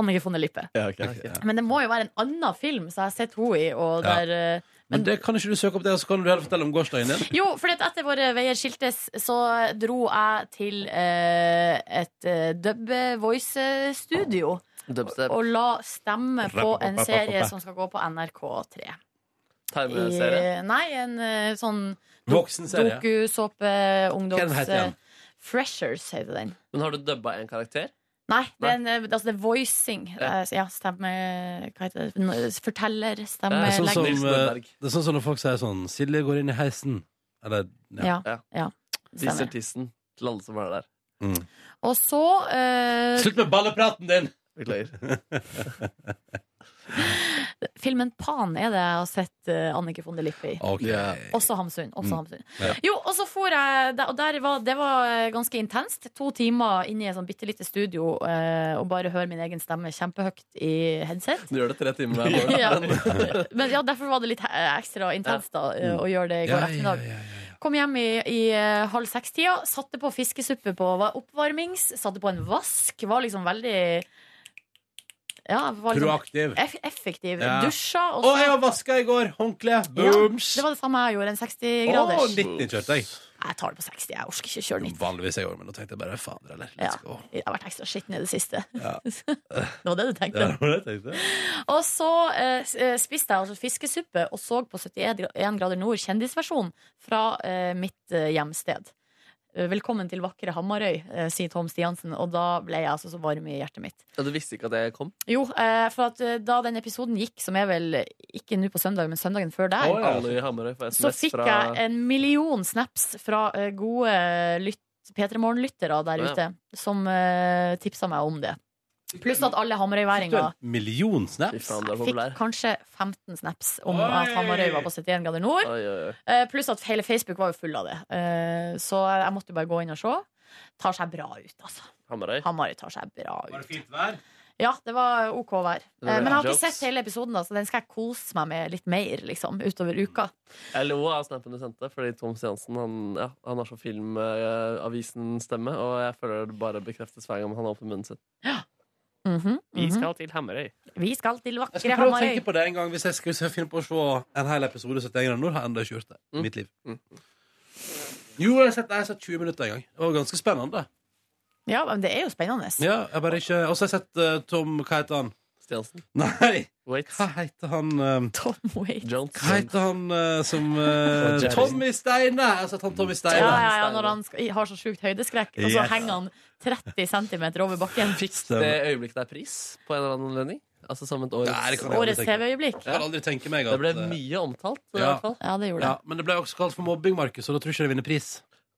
S5: Annike von Lippe.
S11: Ja, ok, ok, ja.
S5: Men det må jo være en annen film som jeg har sett henne i. Og
S2: Ja.
S5: der, eh,
S2: men det kan ikke du søke opp det, og så kan du heller fortelle om gårsdagen din.
S5: Jo, for etter våre veier skiltes, så dro jeg til eh, et eh, dub voice-studio.
S3: Dubstep.
S5: Og la stemme på en serie som skal gå på NRK3.
S3: Tegneserie.
S5: I- Nei, en eh, sånn
S2: Voksen serie.
S5: dokusåpe eh, ungdoms... eh,
S3: Hva den heter igjen?
S5: Freshers heter den.
S3: Men har du dubba en karakter?
S5: Nei, det er, en, eh, altså det er voicing. Det er- Ja, stemme Hva heter det? N- Forteller,
S2: Det
S5: stemme
S2: er, sånn som,
S5: legger-
S2: eh, det er sånn som når folk sier sånn Silje går inn i heisen. Eller
S5: Ja. ja.
S3: Viser
S5: Stemmer.
S3: tissen til alle som er der.
S2: Mm.
S5: Og så eh,
S2: Slutt med ballepraten din!
S3: Beklager.
S5: Filmen Pan er det jeg har sett eh, Annike von der Lippe i.
S2: Ok.
S5: Også Hamsun. Også
S2: Mm.
S5: Hamsun.
S2: Ja.
S5: Jo, og så for jeg der- Og der var, det var eh, ganske intenst. To timer inne i et sånn bitte lite studio eh, og bare høre min egen stemme kjempehøyt i headset.
S3: Du gjør det tre timer hver morgen.
S5: Ja. Men ja, derfor var det litt eh, ekstra intenst da, eh, å gjøre det i går
S2: Mm. Ja, ja,
S5: ettermiddag. Kom hjem i, i eh, halv seks-tida, satte på fiskesuppe på var oppvarmings, satte på en vask. Var liksom veldig ja, var liksom
S2: Proaktiv.
S5: Eff effektiv.
S2: Ja.
S5: Dusja.
S2: Å,
S5: og så-
S2: jeg har vaska i går! Håndkle!
S5: ja,
S2: Booms!
S5: det var det samme jeg gjorde. En
S2: Å,
S5: 60-graders.
S2: 90 kjørte jeg.
S5: jeg tar det på 60. Jeg orker ikke kjøre 90.
S2: Vanligvis jeg gjør men nå tenkte jeg bare fader, eller.
S5: Ja.
S2: Let's go.
S5: Jeg har vært ekstra skitten i det siste.
S2: Ja.
S5: det var det du
S2: Det
S5: tenkte.
S2: var det jeg tenkte.
S5: Og så eh, s- eh, spiste jeg altså fiskesuppe og så på 71 grader nord kjendisversjon fra eh, mitt eh, hjemsted. Velkommen til vakre Hammarøy, eh, sier Tom Stiansen. Og da ble jeg altså så varm i hjertet mitt.
S3: Ja, du visste ikke at jeg kom?
S5: Jo, eh, for at eh, da den episoden gikk, som er vel ikke nå på søndag, men søndagen før der,
S3: Oi, alle i Hamarøy får
S5: så
S3: SMS
S5: fikk
S3: fra
S5: jeg en million snaps fra eh, gode lytt, P3 Morgen-lyttere der
S2: Ja.
S5: ute som eh, tipsa meg om det. Pluss at alle
S2: Du er
S5: Hamarøy-væringer
S2: en million snaps.
S5: eh, fikk kanskje 15 snaps om
S2: Oi!
S5: at Hamarøy var på 71 grader nord. Eh, Pluss at hele Facebook var jo full av det. Eh, Så jeg måtte jo bare gå inn og se. Tar seg bra ut, altså.
S3: Hamarøy.
S5: Hamarøy tar seg bra ut.
S2: Var det fint vær?
S5: Ja, det var OK vær. Eh,
S3: Det var
S5: Men jeg har ikke
S3: jokes.
S5: sett hele episoden, da, så den skal jeg kose meg med litt mer liksom, utover uka.
S3: Jeg lo av snappen du sendte, fordi Tom Stiansen han, ja, han har så Filmavisen-stemme, og jeg føler det bare bekreftes hver gang han åpner munnen sin.
S5: Mhm,
S3: Vi
S5: mhm.
S3: skal til Hamarøy.
S5: Vi skal til vakre
S2: Jeg skal prøve å
S5: Hamarøy.
S2: tenke på det en gang hvis jeg skal se- finne på å se en hel episode 71 grader nord. Har jeg ennå ikke gjort det.
S3: Mm.
S2: i Mitt liv. Jo, jeg har sett, jeg har sett 20 minutter en gang. Det var ganske spennende.
S5: Ja, men det er jo spennende.
S2: Ja, jeg bare ikke Og så har jeg sett eh, Tom Hva heter han?
S3: Stiansen.
S2: Nei!
S3: Waits.
S2: Hva heter han eh,
S5: Tom Waits.
S2: Hva heter han eh, som eh,
S3: Jerry.
S2: Tommy Steine! Jeg har sett han
S5: Ja,
S2: Tommy Steine.
S5: ja, ja, når han skal, har så sjukt høydeskrekk, og så
S2: Yes.
S5: henger han 30 cm over bakken.
S3: Det øyeblikket det er pris på en eller annen anledning. Altså som et årets,
S2: det kan jeg aldri Årets tenke.
S5: TV-øyeblikk.
S2: Jeg kan aldri tenke meg at
S3: Det ble mye omtalt, i
S2: Ja.
S3: hvert fall.
S5: Ja, det gjorde
S2: Ja, men det ble også kalt for mobbing, Markus, og da tror jeg ikke det vinner pris.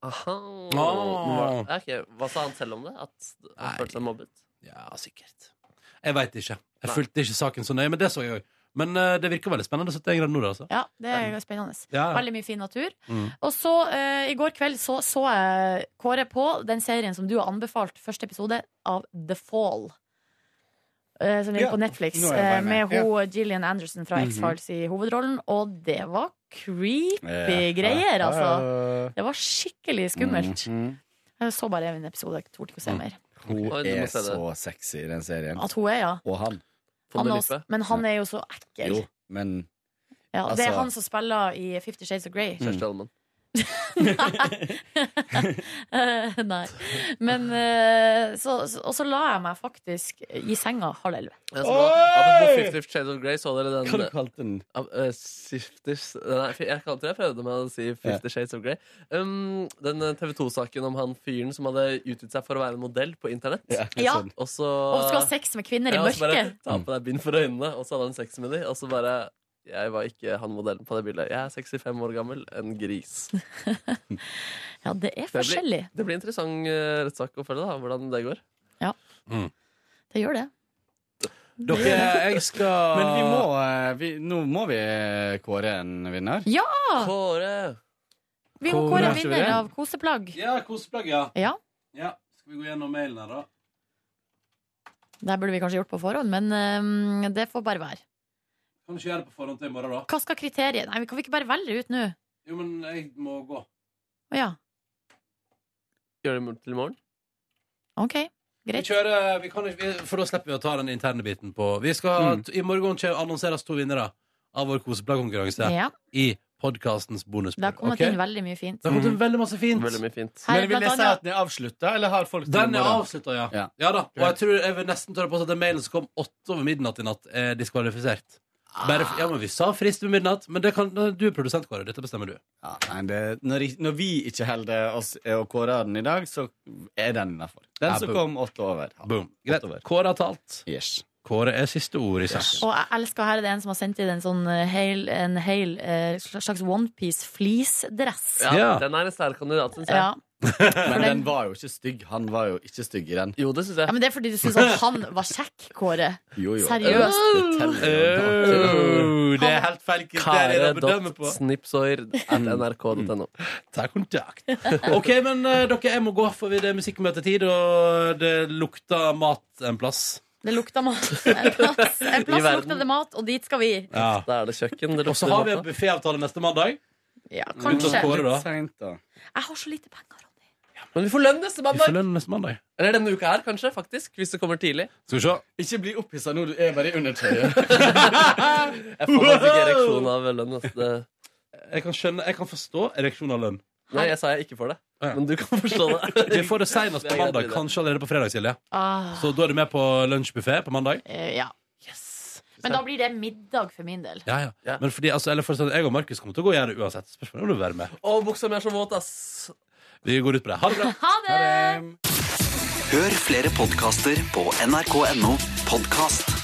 S3: Aha.
S2: Ah.
S3: Ja, ok. Hva sa han selv om det? At han følte seg mobbet?
S2: Ja, sikkert. Jeg veit ikke. Jeg fulgte ikke saken så nøye, men det så jeg òg. Men eh, det virker veldig spennende. 71 grader nord, altså.
S5: Ja, det er jo spennende.
S2: Ja, ja.
S5: Veldig mye fin natur.
S2: Mm.
S5: Og så, eh, i går kveld, så, så jeg Kåre på den serien som du har anbefalt, første episode av The Fall. Eh, som ligger
S12: Ja,
S5: på Netflix,
S12: nå er jeg bare
S5: eh, med
S12: med.
S5: hun Gillian Anderson fra
S12: Mhm.
S5: X-Files i hovedrollen. Og det var creepy
S12: Ja.
S5: greier,
S12: Ja, Mhm.
S5: altså.
S12: ja, ja.
S5: Det var skikkelig skummelt.
S11: Mhm.
S5: Jeg så bare en episode, jeg torde
S12: Mm.
S5: ikke å se mer.
S11: Hun
S5: Oi, du må
S11: er
S5: se det.
S11: så sexy i den serien.
S5: At hun er, ja.
S11: Og han.
S5: Han er også, men han er jo så ekkel.
S11: Jo, men
S5: Ja, det
S11: altså-
S5: er han som spiller i Fifty Shades of Grey.
S12: Mm.
S2: Mm.
S3: Kjersti Holmen.
S5: Eh, Nei. Men eh, så, så, Og så la jeg meg faktisk i senga halv elleve.
S3: Jeg så på, apropos Fifty Shades of Grey, så dere den
S11: Hva har du kalt den?
S3: Av, eh, Shifties- nei, fi- jeg kalte det, jeg prøvde med å si Fifty Shades of Grey. Um, den TV 2-saken om han fyren som hadde utgitt seg for å være en modell på internett.
S5: Ja. sånn.
S3: Og så
S5: Og skulle ha sex med kvinner i
S3: og så Bare,
S5: mørket.
S3: ta på deg bind for øynene, og så hadde han sex med dem. Og så bare Jeg var ikke han modellen på det bildet. Jeg er 65 år gammel. En gris.
S5: Ja, det er
S3: Det blir,
S5: forskjellig.
S3: det blir interessant eh, rettssak å følge, da, hvordan det går.
S5: Det gjør det.
S2: Dere, jeg skal
S11: Men vi må, eh, vi, nå må vi eh, kåre en vinner.
S5: Ja!
S3: Kåre!
S5: Vi må
S11: Kåre,
S5: kåre
S11: ikke vi
S5: vinner
S11: det?
S5: av koseplagg.
S2: Ja, koseplagg, ja.
S5: Ja,
S2: Ja, Skal vi gå gjennom mailen her, da?
S5: Det burde vi kanskje gjort på forhånd, men eh, det får bare være.
S2: Kan du ikke gjøre det på forhånd til i morgen, da?
S5: Hva skal kriteriet Nei, vi kan vi ikke bare velge ut nå?
S2: Jo, men jeg må gå.
S5: Å ja.
S3: Gjør det til i morgen?
S5: OK.
S2: Vi
S5: Greit.
S2: kjører, vi kan, ikke- vi, for da slipper vi å ta den interne biten på Vi skal,
S11: Mm.
S2: I morgen kjø- annonseres to vinnere av vår koseplaggkonkurranse
S5: Ja.
S2: i podkastens bonusspor.
S5: Det har kommet
S2: ok?
S5: inn veldig mye fint.
S2: Det har kommet inn veldig masse fint.
S5: Her er Men vil blant jeg si annet- at
S11: den er avslutta, eller har folk
S2: Den er avslutta, ja. ja. da. Og jeg tror jeg vil nesten tørre på at den mailen som kom åtte over midnatt i natt, er diskvalifisert. Bare,
S11: Ah.
S2: f- ja, men Vi sa frist ved midnatt, men det kan, du er produsent, Kåre. Dette bestemmer du.
S11: Ja, nei, det, når, ik- når vi ikke holder oss eh, og kårer den i dag, så er den innafor. Den
S2: Ja,
S11: som
S2: boom.
S11: kom åtte over.
S2: Boom. Greit. Kåre har talt. Kåre er siste ord i saken.
S5: Og jeg elsker her er det en som har sendt inn en sånn eh, hel, en hel eh, slags onepiece fleecedress.
S3: Ja, Den er en sterk kandidat, syns jeg.
S5: Ja.
S11: Men den var jo ikke stygg. Han var jo ikke stygg i den.
S3: Jo, det syns jeg.
S5: Ja, men det er fordi du syns at han var kjekk, Kåre.
S11: Jo, jo.
S5: Seriøst?
S11: Det teller
S3: Eh.
S11: jo.
S2: det er helt feil kriterier å bedømme på.
S3: Kare.snipsoir.nrk.no.
S2: Ta kontakt. OK, men eh, dere, jeg må gå, for det er musikkmøtetid, og det lukter mat en plass.
S5: Det lukta mat. En plass, en
S2: I
S5: plass
S2: verden.
S5: lukta det mat, og dit skal vi.
S2: Ja.
S3: Da er det kjøkken.
S2: Og så har vi en bufféavtale neste mandag.
S5: Ja,
S2: Rundt oss
S5: kanskje.
S2: Kåre, da.
S5: Jeg har så lite penger.
S3: Men vi får lønn neste
S2: Vi får
S3: mandag!
S2: lønn neste mandag.
S3: Eller denne uka her, kanskje. faktisk Hvis det kommer tidlig.
S2: Skal vi se.
S11: Ikke bli opphissa nå, du er bare i undertøyet.
S3: Jeg får faktisk ikke ereksjon av lønn. ass. Det-
S2: Jeg kan skjønne, jeg kan forstå ereksjon av lønn.
S3: Nei, jeg sa jeg ikke får det. Men du kan forstå det.
S2: Vi får det senest på mandag, kanskje allerede på fredag, Silje.
S5: Ah,
S2: Så da er du med på lunsjbuffé på mandag?
S5: eh, ja. Men da blir det middag for min del.
S2: Ja, ja. Men fordi, altså, eller for å si det sånn, jeg og Markus kommer til å gå og gjøre det uansett. Spørsmålet er om du vil være med.
S3: Å, buksa mi er så våt, ass.
S2: Vi går ut på det. Ha det bra.
S5: Ha det!
S11: Hør flere podkaster på nrk.no podkast.